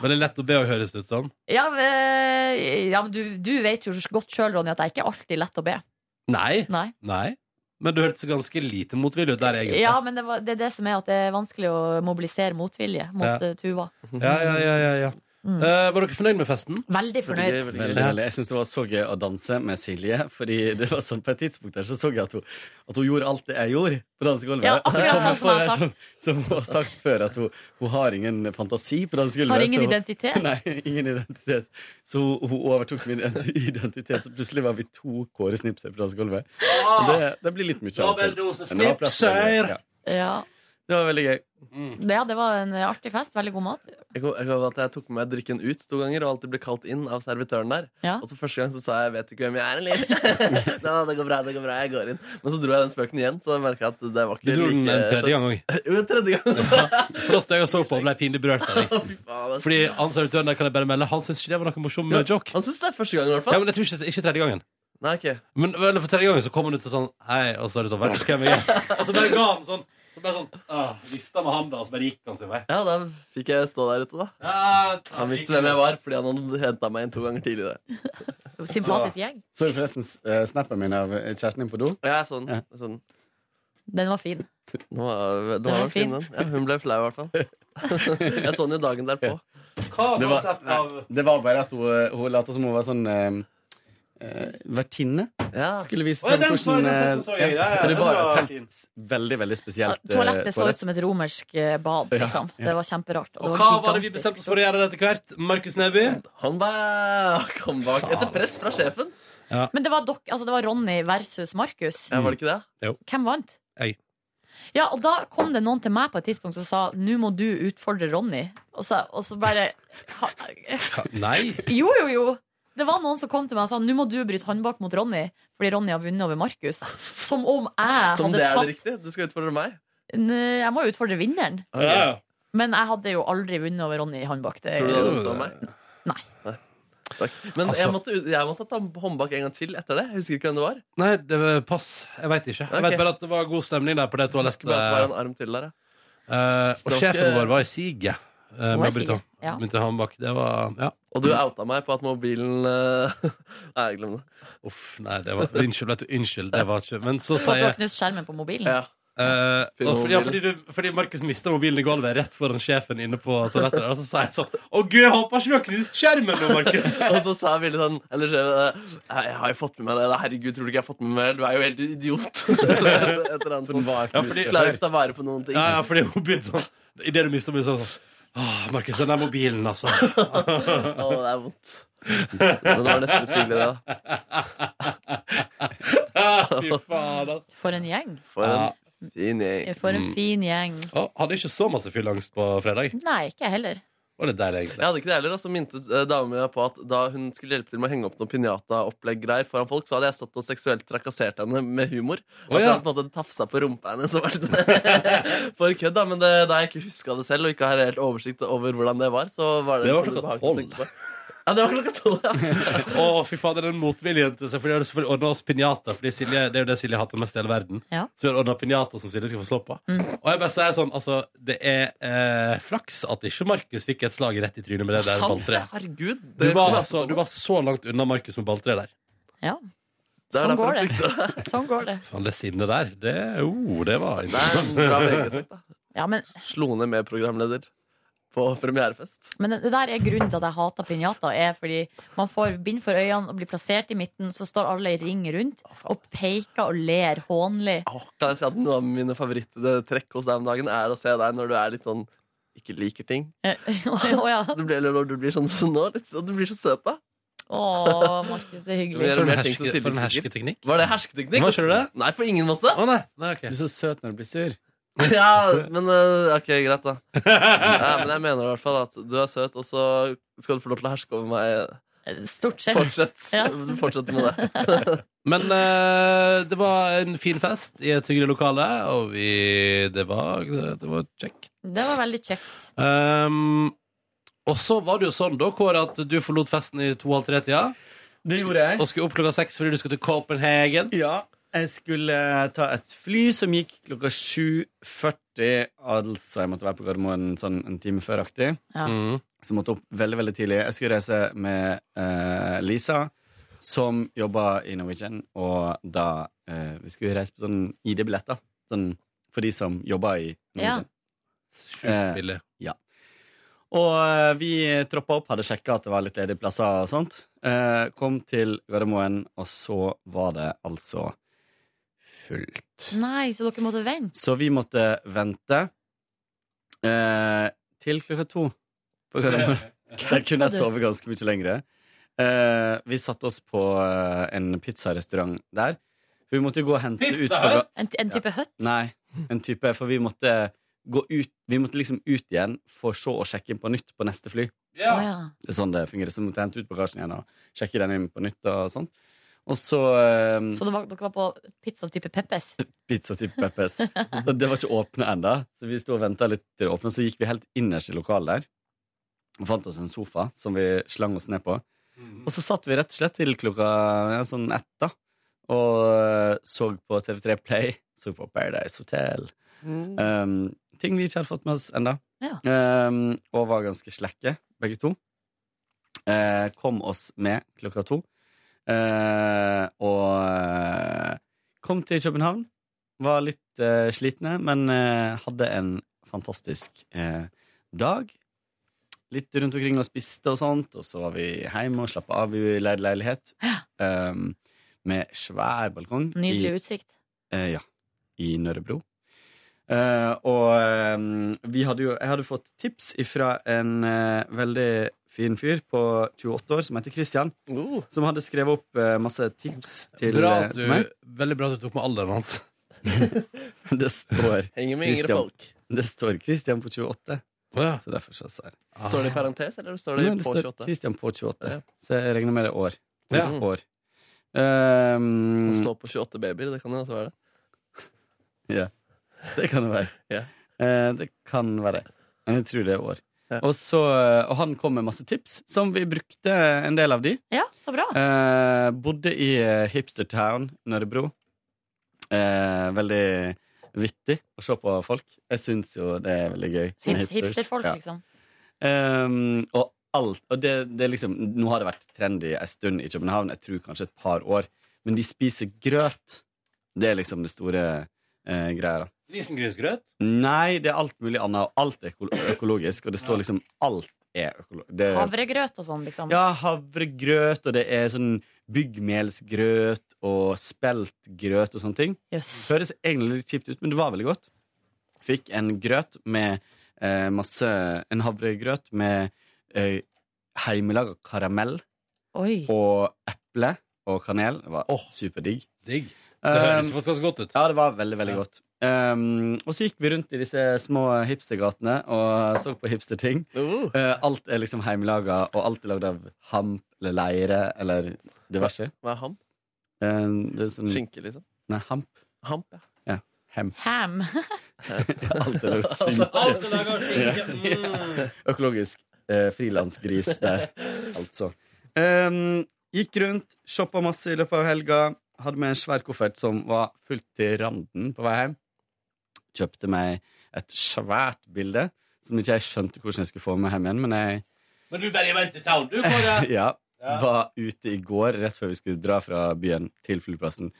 Speaker 2: Men det er lett å be å høres ut som.
Speaker 6: Ja, men, ja, men du, du vet jo godt sjøl, Ronny, at det er ikke alltid lett å be.
Speaker 2: Nei.
Speaker 6: Nei.
Speaker 2: Nei. Men du hørtes ganske lite motvillig ut der, egentlig.
Speaker 6: Ja, men det, var, det er det som er at det er vanskelig å mobilisere motvilje mot
Speaker 2: Ja.
Speaker 6: eh, Tuva.
Speaker 2: ja, ja, ja, ja, ja.
Speaker 6: Mm.
Speaker 2: Eh, var dere fornøyd med festen?
Speaker 6: Veldig
Speaker 5: Veldig gøy,
Speaker 6: fornøyd.
Speaker 5: veldig
Speaker 8: Veldig,
Speaker 2: Ja.
Speaker 8: veldig. Jeg syns det var så gøy å danse med Silje. Fordi det var sånn På et tidspunkt der så så jeg at hun, at hun gjorde alt det jeg gjorde på dansegulvet.
Speaker 6: Ja,
Speaker 8: og så
Speaker 6: akkurat sånn som
Speaker 8: kom jeg for
Speaker 6: jeg har
Speaker 8: her som, som hun har sagt før, at hun, hun har ingen fantasi på dansegulvet.
Speaker 6: Har ingen
Speaker 8: så hun-
Speaker 6: identitet.
Speaker 8: Nei, ingen identitet. Så hun, hun overtok min identitet, så plutselig var vi to Kåre Snipser på dansegulvet. Og Det, det blir litt mye. av og til. Men det var plass til
Speaker 2: Ah! Snipser!
Speaker 8: det.
Speaker 6: Ja.
Speaker 8: Ja, det var veldig gøy.
Speaker 6: ja, det var en artig fest. Veldig god mat.
Speaker 5: Jeg, kom, jeg, kom på at jeg tok med meg drikken ut to ganger og alltid ble kalt inn av servitøren der.
Speaker 6: Ja.
Speaker 5: Og så første gang så sa jeg 'vet du ikke hvem jeg er', eller? Nei, nei, det går bra, det går bra, jeg går inn. Men så dro jeg den spøken igjen, så jeg merka at det var
Speaker 2: Du
Speaker 5: ikke
Speaker 2: dro den en
Speaker 8: altså.
Speaker 2: tredje gang òg.
Speaker 5: Jo, en tredje gang.
Speaker 2: For da stod jeg og så på og ble pinlig berørt av deg.
Speaker 5: Å, fy faen, ass.
Speaker 2: Fordi han servitøren der kan jeg bare melde Han syns ikke det var noe morsom
Speaker 5: Ja,
Speaker 2: eh, joke.
Speaker 5: Han syns det er første gangen, i hvert
Speaker 2: Ja,
Speaker 5: fall.
Speaker 2: men jeg tror ikke, ikke tredje gangen.
Speaker 5: Nei, ok.
Speaker 2: Men eller, for tredje gangen så kom han ut og sånn Hei, og så er det sånn Vet du hvem jeg er? Og så bare ga han sånn så bare sånn, ah, Vifta med handa, og så bare gikk han sin vei.
Speaker 5: Ja, da fikk jeg stå der ute, da.
Speaker 2: Ja,
Speaker 5: Han visste hvem jeg var, fordi han hadde henta meg inn to ganger tidligere.
Speaker 6: Sympatisk gjeng.
Speaker 8: Så du forresten eh, snappen min av kjæresten din på do?
Speaker 5: Og jeg er sånn,
Speaker 8: Ja.
Speaker 5: sånn
Speaker 6: Den var fin.
Speaker 5: nå var, nå
Speaker 6: var
Speaker 5: var
Speaker 6: fin.
Speaker 5: fin. den. Ja, hun ble flau, i hvert fall. jeg så den jo dagen derpå.
Speaker 2: Hva
Speaker 8: Det
Speaker 2: var
Speaker 8: var-
Speaker 2: konseptet av
Speaker 8: Det var bare at hun, eh, hun lot som hun var sånn eh, eh, vertinne.
Speaker 5: Ja.
Speaker 8: Skulle vise
Speaker 2: Å, ja,
Speaker 8: frem
Speaker 2: den så jeg,
Speaker 8: hvordan
Speaker 2: den
Speaker 8: eh,
Speaker 2: så jeg, ja, ja,
Speaker 8: For det
Speaker 2: den
Speaker 8: var
Speaker 2: var
Speaker 8: et helt
Speaker 2: fin.
Speaker 8: s- veldig, veldig spesielt eh,
Speaker 6: Toalettet så ut
Speaker 8: toalett.
Speaker 6: som et romersk eh, bad.
Speaker 8: Ja,
Speaker 6: Liksom.
Speaker 8: ja.
Speaker 6: Det var kjemperart. og
Speaker 2: Og
Speaker 6: det
Speaker 2: hva
Speaker 6: var
Speaker 2: var det vi
Speaker 6: gigantisk
Speaker 2: bestemte oss for å gjøre etter hvert? Markus Neby?
Speaker 5: Comeback! Comeback.
Speaker 2: Faen, altså.
Speaker 5: Etter press fra sjefen.
Speaker 6: stort. Men det var, dok, altså, det var Ronny versus Markus.
Speaker 5: Ja, var det ikke det?
Speaker 6: Hvem vant?
Speaker 2: Jeg.
Speaker 3: Ja, og da kom det noen til meg på et tidspunkt som sa Nå må du utfordre Ronny Og så, og så bare ha,
Speaker 2: Ka- Nei.
Speaker 3: Jo, jo, jo Det var noen som kom til meg og sa Nå må du bryte håndbak mot Ronny Fordi Ronny har vunnet over Markus Som om jeg
Speaker 5: Som det
Speaker 3: hadde
Speaker 5: er det
Speaker 3: tatt
Speaker 5: riktige. Du skal utfordre meg.
Speaker 3: Nei, Jeg må jo utfordre vinneren
Speaker 2: Ja.
Speaker 3: Men jeg hadde jo aldri vunnet over Ronny i håndbak det,
Speaker 5: Tror du det
Speaker 2: Jo,
Speaker 5: hadde gått over meg?
Speaker 3: Eh, Nei.
Speaker 5: Takk. Men
Speaker 2: Altså-
Speaker 5: jeg, måtte, ut- jeg måtte ta håndbak en gang til etter det. Jeg husker ikke hvem det var.
Speaker 2: Nei, det var pass. Jeg veit ikke.
Speaker 5: Ok.
Speaker 2: Jeg vet bare at det var god stemning der på det
Speaker 5: Jeg husker bare at det var
Speaker 2: toalettet.
Speaker 5: en arm til der, ja.
Speaker 2: Eh, og
Speaker 5: Det var
Speaker 2: sjefen
Speaker 5: ikke-
Speaker 2: vår var i siget.
Speaker 3: Hun
Speaker 2: eh,
Speaker 3: var
Speaker 2: med
Speaker 3: i siget,
Speaker 2: Brita.
Speaker 3: ja.
Speaker 2: Begynte han bak. Det var Ja.
Speaker 5: Og du outa meg på at mobilen eh, Nei, glem det.
Speaker 2: Uff, nei, det var Unnskyld, vet du. Unnskyld. Det var ikke Men
Speaker 3: For
Speaker 2: så
Speaker 3: at du
Speaker 2: sier
Speaker 3: har knust skjermen på mobilen
Speaker 5: Ja.
Speaker 2: Eh,
Speaker 5: Fyr
Speaker 2: og
Speaker 5: med
Speaker 2: for, ja,
Speaker 5: mobilen.
Speaker 2: fordi, du, fordi Markus mista mobilen i gulvet rett foran sjefen inne på toalettet. der, Og så sa jeg sånn Å gud, jeg håper ikke du har knust skjermen nå, Markus.
Speaker 5: Og så sa Ville sånn Eller eh, jeg har jo fått med meg det. da. Herregud, tror du ikke jeg har fått med meg det? Du er jo helt idiot. Eller et et eller annet sånt.
Speaker 2: Ja, fordi-
Speaker 5: Klarer ikke å ta vare på noen ting.
Speaker 2: Ja, ja, fordi hun begynte sånn Idet du mista mobilen, sånn sånn Åh, Markus, den der mobilen, altså.
Speaker 5: Å, det er vondt. Men det var nesten litt hyggelig, det. da.
Speaker 2: Fy faen, altså.
Speaker 3: For en gjeng
Speaker 5: For en fin gjeng.
Speaker 3: For en fin gjeng
Speaker 2: Å, hadde ikke så masse fylleangst på fredag.
Speaker 3: Nei, ikke jeg heller
Speaker 2: Var det deilig,
Speaker 5: Jeg
Speaker 2: egentlig?
Speaker 5: hadde ikke det heller, og så minte eh, dama mi meg på at da hun skulle hjelpe til med å henge opp noen pinjata-opplegg-greier foran folk, så hadde jeg stått og seksuelt trakassert henne med humor.
Speaker 2: Å,
Speaker 5: Og
Speaker 2: ja.
Speaker 5: på en måte tafsa på rumpa hennes og vært for kødd, da. Men det, da jeg ikke huska det selv, og ikke har helt oversikt over hvordan det var, så var det
Speaker 2: Det var
Speaker 5: liksom
Speaker 2: klokka
Speaker 5: ubehagelig å tenke på. Ja, det var klokka tolv, ja.
Speaker 2: Å, fy faen, det er den motviljen til seg. For de hadde selvfølgelig ordna oss pinjata. Fordi Silje, det er jo det Silje hater mest i hele verden.
Speaker 3: Ja.
Speaker 2: Så vi hadde ordna pinjata som Silje skulle få slå på. Og jeg bare sier sånn, altså, det er eh, flaks at ikke Markus fikk et slag rett i trynet med det der
Speaker 5: Sant,
Speaker 2: balltreet.
Speaker 5: herregud.
Speaker 2: Du
Speaker 5: det kom
Speaker 2: var,
Speaker 5: jeg
Speaker 2: altså,
Speaker 5: på.
Speaker 2: du var så langt unna Markus med balltre der.
Speaker 3: Ja,
Speaker 5: Det er
Speaker 3: sånn
Speaker 5: derfor
Speaker 3: går
Speaker 5: jeg frykter det.
Speaker 3: sånn går det
Speaker 2: Faen, det sinnet der, det, oh, det var
Speaker 5: Det er en bra VG-sak, da.
Speaker 3: Ja, men
Speaker 5: Slo ned med programleder på premierefest.
Speaker 3: Men det det der er grunnen til at jeg hater pinjata. Er fordi man får bind for øynene og blir plassert i midten, så står alle i ring rundt og peker og ler hånlig.
Speaker 5: Åh, Kan jeg si at Noe av mine favoritttrekk hos deg om dagen er å se deg når du er litt sånn ikke liker ting.
Speaker 3: Eh, Å ja.
Speaker 5: Du blir, eller når du blir sånn som nå, litt sånn, du blir så søt, da.
Speaker 3: Å, Markus, det er hyggelig.
Speaker 5: Mer
Speaker 2: For
Speaker 5: og
Speaker 2: en,
Speaker 5: mer ting som
Speaker 2: herske,
Speaker 5: Silje
Speaker 2: for en
Speaker 5: liker.
Speaker 2: hersketeknikk.
Speaker 5: Var det hersketeknikk?
Speaker 2: Hva, skjønner du det?
Speaker 5: Nei, på ingen måte.
Speaker 2: Å nei. nei ok.
Speaker 8: Du er så søt når du blir sur.
Speaker 5: Ja, men eh, ok, greit, da. Ja, men jeg mener i hvert fall at du er søt, og så skal du få lov til å herske over meg.
Speaker 3: Stort sett.
Speaker 5: Fortsett.
Speaker 3: Ja.
Speaker 5: Fortsett med det.
Speaker 2: Men eh, det var en fin fest i et hyggelig lokale, og vi Det var, det var kjekt.
Speaker 3: Det var veldig kjekt.
Speaker 2: Ehm, og så var det jo sånn, da, Kåre, at du forlot festen i to-halv tre-tida
Speaker 8: Det gjorde jeg.
Speaker 2: og skulle opp klokka seks fordi du skulle til Copenhagen.
Speaker 8: Ja, jeg skulle ta et fly som gikk klokka 7.40, altså jeg måtte være på Gardermoen sånn en time før-aktig.
Speaker 3: Ja.
Speaker 2: Mm.
Speaker 8: Så jeg måtte opp veldig, veldig tidlig. Jeg skulle reise med eh, Lisa, som jobba i Norwegian, og da eh, Vi skulle reise på sånn ID-billetter, sånn for de som jobber i Norwegian. Eh,
Speaker 2: Sjukt billig.
Speaker 8: Og eh, vi troppa opp, hadde sjekka at det var litt ledige plasser og sånt. Eh, kom til Gardermoen, og så var det altså fullt.
Speaker 3: Nei, så dere måtte vente.
Speaker 8: Så vi måtte vente eh, til klokka to på Gardermoen. Der kunne jeg sove ganske mye lengre. Eh, vi satte oss på eh, en pizzarestaurant der. Vi måtte gå og hente ut på ga-
Speaker 3: En, en type høtt?
Speaker 8: Nei, en type, for vi måtte gå ut Vi måtte liksom ut igjen for så å sjekke inn på nytt på neste fly.
Speaker 3: Å ja.
Speaker 8: Det er sånn det fungerer. Så måtte jeg hente ut bagasjen igjen og sjekke den inn på nytt. Og sånn Og så um,
Speaker 3: Så det var, dere var på pizza type Peppes?
Speaker 8: pizza til Peppes. Og det var ikke åpne ennå, så vi sto og venta litt til det åpna. Så gikk vi helt innerst i lokalet der og fant oss en sofa som vi slang oss ned på. Og så satt vi rett og slett til klokka ja, sånn ett, da. Og eh, så på TV3 Play, så på Paradise Hotel. Um, ting vi ikke hadde fått med oss ennå.
Speaker 3: Mm. Ja.
Speaker 8: Um, og var ganske slekke, begge to. Eh, kom oss med klokka to. Eh, og eh, kom til København. Var litt eh, slitne, men eh, hadde en fantastisk eh, dag. Litt rundt omkring og spiste og sånt, og så var vi hjemme og slappa av i leid leilighet. Um, med svær balkong. i-
Speaker 3: Nydelig utsikt.
Speaker 8: Eh, ja. I Nørrebro. Eh, og eh, vi hadde jo Jeg hadde fått tips ifra en eh, veldig fin fyr på 28 år som heter Christian,
Speaker 5: Oh.
Speaker 8: som hadde skrevet opp eh, masse tips til,
Speaker 2: Bra
Speaker 8: eh,
Speaker 2: at
Speaker 8: til meg.
Speaker 2: du, veldig bra at du tok med alderen hans.
Speaker 8: Det står
Speaker 5: Henger med yngre
Speaker 8: Christian.
Speaker 5: folk.
Speaker 8: Det står Christian på 28,
Speaker 2: Åja.
Speaker 8: så derfor så sier jeg.
Speaker 5: Står det i parentes, eller står det
Speaker 8: Nei, det
Speaker 5: på
Speaker 8: står
Speaker 5: 28?
Speaker 8: Christian på 28,
Speaker 5: Ja.
Speaker 8: så jeg regner med det er år.
Speaker 2: Ja.
Speaker 8: år. Ehm,
Speaker 5: Å slå på 28 babyer, det kan jo også være det.
Speaker 8: det kan det være.
Speaker 5: Ja.
Speaker 8: Eh, det kan være. Men jeg tror det er år.
Speaker 5: Ja.
Speaker 8: Og, så, eh, og han kom med masse tips, som vi brukte en del av de.
Speaker 3: Ja, så bra.
Speaker 8: Eh, bodde i eh, Hipstertown, Nørrebro. Eh, veldig vittig å se på folk. Jeg syns jo det er veldig gøy. med
Speaker 3: Hips,
Speaker 8: hipsters.
Speaker 3: hipsterfolk,
Speaker 8: Ja.
Speaker 3: liksom.
Speaker 8: Ehm, og alt og det, det er liksom, Nå har det vært trendy en stund i København, jeg tror kanskje et par år. Men de spiser grøt. Det er liksom det store eh, greia. da.
Speaker 2: Risengrynsgrøt?
Speaker 8: Nei, det er alt mulig annet, og alt er øko økologisk. Og det står liksom alt er økologisk.
Speaker 3: Havregrøt og sånn, liksom.
Speaker 8: Ja, havregrøt, og det er sånn byggmelsgrøt og speltgrøt og sånne ting.
Speaker 3: Jøss.
Speaker 8: Høres egentlig litt kjipt ut, men det var veldig godt. Fikk en grøt med eh, masse En havregrøt med eh, heimelaga karamell
Speaker 3: Oi.
Speaker 8: og eple og kanel. Det var
Speaker 2: Åh.
Speaker 8: superdigg.
Speaker 2: Digg. Det høres
Speaker 8: Um,
Speaker 2: faktisk ganske godt ut.
Speaker 8: ja, det var veldig, veldig
Speaker 2: Ja.
Speaker 8: godt. Um, og så gikk vi rundt i disse små hipstergatene og så på hipsterting.
Speaker 5: Uh,
Speaker 8: Eh, alt er liksom heimelaga, og alt er lagd av hamp eller leire eller diverse.
Speaker 5: hva er ham?
Speaker 8: Eh, det er sånn,
Speaker 5: Skinke, liksom?
Speaker 8: nei, hamp.
Speaker 5: Hamp, ja.
Speaker 3: Ham.
Speaker 8: Alt er lagd av skinke.
Speaker 2: Alt er laget av skinke. Mm.
Speaker 8: Økologisk eh, frilansgris der, altså. Ehm, gikk rundt, shoppa masse i løpet av helga. Hadde med en svær koffert som var fullt til randen på vei hjem. Kjøpte meg et svært bilde som ikke jeg skjønte hvordan jeg skulle få med hjem igjen, men jeg
Speaker 2: Men du bare vent til town, du, Kåre.
Speaker 8: ja,
Speaker 2: Ja.
Speaker 8: var ute i går, rett før vi skulle dra fra byen til flyplassen.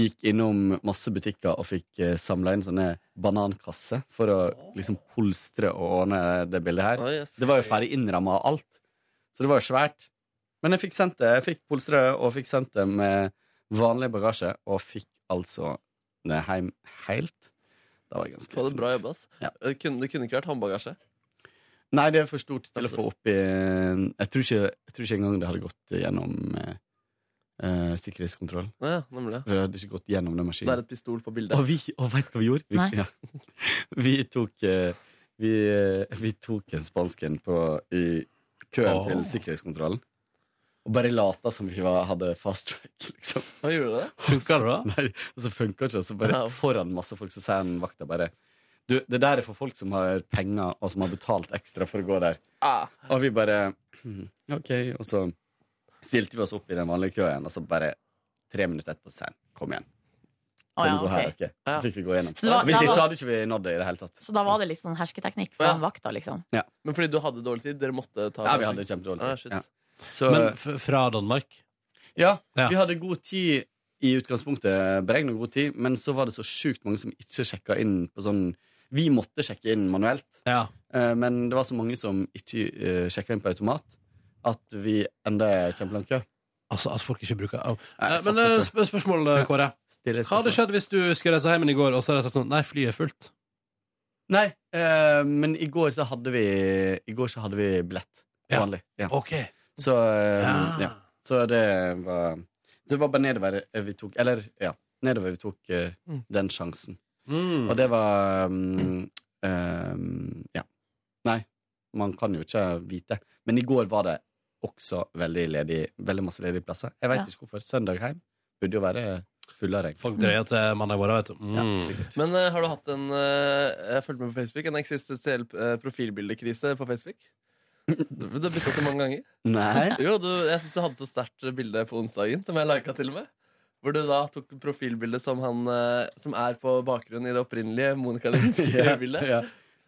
Speaker 8: Gikk innom masse butikker og fikk eh, samla inn sånne banankasser for å liksom polstre og ordne det bildet her.
Speaker 5: Å, yes.
Speaker 8: Det var jo ferdig innramma og alt. Så det var jo svært. Men jeg fikk sendt det. Jeg fikk polstrø og fikk sendt det med vanlig bagasje, og fikk altså det hjem helt. Da var jeg ganske
Speaker 5: Få det bra
Speaker 8: fornøyd.
Speaker 5: jobba, ass.
Speaker 8: Ja.
Speaker 5: Det, kunne, det kunne ikke vært håndbagasje.
Speaker 8: Nei, det er for stort til å få opp i Jeg tror ikke, jeg tror ikke engang det hadde gått gjennom eh, eh, sikkerhetskontroll.
Speaker 5: Å Ja, nemlig.
Speaker 8: For det hadde ikke gått gjennom
Speaker 5: Det
Speaker 8: den
Speaker 5: er
Speaker 8: maskinen.
Speaker 5: et pistol på
Speaker 8: Og
Speaker 5: bildet.
Speaker 8: vi, og vet du hva vi gjorde? Vi,
Speaker 3: Nei.
Speaker 8: ja. vi tok eh, vi, eh, vi tok en spansken på, i køen
Speaker 2: Åh.
Speaker 8: til sikkerhetskontrollen. Og bare lata som vi var, hadde fast track, liksom.
Speaker 5: Hva gjorde det?
Speaker 2: Funka det, da?
Speaker 8: Nei, og så funka ikke. Og så bare
Speaker 5: Wow.
Speaker 8: foran masse folk, så sier han vakta bare Du, det der er for folk som har penger, og som har betalt ekstra for å gå der.
Speaker 5: Ah,
Speaker 8: Og vi bare «Hm, OK. Og så stilte vi oss opp i den vanlige køen, og så bare tre minutter etterpå sa han kom igjen.
Speaker 3: Å,
Speaker 8: Kom,
Speaker 3: ja,
Speaker 8: gå her,
Speaker 3: ok.
Speaker 8: ok.
Speaker 5: Ja.
Speaker 8: Så fikk vi gå gjennom.
Speaker 3: Så det var-
Speaker 8: Hvis
Speaker 3: da
Speaker 8: ikke,
Speaker 3: var-
Speaker 8: så hadde ikke vi nådd det i det hele tatt.
Speaker 3: Så da var det litt sånn hersketeknikk fra
Speaker 5: Ja.
Speaker 3: han vakta, liksom.
Speaker 5: men fordi du hadde dårlig tid? Dere måtte ta
Speaker 8: Ja, vi hadde kjempedårlig
Speaker 5: Ah,
Speaker 8: tid.
Speaker 5: shit.
Speaker 8: ja. Så,
Speaker 2: Men f- fra Danmark?
Speaker 8: ja,
Speaker 2: Ja.
Speaker 8: vi hadde god tid i utgangspunktet, beregna god tid, men så var det så sjukt mange som ikke sjekka inn på sånn Vi måtte sjekke inn manuelt.
Speaker 2: Ja.
Speaker 8: Eh, Men det var så mange som ikke uh, sjekka inn på automat, at vi enda er kjempelang kø.
Speaker 2: Altså at folk ikke bruker oh.
Speaker 8: Nei,
Speaker 2: Eh,
Speaker 8: jeg
Speaker 2: Men
Speaker 8: fatter
Speaker 2: eh,
Speaker 8: ikke.
Speaker 2: sp spørsmål, eh, Kåre.
Speaker 8: Stille
Speaker 2: Hva hadde
Speaker 8: spørsmål.
Speaker 2: skjedd hvis du skulle reise hjem igjen i går, og så hadde jeg sagt sånn Nei, flyet er fullt.
Speaker 8: Nei, eh, men i går så hadde vi I går så hadde vi billett.
Speaker 2: Ja.
Speaker 8: Vanlig. Ja.
Speaker 2: OK.
Speaker 8: Så, eh,
Speaker 2: Ja.
Speaker 8: ja. så det var Det var bare nedover vi tok Eller, ja. Nedover vi tok eh,
Speaker 5: Mm.
Speaker 8: den sjansen.
Speaker 2: Mm.
Speaker 8: Og det var um, um, Ja. Nei, man kan jo ikke vite. Men i går var det også veldig, ledig, veldig masse ledige plasser. Jeg veit
Speaker 3: Ja.
Speaker 8: ikke hvorfor. Søndag hjem burde jo være full av regn.
Speaker 2: Folk drøyer til mandag morgen, vet du. Mm.
Speaker 8: Ja, sikkert.
Speaker 5: Men eh, har du hatt en eh, Jeg fulgte med på Facebook En eksistensiell eh, profilbildekrise på Facebook? Du du har bytta så mange ganger.
Speaker 8: Nei.
Speaker 5: Jo, du, Jeg syns du hadde så sterkt bilde på onsdagen, som jeg lika til og med. Hvor du da tok profilbildet som han eh, som er på bakgrunnen i det opprinnelige Monica
Speaker 8: Ja,
Speaker 5: Lewinsky-bildet.
Speaker 8: ja.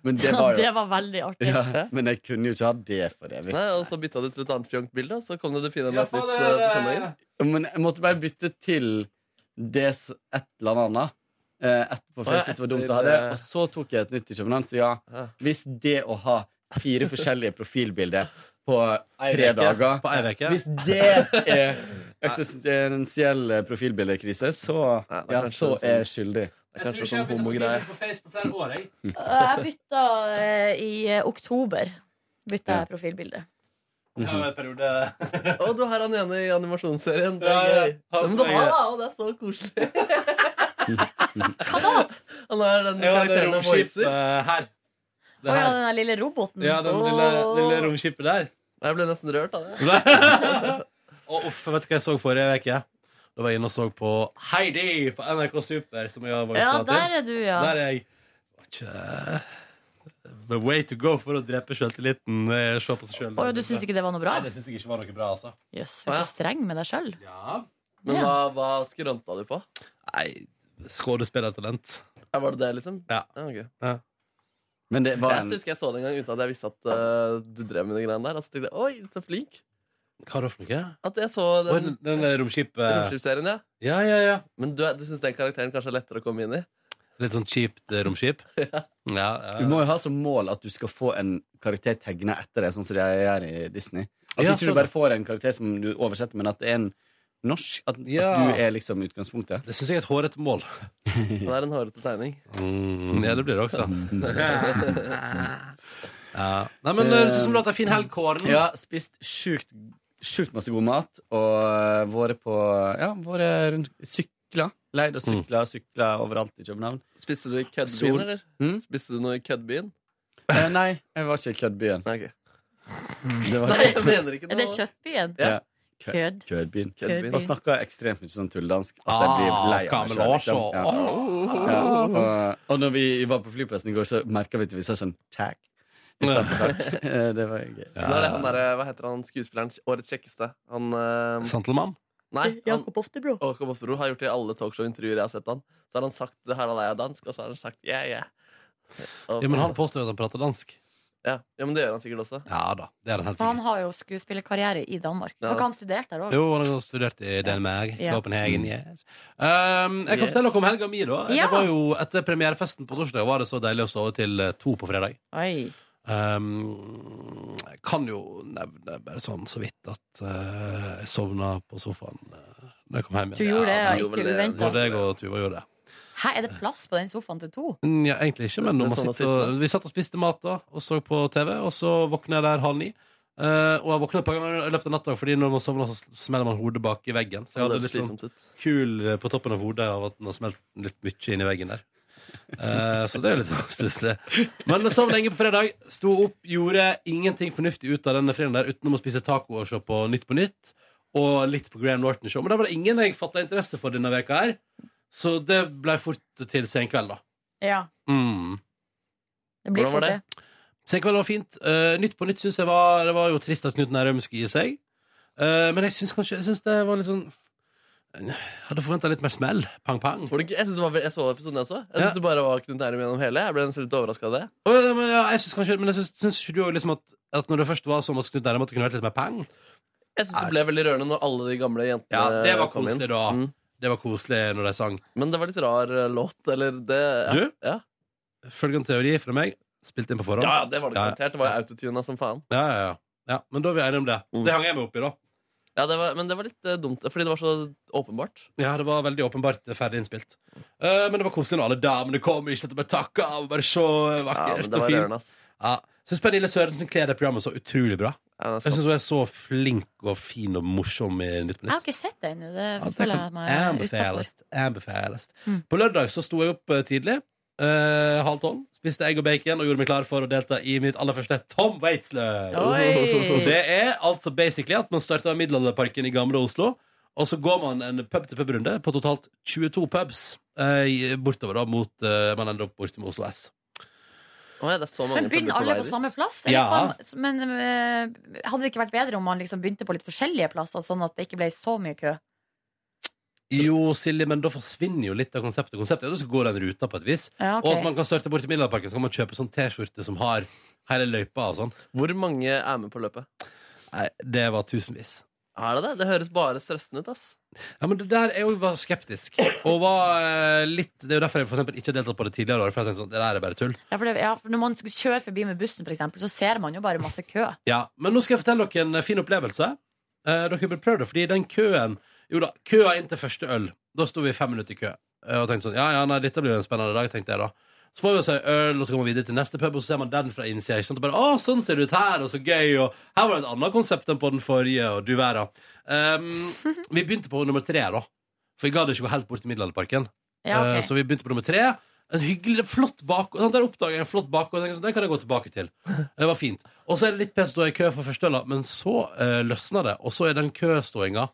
Speaker 8: Men det
Speaker 3: Det
Speaker 8: var
Speaker 3: var,
Speaker 8: jo
Speaker 3: veldig artig.
Speaker 8: ja, Men jeg kunne jo ikke ha det for evig.
Speaker 5: Nei, Og så bytta du til et annet fjongt bilde, og så kom det det fine
Speaker 2: Ja,
Speaker 5: med
Speaker 2: faen,
Speaker 5: outfits
Speaker 2: det
Speaker 5: eh,
Speaker 2: er
Speaker 5: på
Speaker 2: det.
Speaker 5: søndagen.
Speaker 8: Men jeg måtte bare bytte til det s- et eller annet. eh, Etterpå, for
Speaker 5: Å, ja,
Speaker 8: jeg syntes det var dumt
Speaker 5: etter,
Speaker 8: å ha det.
Speaker 5: eh,
Speaker 8: Og så tok jeg et nytt i København, så ja.
Speaker 5: Ja.
Speaker 8: Hvis det å ha fire forskjellige profilbilder på tre
Speaker 2: uke.
Speaker 8: dager
Speaker 2: På ei uke.
Speaker 8: Hvis det er eksistensiell profilbildekrise, så,
Speaker 5: Ja, det er
Speaker 8: ja,
Speaker 5: kanskje
Speaker 8: så
Speaker 5: en sånn-
Speaker 8: er jeg skyldig.
Speaker 5: Det er kanskje sånn homogreie.
Speaker 3: Jeg bytta eh, i eh, oktober. Bytta jeg profilbilde.
Speaker 5: Og du har han ene i animasjonsserien. Det
Speaker 2: Ja,
Speaker 5: er
Speaker 2: ja.
Speaker 5: gøy. Ja, men det var, og det er så koselig.
Speaker 3: Kanat!
Speaker 5: Han er den
Speaker 2: Ja, det
Speaker 5: karakteren han
Speaker 2: romskipet
Speaker 5: voicer.
Speaker 2: her.
Speaker 3: Å
Speaker 2: Det
Speaker 3: ja,
Speaker 2: her.
Speaker 3: den der lille roboten.
Speaker 2: Ja, den lille, lille romskipet der.
Speaker 5: Jeg ble nesten rørt av det.
Speaker 2: Og uff, vet du hva jeg så forrige uke? Da var jeg inne og så på Heidi på NRK Super, som jeg har voisa
Speaker 3: Ja,
Speaker 2: til.
Speaker 3: der er du, ja.
Speaker 2: Der er jeg. Tja. The way to go for å drepe sjøltilliten. eh, Se på seg sjøl.
Speaker 3: Å ja, du syns ikke det var noe bra?
Speaker 2: Nei, det syns jeg ikke var noe bra, altså.
Speaker 3: Jøss, du er så streng med deg sjøl.
Speaker 2: Ja.
Speaker 5: Men
Speaker 3: Ja.
Speaker 5: hva, hva skrønta du på?
Speaker 2: Nei, skuespillertalent.
Speaker 5: Ja, Var det det, liksom?
Speaker 2: Ja.
Speaker 5: ok.
Speaker 8: Men det var
Speaker 5: Jeg
Speaker 8: en
Speaker 5: husker jeg så det en gang uten at jeg visste at eh, du drev med de greiene der. Altså, tenkte, jeg, Oi, så flink
Speaker 2: Hva da for noe?
Speaker 5: At jeg så
Speaker 2: Oi,
Speaker 5: den
Speaker 2: Den, den der romskipet
Speaker 5: romskipsserien, ja.
Speaker 2: Ja, ja, ja.
Speaker 5: Men du, er- du syns den karakteren kanskje er lettere å komme inn i?
Speaker 2: Litt sånn kjipt eh, romskip. Ja,
Speaker 8: Du
Speaker 2: ja.
Speaker 8: må jo ha som mål at du skal få en karakter tegna etter deg, sånn som de gjør i Disney. At
Speaker 2: Ja,
Speaker 8: ikke
Speaker 2: sånn.
Speaker 8: du bare får en karakter som du oversetter, men at det er en norsk. At,
Speaker 2: Ja.
Speaker 8: at du er liksom utgangspunktet.
Speaker 2: Det syns jeg er et hårete mål.
Speaker 5: Det er en hårete tegning.
Speaker 8: Mm.
Speaker 2: Ja, det blir det også. Ja. Nei, men det høres ut som du har hatt en fin helg, Kåren.
Speaker 8: Jeg har spist sjukt, sjukt masse god mat og eh, vært på Ja, vært rundt Sykla. Leid og sykla,
Speaker 2: Mm.
Speaker 8: sykla overalt i København.
Speaker 5: Spiste du i køddbyen,
Speaker 8: Sol.
Speaker 5: eller?
Speaker 8: Mm?
Speaker 5: Spiste du noe i køddbyen?
Speaker 8: Eh, nei, jeg var ikke i Køddbyen.
Speaker 5: Nei, ok.
Speaker 8: Det var
Speaker 5: Nei, jeg mener ikke
Speaker 3: Er det
Speaker 5: noe.
Speaker 3: Kjøttbyen?
Speaker 8: Ja.
Speaker 3: Kødd.
Speaker 8: Køddbyen.
Speaker 5: Køddbyen.
Speaker 8: Og snakka ekstremt mye sånn tulledansk at jeg blir
Speaker 2: Ah,
Speaker 8: lei av meg selv, liksom. Ja. Ja, og, og når vi var på flyplassen i går, så merka vi at vi sa sånn tag. I stedet for takk. Eh, Det var gøy.
Speaker 5: Nå er det han der, eh, hva heter han skuespilleren? Årets kjekkeste. Han eh,
Speaker 2: Santelmann.
Speaker 5: Nei. Han,
Speaker 3: Jakob Oftebro.
Speaker 5: Jakob Oftebro har gjort det i alle talkshow-intervjuer jeg har sett han. Så har han sagt 'Harald er dansk', og så har han sagt 'yeah, yeah'. Og-
Speaker 2: Ja, men han påstår jo at han prater dansk.
Speaker 5: ja. ja, men det gjør han sikkert også.
Speaker 2: Ja da. det er han helt
Speaker 3: For han
Speaker 2: sikkert.
Speaker 3: har jo skuespillerkarriere i Danmark.
Speaker 5: Ja.
Speaker 3: Har ikke han studert der òg?
Speaker 2: Jo, han har studert i Danmark.
Speaker 3: Ja.
Speaker 2: Copenhagen, yes. um, jeg kan
Speaker 5: Yes.
Speaker 2: fortelle dere om helga mi, da.
Speaker 3: Ja.
Speaker 2: Det var jo Etter premierefesten på torsdag var det så deilig å sove til eh, to på fredag. Um, jeg kan jo nevne bare sånn så vidt at eh, jeg sovna på sofaen eh, da jeg kom hjem
Speaker 3: Du
Speaker 2: igjen.
Speaker 3: gjorde det, ja.
Speaker 5: han gjorde
Speaker 3: Ikke
Speaker 5: vel det.
Speaker 3: uventa.
Speaker 2: Både jeg og Tuva gjorde det.
Speaker 3: Hæ, er det plass på den sofaen til to?
Speaker 2: Mm, Ja, egentlig ikke, men
Speaker 5: Det
Speaker 2: når
Speaker 5: er
Speaker 2: man
Speaker 5: sånn
Speaker 2: sitter
Speaker 5: man sitter
Speaker 2: og, vi satt og spiste mat da, og så på TV, og så våkna jeg der halv ni. Eh, og jeg våkna et par ganger i løpet av natta, fordi når man sovner, så smeller man hodet bak i veggen. Så
Speaker 5: Det
Speaker 2: jeg hadde
Speaker 5: høres
Speaker 2: litt sånn
Speaker 5: slitsomt ut.
Speaker 2: kul eh, på toppen av hodet av at den har smelt litt mye inn i veggen der. Eh, så det er litt sånn stusslig. Men jeg sov lenge på fredag. Sto opp, gjorde ingenting fornuftig ut av denne fredagen der utenom å spise taco og se på Nytt på Nytt. Og litt på Graham Norton Show. Men det var det ingen jeg fatta interesse for denne veka her. Så det ble fort til senkveld, da.
Speaker 3: Ja.
Speaker 2: Mm.
Speaker 3: Det blir
Speaker 5: Hvordan
Speaker 3: fort
Speaker 5: var
Speaker 3: det.
Speaker 5: det?
Speaker 2: Senkveld var fint. Eh, nytt på nytt syns jeg var Det var jo trist at Knut Nærum skulle gi seg. Eh, men jeg syns kanskje Jeg synes det var litt sånn Jeg hadde forventa litt mer smell. Pang-pang.
Speaker 5: Var det gøy? Jeg, synes det var, jeg så episoden jeg så. Jeg
Speaker 2: Ja.
Speaker 5: synes det bare var Knut Nærum gjennom hele. Jeg ble nesten litt overraska av det.
Speaker 2: Men jeg synes kanskje Men jeg syns, syns ikke du òg liksom at, at når det først var sånn at Knut Nærum at det kunne vært litt mer pang?
Speaker 5: Jeg synes det ble veldig rørende når alle de gamle jentene
Speaker 2: Ja, det var
Speaker 5: kom inn.
Speaker 2: koselig, da.
Speaker 5: Mm.
Speaker 2: Det var koselig når de sang.
Speaker 5: Men det var litt rar eh, låt, eller det ja.
Speaker 2: Du?
Speaker 5: Ja.
Speaker 2: Følgende teori fra meg. Spilt inn på forhånd.
Speaker 5: ja, ja, det var det
Speaker 2: Ja, ja.
Speaker 5: garantert. Det var jo autotuna som faen.
Speaker 2: ja, ja, ja. ja Men da er vi enige om det.
Speaker 5: Mm.
Speaker 2: Det hang jeg meg opp i, da.
Speaker 5: Ja, det var, men det var litt eh, dumt, fordi det var så åpenbart.
Speaker 2: Ja, det var veldig åpenbart ferdig innspilt. Eh, men det var koselig når alle damene kom. Ikke at de bare takka og bare så
Speaker 5: Ja,
Speaker 2: vakkert
Speaker 5: men det
Speaker 2: og
Speaker 5: var
Speaker 2: fint.
Speaker 5: rørende, ass.
Speaker 2: Ja. Syns Pernille Sørensen kler det programmet så utrolig bra.
Speaker 5: Ja, det er
Speaker 2: Jeg
Speaker 5: skatt.
Speaker 2: syns hun er så flink og fin og morsom i Nytt på
Speaker 3: Jeg har
Speaker 2: Nytt.
Speaker 3: ikke sett det ennå. Det
Speaker 2: Ja, det
Speaker 3: føler
Speaker 2: kan
Speaker 3: jeg meg utafor.
Speaker 2: anbefales. Anbefales.
Speaker 3: Mm.
Speaker 2: På lørdag så sto jeg opp eh, tidlig. eh, halv tolv. Spiste egg og bacon og gjorde meg klar for å delta i mitt aller første Tom Waitsløp. Og
Speaker 3: Oi!
Speaker 2: Det er altså basically at man starter Middelalderparken i gamle Oslo, og så går man en pub-til-pub-runde på totalt 22 pubs eh, i- bortover da, mot eh, Man ender opp borte med Oslo S.
Speaker 5: Å, ja, det er så mange
Speaker 3: Men begynner alle på
Speaker 5: publikumleirer.
Speaker 3: samme plass?
Speaker 2: Ja.
Speaker 3: Eller kan- Men eh, hadde det ikke vært bedre om man liksom begynte på litt forskjellige plasser, sånn at det ikke ble så mye kø?
Speaker 2: Jo, Silje, men da forsvinner jo litt av konseptet. Konseptet er at du skal gå den ruta på et vis.
Speaker 3: Ja,
Speaker 2: Og at
Speaker 3: ok.
Speaker 2: man kan starte borti Middelalderparken, så kan man kjøpe sånn T-skjorte som har hele løypa og sånn.
Speaker 5: Hvor mange er med på løpet?
Speaker 2: Nei, det var tusenvis.
Speaker 5: Er det det? Det høres bare stressende ut, ass.
Speaker 2: Ja, men det der jeg jo var skeptisk. Og var eh, litt Det er jo derfor jeg for eksempel ikke har deltatt på det tidligere året, for jeg tenkte sånn, det der er bare tull.
Speaker 3: Ja, for det, ja, for når man kjører forbi med bussen, for eksempel, så ser man jo bare masse kø.
Speaker 2: Ja, Men nå skal jeg fortelle dere en fin opplevelse. Eh, dere bør prøve det, fordi den køen Jo da, køa inn til første øl. Da sto vi fem minutter i kø. eh, Og tenkte sånn, ja, ja, nei, dette blir jo en spennende dag, tenkte jeg da. Så får vi oss en øl, og så går vi videre til neste pub, og så ser man den fra innsida. ikke sant? Og bare, å, sånn ser det ut her, og så gøy, og her var det et annet konsept enn på den forrige, og du Ehm, verda. Um, vi begynte på nummer tre, da. For jeg gadd ikke gå helt bort til Middelalderparken.
Speaker 6: Ja, ok.
Speaker 2: Eh, Så vi begynte på nummer tre. En hyggelig, flott bakgård. sant? Der oppdager jeg en flott bakgård. og tenker sånn, Den kan jeg gå tilbake til. Det var fint. Og så er det litt pestå i kø for førsteøla, men så eh, løsner det. Og så er den køståinga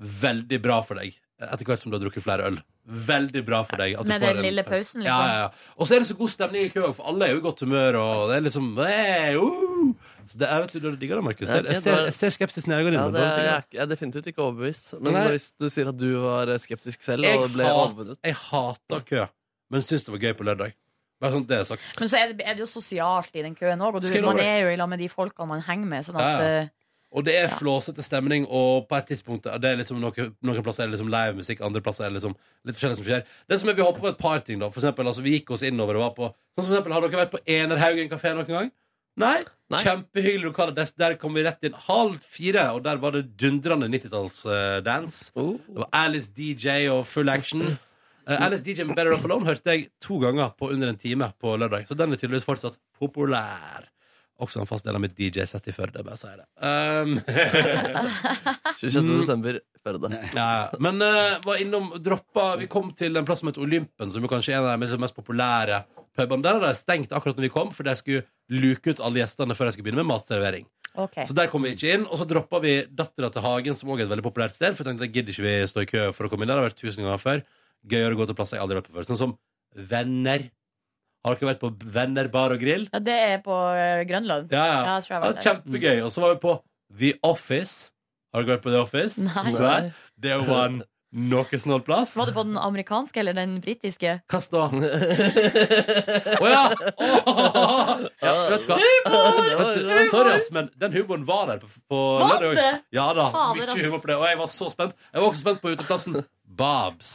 Speaker 2: veldig bra for deg etter hvert som du har drukket flere øl. Veldig bra for deg. at du
Speaker 3: Med
Speaker 2: får
Speaker 3: den
Speaker 2: en
Speaker 3: lille
Speaker 2: pause.
Speaker 3: pausen, liksom.
Speaker 2: Ja, ja, ja. Og så er det så god stemning i køen, for alle er jo i godt humør, og det er liksom hey, uh! Så det er, vet du, du digger det, Markus. Jeg, jeg, ser- jeg ser skepsisen i øynene
Speaker 5: Ja,
Speaker 2: dine.
Speaker 5: det er,
Speaker 2: digger
Speaker 5: jeg,
Speaker 2: det.
Speaker 5: er ikke- jeg er definitivt ikke overbevist. Men
Speaker 2: Nei.
Speaker 5: hvis du sier at du var skeptisk selv
Speaker 2: Jeg,
Speaker 5: og ble
Speaker 2: hat, jeg
Speaker 5: overbevist
Speaker 2: hater kø, men syns det var gøy på lørdag. Bare sånn at det er sagt.
Speaker 6: Men så er det, er det jo sosialt i den køen òg, og du,
Speaker 2: Skal jeg love
Speaker 6: man
Speaker 2: deg?
Speaker 6: er jo i lag med de folkene man henger med. Sånn
Speaker 2: Ja,
Speaker 6: at
Speaker 2: ja.
Speaker 6: eh,
Speaker 2: Og det er flåsete stemning, og på et tidspunkt det er liksom noen, noen plasser er det liksom live musikk, andre plasser er det liksom litt forskjellig som skjer. Det som er Vi hopper på et par ting, da. For eksempel, altså, vi gikk oss innover og var på Sånn som for eksempel, Har dere vært på Enerhaugen kafé noen gang? Nei?
Speaker 5: Nei.
Speaker 2: Kjempehyggelig lokale. Der, der kom vi rett inn halv fire, og der var det dundrende eh, 90-talls-dance.
Speaker 5: Oh.
Speaker 2: det var Alice DJ og full action. Eh, Alice DJ med Better Off Alone hørte jeg to ganger på under en time på lørdag, så den er tydeligvis fortsatt populær. Også en fast del av mitt DJ-sett i Førde. Bare sier det. Um,
Speaker 5: 26. desember Førde.
Speaker 2: ja, men eh, var innom droppa Vi kom til en plass som heter Olympen, som jo kanskje er en av de mest- mest populære pubene. Der hadde de stengt akkurat når vi kom, for de skulle luke ut alle gjestene før de skulle begynne med matservering.
Speaker 6: ok.
Speaker 2: Så der kom vi ikke inn, og så droppa vi Dattera til Hagen, som også er et veldig populært sted. For jeg tenkte, gidder ikke vi stå i kø for å komme inn der. Det har vært tusen ganger før. Gøyere å gå til plasser jeg aldri har vært på før. Sånn som Venner. Har dere vært på Venner bar og grill?
Speaker 6: Ja, det er på eh, Grønland.
Speaker 2: Ja, ja.
Speaker 6: Ja, jeg tror
Speaker 2: Ja,
Speaker 6: jeg var
Speaker 2: det
Speaker 6: der.
Speaker 2: var kjempegøy. Og så var vi på The Office. Har dere vært på The Office?
Speaker 6: Nei.
Speaker 2: Det var en noe snål plass.
Speaker 6: Var det på den amerikanske eller den britiske?
Speaker 2: Kast da. Å ja! Åh! ja! Vet du hva? Vet du, sorry, ass, men den humoren var der på, på
Speaker 6: Var
Speaker 2: lørdag.
Speaker 6: det?
Speaker 2: Ja da.
Speaker 6: Fader,
Speaker 2: Mye
Speaker 6: ass.
Speaker 2: humor på det. Og jeg var så spent. Jeg var også spent på uteplassen. Babs.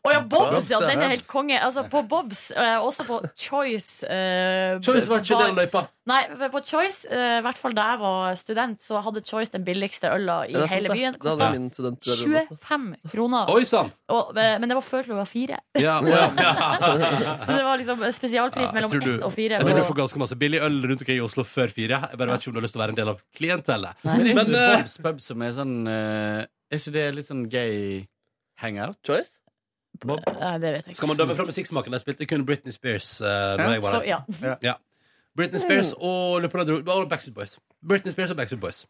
Speaker 6: Å ja, Bobs! Ja,
Speaker 5: Bobs,
Speaker 6: den
Speaker 5: ja.
Speaker 6: er helt konge. Altså, på Bobs, eh, også på Choice. eh,
Speaker 2: Choice var ikke
Speaker 6: bar-
Speaker 2: den løypa.
Speaker 6: Nei, på Choice, eh, i hvert fall da jeg var student, så hadde Choice den billigste øla i
Speaker 5: Ja, det er sant,
Speaker 6: hele
Speaker 5: det. Det
Speaker 6: byen.
Speaker 5: hadde
Speaker 6: Kosta
Speaker 5: min student
Speaker 6: 25 kroner.
Speaker 2: Oi sann!
Speaker 6: Og, eh, men det var før klokka fire.
Speaker 2: Ja, å ja.
Speaker 6: Så det var liksom spesialpris
Speaker 2: Ja, jeg
Speaker 6: mellom
Speaker 2: tror du-
Speaker 6: ett og fire.
Speaker 2: Jeg tror du
Speaker 6: på-
Speaker 2: får ganske masse billig øl rundt omkring i Oslo før fire. Jeg bare vet ikke om du har lyst til å være en del av klientellet.
Speaker 8: Men er ikke
Speaker 2: Men,
Speaker 8: det
Speaker 2: eh,
Speaker 8: Bobs pub som er sånn eh, Er ikke det litt sånn gay hangout?
Speaker 5: Choice?
Speaker 8: Bob?
Speaker 6: Nei, det vet jeg ikke.
Speaker 2: Skal man dømme fra musikksmaken? Jeg spilte kun Britney Spears. eh, når jeg var
Speaker 6: Så
Speaker 2: der.
Speaker 6: ja.
Speaker 2: Britney Spears og, Leopard- og Backstreet Boys. Britney Spears og Backstreet Boys.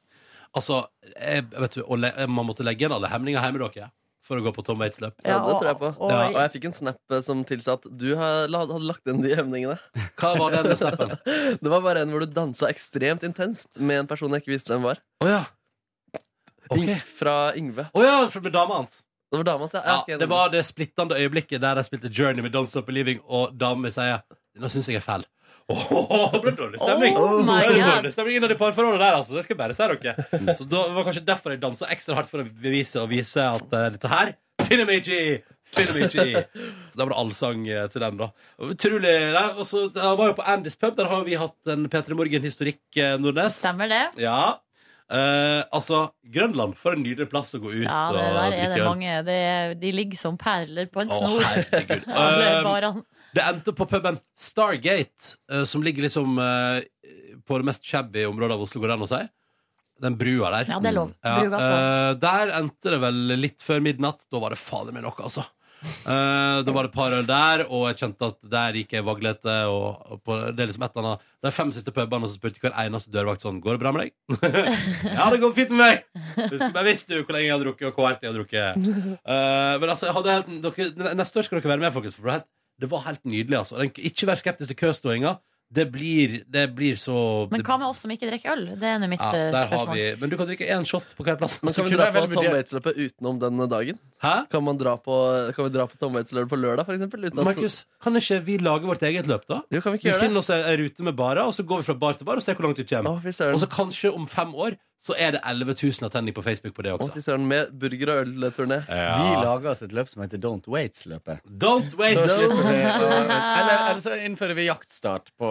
Speaker 2: Altså, jeg, vet du, å le, man måtte legge igjen alle hemninger hjemme dere for å gå på Tom Waits løp.
Speaker 5: Ja,
Speaker 6: Ja,
Speaker 5: det
Speaker 6: og-
Speaker 5: tror jeg på.
Speaker 6: og-
Speaker 5: Ja. Og jeg fikk en snap eh, som tilsa at du har- la- hadde lagt inn de emningene.
Speaker 2: Hva var den snappen?
Speaker 5: Det var bare en hvor du dansa ekstremt intenst med en person jeg ikke visste hvem var.
Speaker 2: Å ja. Ok.
Speaker 5: Ing- Fra Yngve.
Speaker 2: Å ja, for- med dama hans.
Speaker 5: Det var dama hans, ja.
Speaker 2: Ja,
Speaker 5: ok,
Speaker 2: det var det splittende øyeblikket der de spilte Journey med Don't Stop Believing, og dama sier Nå syns jeg jeg er fæl. Åh, det ble dårlig stemning!
Speaker 6: Oh my
Speaker 2: det ble
Speaker 6: God.
Speaker 2: dårlig stemning innad i parforholdet der, altså. Det skal jeg bare si dere. Så da det var kanskje derfor jeg dansa ekstra hardt, for å bevise og vise at eh, dette her finner meg ikke i! Finner meg ikke i! Så da var det allsang eh, til den, da. Og Utrolig. Nei, og så jeg var jo på Andys pub. Der har vi hatt en P3 Morgen-historikk, eh, Nordnes.
Speaker 6: Stemmer det?
Speaker 2: Ja. Eh, altså, Grønland, for en nydelig plass å gå ut
Speaker 6: Ja,
Speaker 2: og
Speaker 6: det der er det
Speaker 2: drikke øl.
Speaker 6: mange. Det, er- de ligger som perler på en
Speaker 2: Å,
Speaker 6: snor.
Speaker 2: herregud.
Speaker 6: Alle
Speaker 2: Um,
Speaker 6: barene.
Speaker 2: det endte på puben Stargate, eh, som ligger liksom eh, på det mest shabby området av Oslo, går det an å si. Den brua der.
Speaker 6: Ja, det er lov.
Speaker 2: Ja,
Speaker 6: Brugata.
Speaker 2: eh, der endte det vel litt før midnatt. Da var det fader meg noe, altså. Eh, da var det et par øl der, og jeg kjente at der gikk jeg vaglete. Og, og på, det er liksom et eller annet De fem siste pubene og så spurte hver eneste dørvakt sånn Går det bra med deg? ja, det går fint med meg! Du skulle bare visst du hvor lenge jeg har drukket, og hvor hardt jeg har drukket. Eh, men altså, jeg hadde helt, dere, neste år skal dere være med, folkens. For det, var helt, det var helt nydelig, altså. Den, ikke vær skeptisk til køståinga. Det blir, det blir så
Speaker 6: Men
Speaker 2: det-
Speaker 6: hva med oss som ikke drikker øl? Det er nå mitt
Speaker 2: ja,
Speaker 6: eh,
Speaker 2: der har
Speaker 6: spørsmål.
Speaker 2: vi, Men du kan drikke én shot på hver plass.
Speaker 5: Men
Speaker 2: Så
Speaker 5: kan vi
Speaker 2: kunne
Speaker 5: dra
Speaker 2: jeg
Speaker 5: på
Speaker 2: vel
Speaker 5: Tom
Speaker 2: vurdere-
Speaker 5: Waits-løpet utenom den dagen?
Speaker 2: Hæ?
Speaker 5: Kan, man dra på, kan vi dra på Tom Waits-løpet på lørdag, for eksempel? uten at-
Speaker 2: Markus, kan ikke vi lage vårt eget løp, da?
Speaker 5: Jo, kan vi ikke
Speaker 2: Vi
Speaker 5: gjøre det?
Speaker 2: finner oss ei ei rute med barer, og så går vi fra bar til bar og ser hvor langt vi
Speaker 5: Å,
Speaker 2: kommer.
Speaker 5: fy søren.
Speaker 2: Og så kanskje om fem år så er det 11 000 attenning på Facebook på det
Speaker 5: Å,
Speaker 2: også.
Speaker 5: fy søren, med burger- og ølturné.
Speaker 2: Eh,
Speaker 8: Vi lager oss et løp som heter Don't Waits-løpet.
Speaker 2: Don't wait!
Speaker 8: Så slipper vi å- Eller, eller så innfører vi jaktstart på,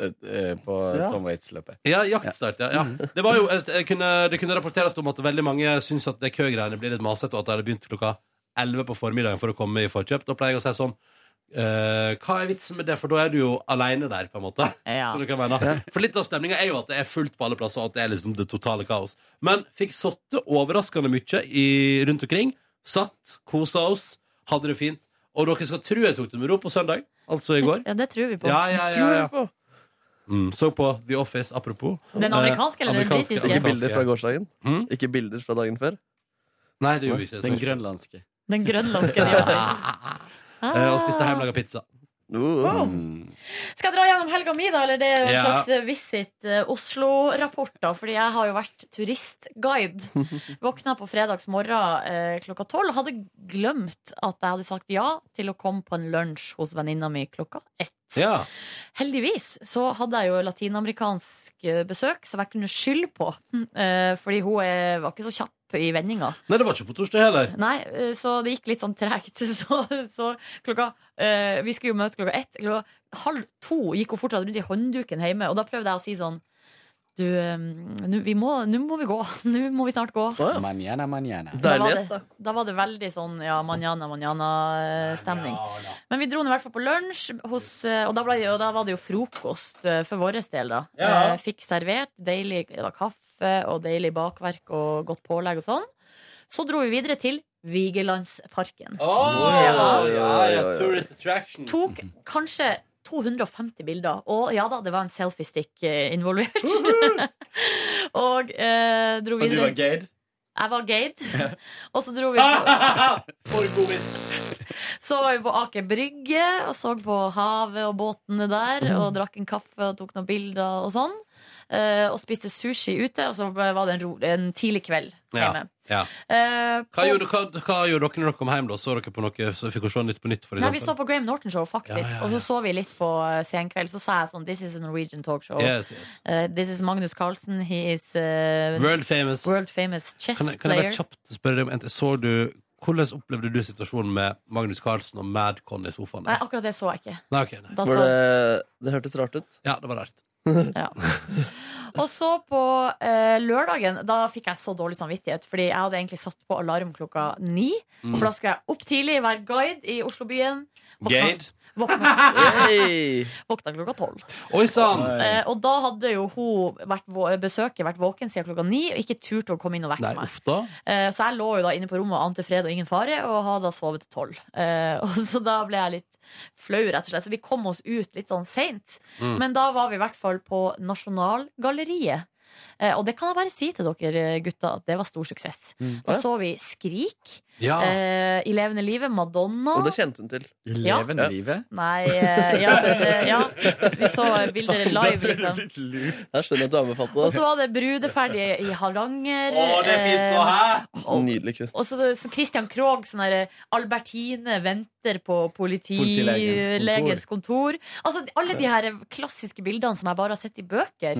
Speaker 8: eh, eh, på Tom Waits-løpet.
Speaker 2: Ja, jaktstart, ja. Mm. ja. Det, var jo, jeg kunne, det kunne rapporteres om at veldig mange syns at det køgreiene blir litt masete, og at de hadde begynt klokka 11 på formiddagen for å komme i forkjøp. Da pleier jeg å si sånn eh, hva er vitsen med det, for da er du jo aleine der, på en måte.
Speaker 6: Ja.
Speaker 2: Skjønner du hva jeg mener? For litt av stemninga er jo at det er fullt på alle plasser, og at det er liksom det totale kaos. Men fikk sittet overraskende mye i, rundt omkring. Satt, kosa oss, hadde det fint. Og dere skal tro jeg tok det med ro på søndag, altså i går.
Speaker 6: Ja, det tror vi på.
Speaker 2: Ja, ja, ja, ja. Mm, så på The Office, apropos.
Speaker 6: Den amerikanske eller den
Speaker 2: amerikanske-
Speaker 6: britiske?
Speaker 5: Ikke bilder fra gårsdagen?
Speaker 2: Mm.
Speaker 5: Ikke bilder fra dagen før?
Speaker 2: Nei, det gjorde vi ikke.
Speaker 8: Den grønlandske.
Speaker 6: Den grønlandske The Office.
Speaker 2: Eh, og spiste hjemmelaga pizza.
Speaker 5: Uh.
Speaker 6: Skal jeg dra gjennom helga mi, da? Eller det er jo en
Speaker 2: Ja.
Speaker 6: slags eh, visit eh, Oslo-rapport, da. Fordi jeg har jo vært turistguide. Våkna på fredags morgen eh, klokka tolv og hadde glemt at jeg hadde sagt ja til å komme på en lunsj hos venninna mi klokka ett.
Speaker 2: Ja.
Speaker 6: Heldigvis så hadde jeg jo latinamerikansk eh, besøk som jeg kunne skylde på. eh, Fordi hun eh, var ikke så kjapp i vendinga.
Speaker 2: Nei, det var ikke på torsdag heller.
Speaker 6: Nei, eh, så det gikk litt sånn tregt. Så, så klokka eh, Vi skulle jo møte klokka ett. Klokka halv to gikk hun fortsatt rundt i håndduken hjemme, og da prøvde jeg å si sånn Du, eh, nå vi må, nå må vi gå. Nå må vi snart gå.
Speaker 8: Manjana, manjana.
Speaker 6: Da var,
Speaker 5: Deilig gjest,
Speaker 6: det, da var det veldig sånn ja, manjana, manjana-stemning.
Speaker 2: Ja, ja.
Speaker 6: Men vi dro nå i hvert fall på lunsj, hos, eh, og, da ble, og da var det jo frokost eh, for vår del, da.
Speaker 2: Ja.
Speaker 6: Eh, Fikk servert deilig det var kaffe og deilig bakverk og godt pålegg og sånn. Så dro vi videre til Vigelandsparken.
Speaker 2: Åh,
Speaker 5: Ja.
Speaker 2: ja, ja, Tourist attraction.
Speaker 6: Tok kanskje 250 bilder, og ja da, det var en selfiestick eh, involvert. og eh, dro
Speaker 8: Og du
Speaker 6: videre.
Speaker 8: var gayed?
Speaker 6: Jeg var gate. og så dro vi
Speaker 8: Ah!
Speaker 6: på
Speaker 2: For god vits.
Speaker 6: Så var vi på Aker Brygge og så på havet og båtene der.
Speaker 2: Mm.
Speaker 6: Og drakk en kaffe og tok noen bilder og sånn. eh, og spiste sushi ute, og så ble- var det en, ro, en tidlig kveld
Speaker 2: Ja,
Speaker 6: hjemme.
Speaker 2: ja.
Speaker 6: Eh,
Speaker 2: Hva
Speaker 6: på-
Speaker 2: gjorde, hva, hva gjorde dere når dere kom hjem? da? Så dere på noe, så fikk dere se Nytt på nytt? For
Speaker 6: Nei, Vi så
Speaker 2: eksempel?
Speaker 6: på Graham Norton Show, faktisk.
Speaker 2: Ja, ja, ja.
Speaker 6: Og så så vi litt på eh, Senkveld. Så sa jeg sånn This is a Norwegian talk show.
Speaker 2: yes, yes.
Speaker 6: Eh, this is Magnus Carlsen. He is eh,
Speaker 2: World famous.
Speaker 6: world famous chess
Speaker 2: Kan jeg, kan jeg
Speaker 6: player.
Speaker 2: bare kjapt spørre deg om en ting? Så du, Hvordan opplevde du situasjonen med Magnus Carlsen og Madcon i sofaen?
Speaker 6: Nei,
Speaker 2: der?
Speaker 6: akkurat det så jeg ikke.
Speaker 2: Nei, ok, nei.
Speaker 6: Da
Speaker 5: Var
Speaker 6: så
Speaker 5: det, det hørtes rart ut.
Speaker 2: Ja, det var rart.
Speaker 6: Og så på eh, lørdagen, da fikk jeg så dårlig samvittighet, fordi jeg hadde egentlig satt på alarm klokka ni.
Speaker 2: Mm.
Speaker 6: For da skulle jeg opp tidlig, være guide i Oslobyen.
Speaker 2: Gade.
Speaker 6: Våkna,
Speaker 5: Hey.
Speaker 6: våkna klokka tolv.
Speaker 2: Oi sann!
Speaker 6: Eh, og da hadde jo hun vært, vå- besøket vært våken siden klokka ni og ikke turt å komme inn og vekke
Speaker 2: Nei,
Speaker 6: meg.
Speaker 2: uff da.
Speaker 6: Eh, så jeg lå jo da inne på rommet og ante fred og ingen fare, og har da sovet til tolv. Eh, og så da ble jeg litt flau, rett og slett. Så vi kom oss ut litt sånn seint.
Speaker 2: Mm.
Speaker 6: Men da var vi i hvert fall på Nasjonalgalleriet. Eh, og det kan jeg bare si til dere eh, gutta, at det var stor suksess. Da så vi Skrik,
Speaker 2: Ja.
Speaker 6: eh, I levende livet, Madonna
Speaker 5: Og det kjente hun til.
Speaker 8: I
Speaker 6: Ja.
Speaker 8: levende livet?
Speaker 6: Nei, eh, ja, det, det, ja. Vi så bilder live, liksom.
Speaker 5: Jeg skjønner at du anbefalte
Speaker 6: Og
Speaker 5: det.
Speaker 6: så var det Brudeferdige i Hardanger. eh,
Speaker 5: ass.
Speaker 6: og-
Speaker 5: Nydelig kunst.
Speaker 6: Og så så Christian Krogh, sånn derre Albertine venter på
Speaker 8: Politilegens
Speaker 6: politilegens kontor. Altså alle de her klassiske bildene som jeg bare har sett i bøker.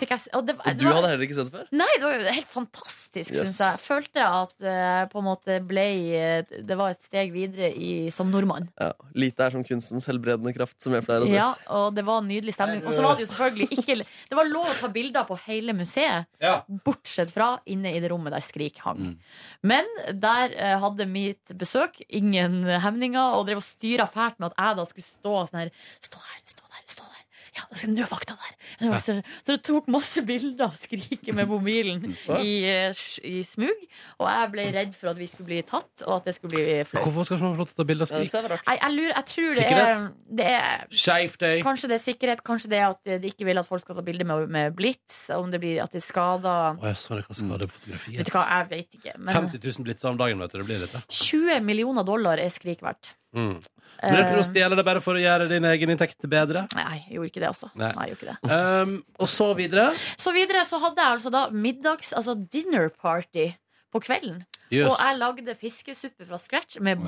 Speaker 6: Fikk jeg, s- og det,
Speaker 5: Mm. Og
Speaker 6: det
Speaker 5: du
Speaker 6: var,
Speaker 5: hadde heller ikke sett det før?
Speaker 6: nei, det var jo helt fantastisk,
Speaker 5: Yes.
Speaker 6: syns jeg. Følte jeg at eh, på en måte ble eh, Det var et steg videre i, som nordmann.
Speaker 5: Ja. Lite er som kunstens helbredende kraft, som jeg pleier å si.
Speaker 6: Ja, og det var en nydelig stemning. Og så var det jo selvfølgelig ikke Det var lov å ta bilder på hele museet,
Speaker 2: Ja.
Speaker 6: bortsett fra inne i det rommet der Skrik hang. Men der eh, hadde mitt besøk ingen hemninger, og drev og styra fælt med at jeg da skulle stå sånn her Stå der, stå der, stå der. Ja, da skal- nå er vakta der. Nå er vakta der. Så det tok masse bilder av Skriket med mobilen i, eh, sj- i smug, og jeg ble redd for at vi skulle bli tatt, og at det skulle bli flaut.
Speaker 2: Hvorfor skal man få lov til å ta bilde av
Speaker 5: Ja, det
Speaker 2: skrik?
Speaker 5: ser rart.
Speaker 6: Nei, Jeg, lurer, jeg tror det er, det er
Speaker 2: Skeivt øy.
Speaker 6: Kanskje det er sikkerhet, kanskje det er at de ikke vil at folk skal ta bilde med, med blits. Om det blir at de er skada.
Speaker 2: Å, jeg så det kan skade på altså.
Speaker 6: Vet
Speaker 2: fotografiet.
Speaker 6: du hva, jeg vet ikke. Men
Speaker 2: 50 000 blitzer om dagen, vet du. Det blir litt, ja.
Speaker 6: 20 millioner dollar er skrik verdt. Eh,
Speaker 2: Mm. Men jeg tror å stjele det bare for å gjøre din egen inntekt bedre.
Speaker 6: Nei, jeg gjorde ikke det, altså.
Speaker 2: Nei.
Speaker 6: Nei. jeg gjorde ikke det.
Speaker 2: Um, og så videre.
Speaker 6: Så videre så hadde jeg altså da middags, altså dinner party på kvelden.
Speaker 2: Jøss.
Speaker 6: Og jeg lagde fiskesuppe fra scratch med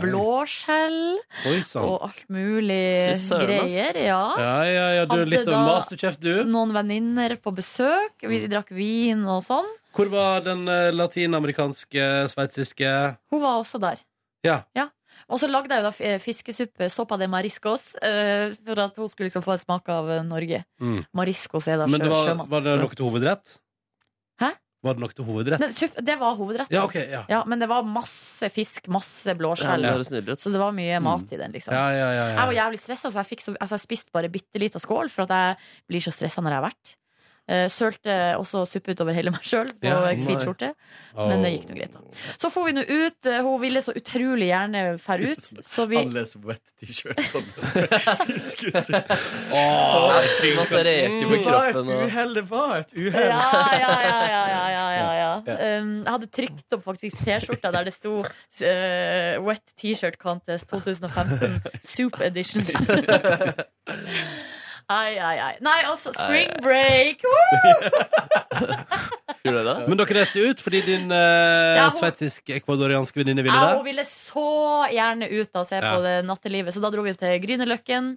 Speaker 6: blåskjell
Speaker 2: Oi sann.
Speaker 6: og alt mulig
Speaker 5: Fy søren, ass.
Speaker 6: greier. Ja.
Speaker 2: Ja, ja, ja, du er
Speaker 6: Hadde
Speaker 2: litt av
Speaker 6: da- Mm.
Speaker 2: en masterchef, du.
Speaker 6: Noen venninner på besøk. Vi drakk vin og sånn.
Speaker 2: Hvor var den eh, latinamerikanske, sveitsiske
Speaker 6: Hun var også der.
Speaker 2: Ja.
Speaker 6: Og så lagde jeg jo da f- fiskesuppe, soppa de mariscos, eh, for at hun skulle liksom få en smak av eh, Norge.
Speaker 2: Mm.
Speaker 6: Mariscos er da sjø,
Speaker 2: Men det var,
Speaker 6: sjømat.
Speaker 2: var det noe til hovedrett?
Speaker 6: Hæ?
Speaker 2: Var det noe til hovedrett?
Speaker 6: Nei, supp- det var hovedretten.
Speaker 2: Ja, ok, ja.
Speaker 6: Ja, men det var masse fisk, masse
Speaker 5: Ja,
Speaker 6: blåskjell.
Speaker 5: det høres nydelig ut.
Speaker 6: Så det var mye mat i den,
Speaker 2: Mm.
Speaker 6: liksom.
Speaker 2: Ja, ja, ja,
Speaker 6: Jeg var
Speaker 2: ja.
Speaker 6: jævlig stressa, så jeg, fikk så, altså, jeg spiste bare bitte lita skål, for at jeg blir så stressa når jeg har vært. Eh, Sølte også suppe utover hele meg sjøl på
Speaker 2: Ja,
Speaker 6: hvit
Speaker 2: nei.
Speaker 6: skjorte. Men det gikk nå greit, da. Så for vi nå ut. eh, Hun ville så utrolig gjerne fære ut, så vi
Speaker 8: Han leser wet t-shirt på fiskus.
Speaker 5: Masse reker på
Speaker 8: Det var et
Speaker 5: kroppen. Og...
Speaker 8: uhell, det var et
Speaker 6: ja,
Speaker 8: uhell.
Speaker 6: ja, ja, ja, ja, ja, ja, ja. Um, jeg hadde trykt opp faktisk T-skjorta der det sto eh, Wet T-shirt Contest 2015 Soup Edition. Ai, ai, ai. Nei, altså, spring break! Woo!
Speaker 5: Gjorde dere det?
Speaker 2: Men dere reiste ut fordi din eh,
Speaker 6: Ja, hun-
Speaker 2: sveitsisk-ekvadorianske venninne ville
Speaker 6: Ja,
Speaker 2: det?
Speaker 6: hun ville så gjerne ut da, og se
Speaker 2: Ja.
Speaker 6: på det nattelivet, så da dro vi til Grünerløkken.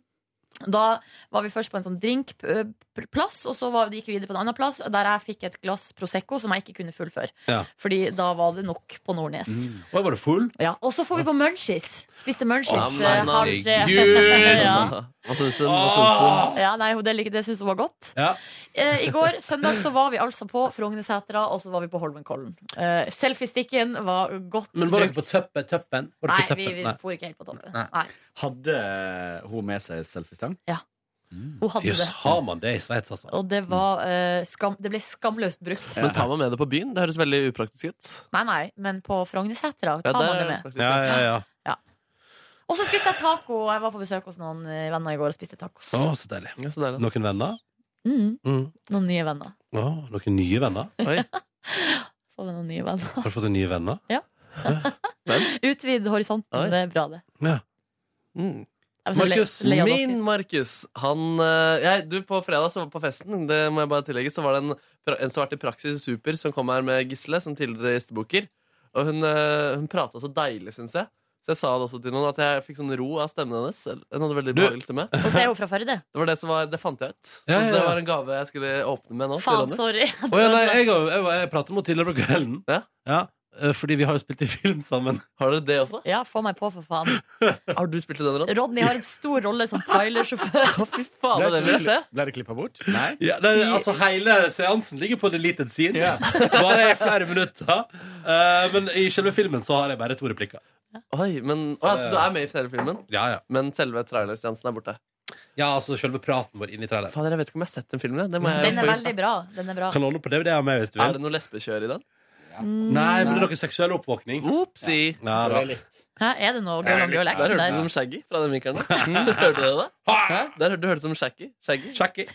Speaker 6: Da var vi først på en sånn drinkplass, og så var, gikk vi videre på en annen plass, der jeg fikk et glass Prosecco som jeg ikke kunne fullføre.
Speaker 2: Ja.
Speaker 6: Fordi da var det nok på Nordnes.
Speaker 2: Oi, var du full?
Speaker 6: Ja, og så får vi på Munchies. Spiste Munchies
Speaker 5: Å,
Speaker 6: eh,
Speaker 5: men
Speaker 6: halv tre.
Speaker 2: herregud!
Speaker 6: ja.
Speaker 5: Hva syns hun? Hva syns hun?
Speaker 6: Ja, nei, det, lik- det syns hun var godt.
Speaker 2: Ja.
Speaker 6: Eh, I går søndag så var vi altså på Frognersetra, og så var vi på Holmenkollen. Eh, Selfiestikken var godt
Speaker 2: Men var dere
Speaker 6: brukt.
Speaker 2: på tøppen? tøppen? Var
Speaker 6: Nei,
Speaker 2: dere på
Speaker 6: vi,
Speaker 2: tøppen?
Speaker 6: vi
Speaker 2: Nei.
Speaker 6: for ikke helt på toppen.
Speaker 2: Nei.
Speaker 6: Nei.
Speaker 8: Hadde eh, hun med seg selfiestang?
Speaker 6: Hun hadde
Speaker 2: Jøss,
Speaker 6: det.
Speaker 2: har man det i Sveits, altså?
Speaker 6: Og det, var, eh, skam, det ble skamløst brukt.
Speaker 5: Men tar man med det på byen? Det høres veldig upraktisk ut.
Speaker 6: Nei, nei, men på Frognersetra
Speaker 5: Ja,
Speaker 6: tar man det
Speaker 5: er
Speaker 6: med.
Speaker 5: praktisk.
Speaker 2: Ja, ja, ja.
Speaker 6: Og så spiste jeg taco. Jeg var på besøk hos noen eh, venner i går og spiste tacos.
Speaker 2: Å, så deilig.
Speaker 5: Ja, så deilig.
Speaker 2: Noen venner?
Speaker 6: Mm,
Speaker 2: Mm.
Speaker 6: noen nye venner.
Speaker 2: Å, noen nye venner?
Speaker 5: Oi.
Speaker 6: Få deg noen nye venner.
Speaker 2: Har du fått nye venner?
Speaker 6: Utvid horisonten.
Speaker 5: Oi.
Speaker 6: Det er bra, det.
Speaker 2: Ja.
Speaker 5: Mm.
Speaker 6: Jeg var så le-
Speaker 2: Markus,
Speaker 6: lei av det.
Speaker 5: Min Markus, han eh, jeg, Du, på fredag så var på festen, det må jeg bare tillegge, så var det en, pra- en som har vært i praksis i super, som kom her med Gisle, som tidligere gjestebukker. Og hun, eh, hun prata så deilig, syns jeg. Så jeg sa det også til noen, at jeg fikk sånn ro av stemmen hennes. Hun hadde veldig
Speaker 2: Du-
Speaker 5: behagelig stemme.
Speaker 6: Og så er hun fra Førde.
Speaker 5: Det var det som var, det fant jeg ut.
Speaker 2: Ja, ja, ja.
Speaker 5: Det var en gave jeg skulle åpne med nå. til
Speaker 6: Faen,
Speaker 5: Ronny.
Speaker 6: sorry.
Speaker 2: Å ja, nei, jeg, jeg, jeg, jeg prater mot tidligere på kvelden.
Speaker 5: Ja.
Speaker 2: eh, Fordi vi har jo spilt i film sammen.
Speaker 5: Har dere det også?
Speaker 6: Ja, få meg på, for faen.
Speaker 5: Har du spilt i den rollen?
Speaker 6: Rodney har en stor rolle som Tyler-sjåfør.
Speaker 5: Å, fy faen, det vil jeg se!
Speaker 8: Ble det klippa bort? Nei.
Speaker 2: Ja, det, er- altså Hele seansen ligger på deleted scenes.
Speaker 8: Ja.
Speaker 2: Bare i flere minutter. Eh, men i selve filmen så har jeg bare to replikker.
Speaker 5: Oi, men, å, ja, så du er med i hele filmen,
Speaker 2: Ja, ja.
Speaker 5: men selve trailerseansen er borte.
Speaker 2: ja altså Selve praten vår inni traileren.
Speaker 5: Fader, jeg vet ikke om jeg har sett den filmen. jeg. Det må jeg
Speaker 6: Den er
Speaker 5: få-
Speaker 6: veldig bra. Den er bra.
Speaker 2: Kan låne på DVD av meg hvis du
Speaker 5: Er
Speaker 2: vil.
Speaker 5: det noe lesbekjør i den?
Speaker 2: Nei, men det er noe seksuell
Speaker 5: Mm.
Speaker 2: oppvåkning.
Speaker 5: Opsi!
Speaker 2: Ja, da.
Speaker 6: Hæ, er det noe girl on girl
Speaker 5: Der
Speaker 6: action
Speaker 5: hørtes det
Speaker 6: der?
Speaker 5: som Shaggy fra den vinkelen. der. Hørte dere det? Hæ? Der hørte du hørtes det som Shaggy. Shaggy.
Speaker 2: Sjekk i.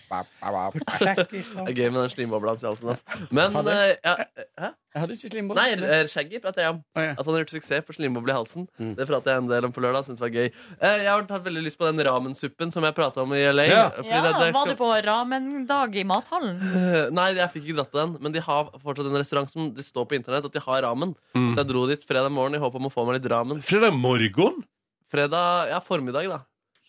Speaker 8: liksom.
Speaker 5: Det er gøy med den slimobla hans i halsen. Altså. Men eh, ja, hæ?
Speaker 8: Jeg hadde ikke slimbolle.
Speaker 5: Nei, eh, Shaggy prater jeg om.
Speaker 8: Å, ja.
Speaker 5: At han har gjort suksess på slimboble i halsen.
Speaker 2: Mm.
Speaker 5: Det prater jeg en del om på lørdag. Synes det var gøy Eh, Jeg har hatt veldig lyst på den ramensuppen som jeg prata om i LA.
Speaker 2: Ja.
Speaker 5: fordi
Speaker 6: Ja,
Speaker 5: det- det
Speaker 6: var
Speaker 5: skal-
Speaker 6: du på ramendag i mathallen?
Speaker 5: Eh, Nei, jeg fikk ikke dratt på den, men de har fortsatt en restaurant som det står på internett at de har ramen.
Speaker 2: Mm.
Speaker 5: Så jeg dro dit fredag morgen i håp om å få meg litt ramen.
Speaker 2: Fredag morgen?
Speaker 5: Fredag ja, formiddag, da.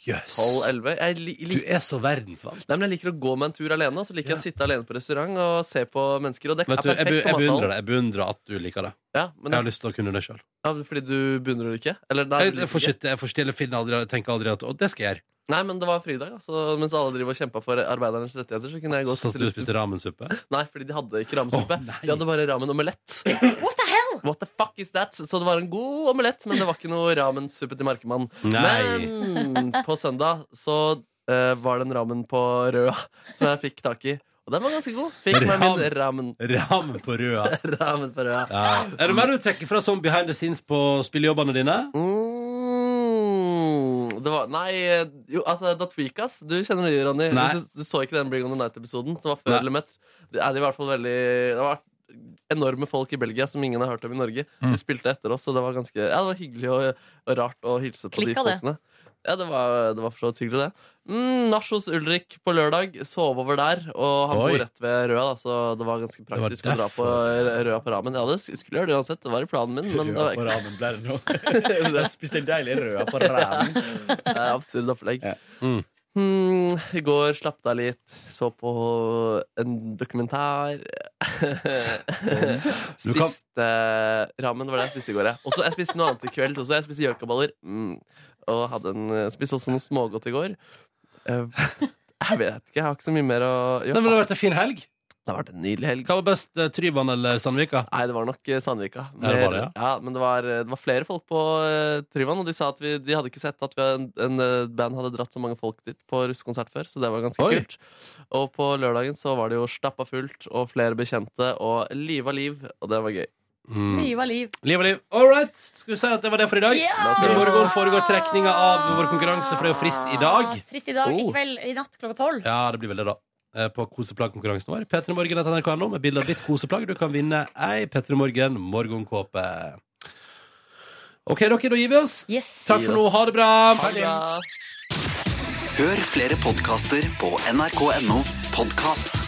Speaker 2: Jøss.
Speaker 5: 12-11. Jeg li
Speaker 2: Du er så verdensvant.
Speaker 5: Nei, men Jeg liker å gå meg en tur alene, og så liker jeg å sitte alene på restaurant og se på mennesker. Og det
Speaker 2: Vet
Speaker 5: er
Speaker 2: du, jeg,
Speaker 5: perfekt
Speaker 2: be, jeg
Speaker 5: på mathallen.
Speaker 2: beundrer det. Jeg beundrer at du liker det.
Speaker 5: Ja,
Speaker 2: Jeg
Speaker 5: men
Speaker 2: har
Speaker 5: jeg,
Speaker 2: lyst til å kunne det sjøl.
Speaker 5: ja, fordi du beundrer det ikke? Eller, nei,
Speaker 2: Jeg,
Speaker 5: du
Speaker 2: jeg, får
Speaker 5: liker
Speaker 2: ikke- jeg får stille Finn aldri, jeg tenker aldri at Å, det skal jeg gjøre.
Speaker 5: ikke. nei, men det var fridag, da, så mens alle driver og kjempa for arbeidernes rettigheter, så kunne jeg gå og
Speaker 2: Sånn at
Speaker 5: spise
Speaker 2: du
Speaker 5: litt
Speaker 2: spiste ramensuppe.
Speaker 5: Nei, fordi de hadde ikke ramensuppe.
Speaker 2: Å, nei.
Speaker 5: de hadde bare ramen omelett.
Speaker 6: What the hell?
Speaker 5: What the fuck is that? Så det var en god omelett, men det var ikke noe ramensuppe til Markemann.
Speaker 2: Nei.
Speaker 5: Men på søndag så eh, var det en ramen på Røa som jeg fikk tak i. Og den var ganske god. Fikk meg min ramen.
Speaker 2: Ramen på røda.
Speaker 5: ramen på Røa.
Speaker 2: Ja. Er det mer du trekker fra sånn behind the scenes på spillejobbene dine?
Speaker 5: Mm, det var, nei, jo, altså The Tweakers, du kjenner det, Ronny
Speaker 2: Nei.
Speaker 5: du, du så ikke den Bring on the Night-episoden Som var før
Speaker 2: Nei.
Speaker 5: eller mett Det er i hvert fall veldig Det var enorme folk i Belgia som ingen har hørt om i Norge
Speaker 2: Mm.
Speaker 5: De spilte etter oss, og det var ganske Ja, det var hyggelig og, og rart å hilse på
Speaker 6: Klikka
Speaker 5: de
Speaker 6: det?
Speaker 5: folkene Ja, det var, det var for så vidt hyggelig det mm, Nach hos Ulrik på lørdag Sov over der, og han
Speaker 2: Oi.
Speaker 5: bor rett ved Røa da, Så det var ganske
Speaker 2: var
Speaker 5: praktisk å dra på Røa på ramen Ja, det skulle gjøre det uansett, det var i planen min Men det var
Speaker 8: Røa på
Speaker 5: ikke
Speaker 8: ramen ble det nå. Jeg spiste en deilig røa på ræven.
Speaker 5: Det er absurd opplegg.
Speaker 8: Ja.
Speaker 2: Mm.
Speaker 5: Hmm, I går slapp deg litt, så på en dokumentar.
Speaker 2: Du kan-
Speaker 5: spiste ramen, var det jeg spiste i går. jeg. Og så jeg spiste noe annet i kveld også. Jeg spiste gjøkaballer. Mm. Og hadde en, spiste også noe smågodt i går. Eh, Jeg vet ikke, jeg har ikke så mye mer å
Speaker 2: Nei, men det har vært en fin helg.
Speaker 5: Det har vært en nydelig helg.
Speaker 2: Hva var best, eh, Tryvann eller Sandvika?
Speaker 5: Nei, det var nok eh, Sandvika.
Speaker 2: Ja, det var det,
Speaker 5: ja. men det var, eh, det var flere folk på uh, Tryvann, og de sa at vi, de hadde ikke sett at vi hadde en, en eh, band hadde dratt så mange folk dit på russekonsert før, så det var ganske
Speaker 2: Oi.
Speaker 5: kult. Og på lørdagen så var det jo stappa fullt, og flere bekjente, og liv av liv, og det var gøy.
Speaker 2: Mm.
Speaker 3: Liv av liv.
Speaker 2: Liv og liv. All right, skal vi si at det var det for i dag?
Speaker 3: Ja!
Speaker 5: La oss
Speaker 2: I
Speaker 5: gjøre det.
Speaker 2: morgen foregår trekninga av vår konkurranse, for det er jo frist i dag.
Speaker 3: Frist i dag.
Speaker 5: Oh.
Speaker 3: I kveld, i natt klokka tolv.
Speaker 2: Ja, det blir vel det, da. Eh, På koseplaggkonkurransen vår. P3morgen.nrk.no med bilde av ditt koseplagg. Du kan vinne ei P3 Morgen morgenkåpe. OK, dere, da gir vi oss.
Speaker 3: Yes.
Speaker 2: Takk for nå. Ha det bra.
Speaker 5: Ha det bra.
Speaker 1: Hør flere podkaster på nrk.no podkast.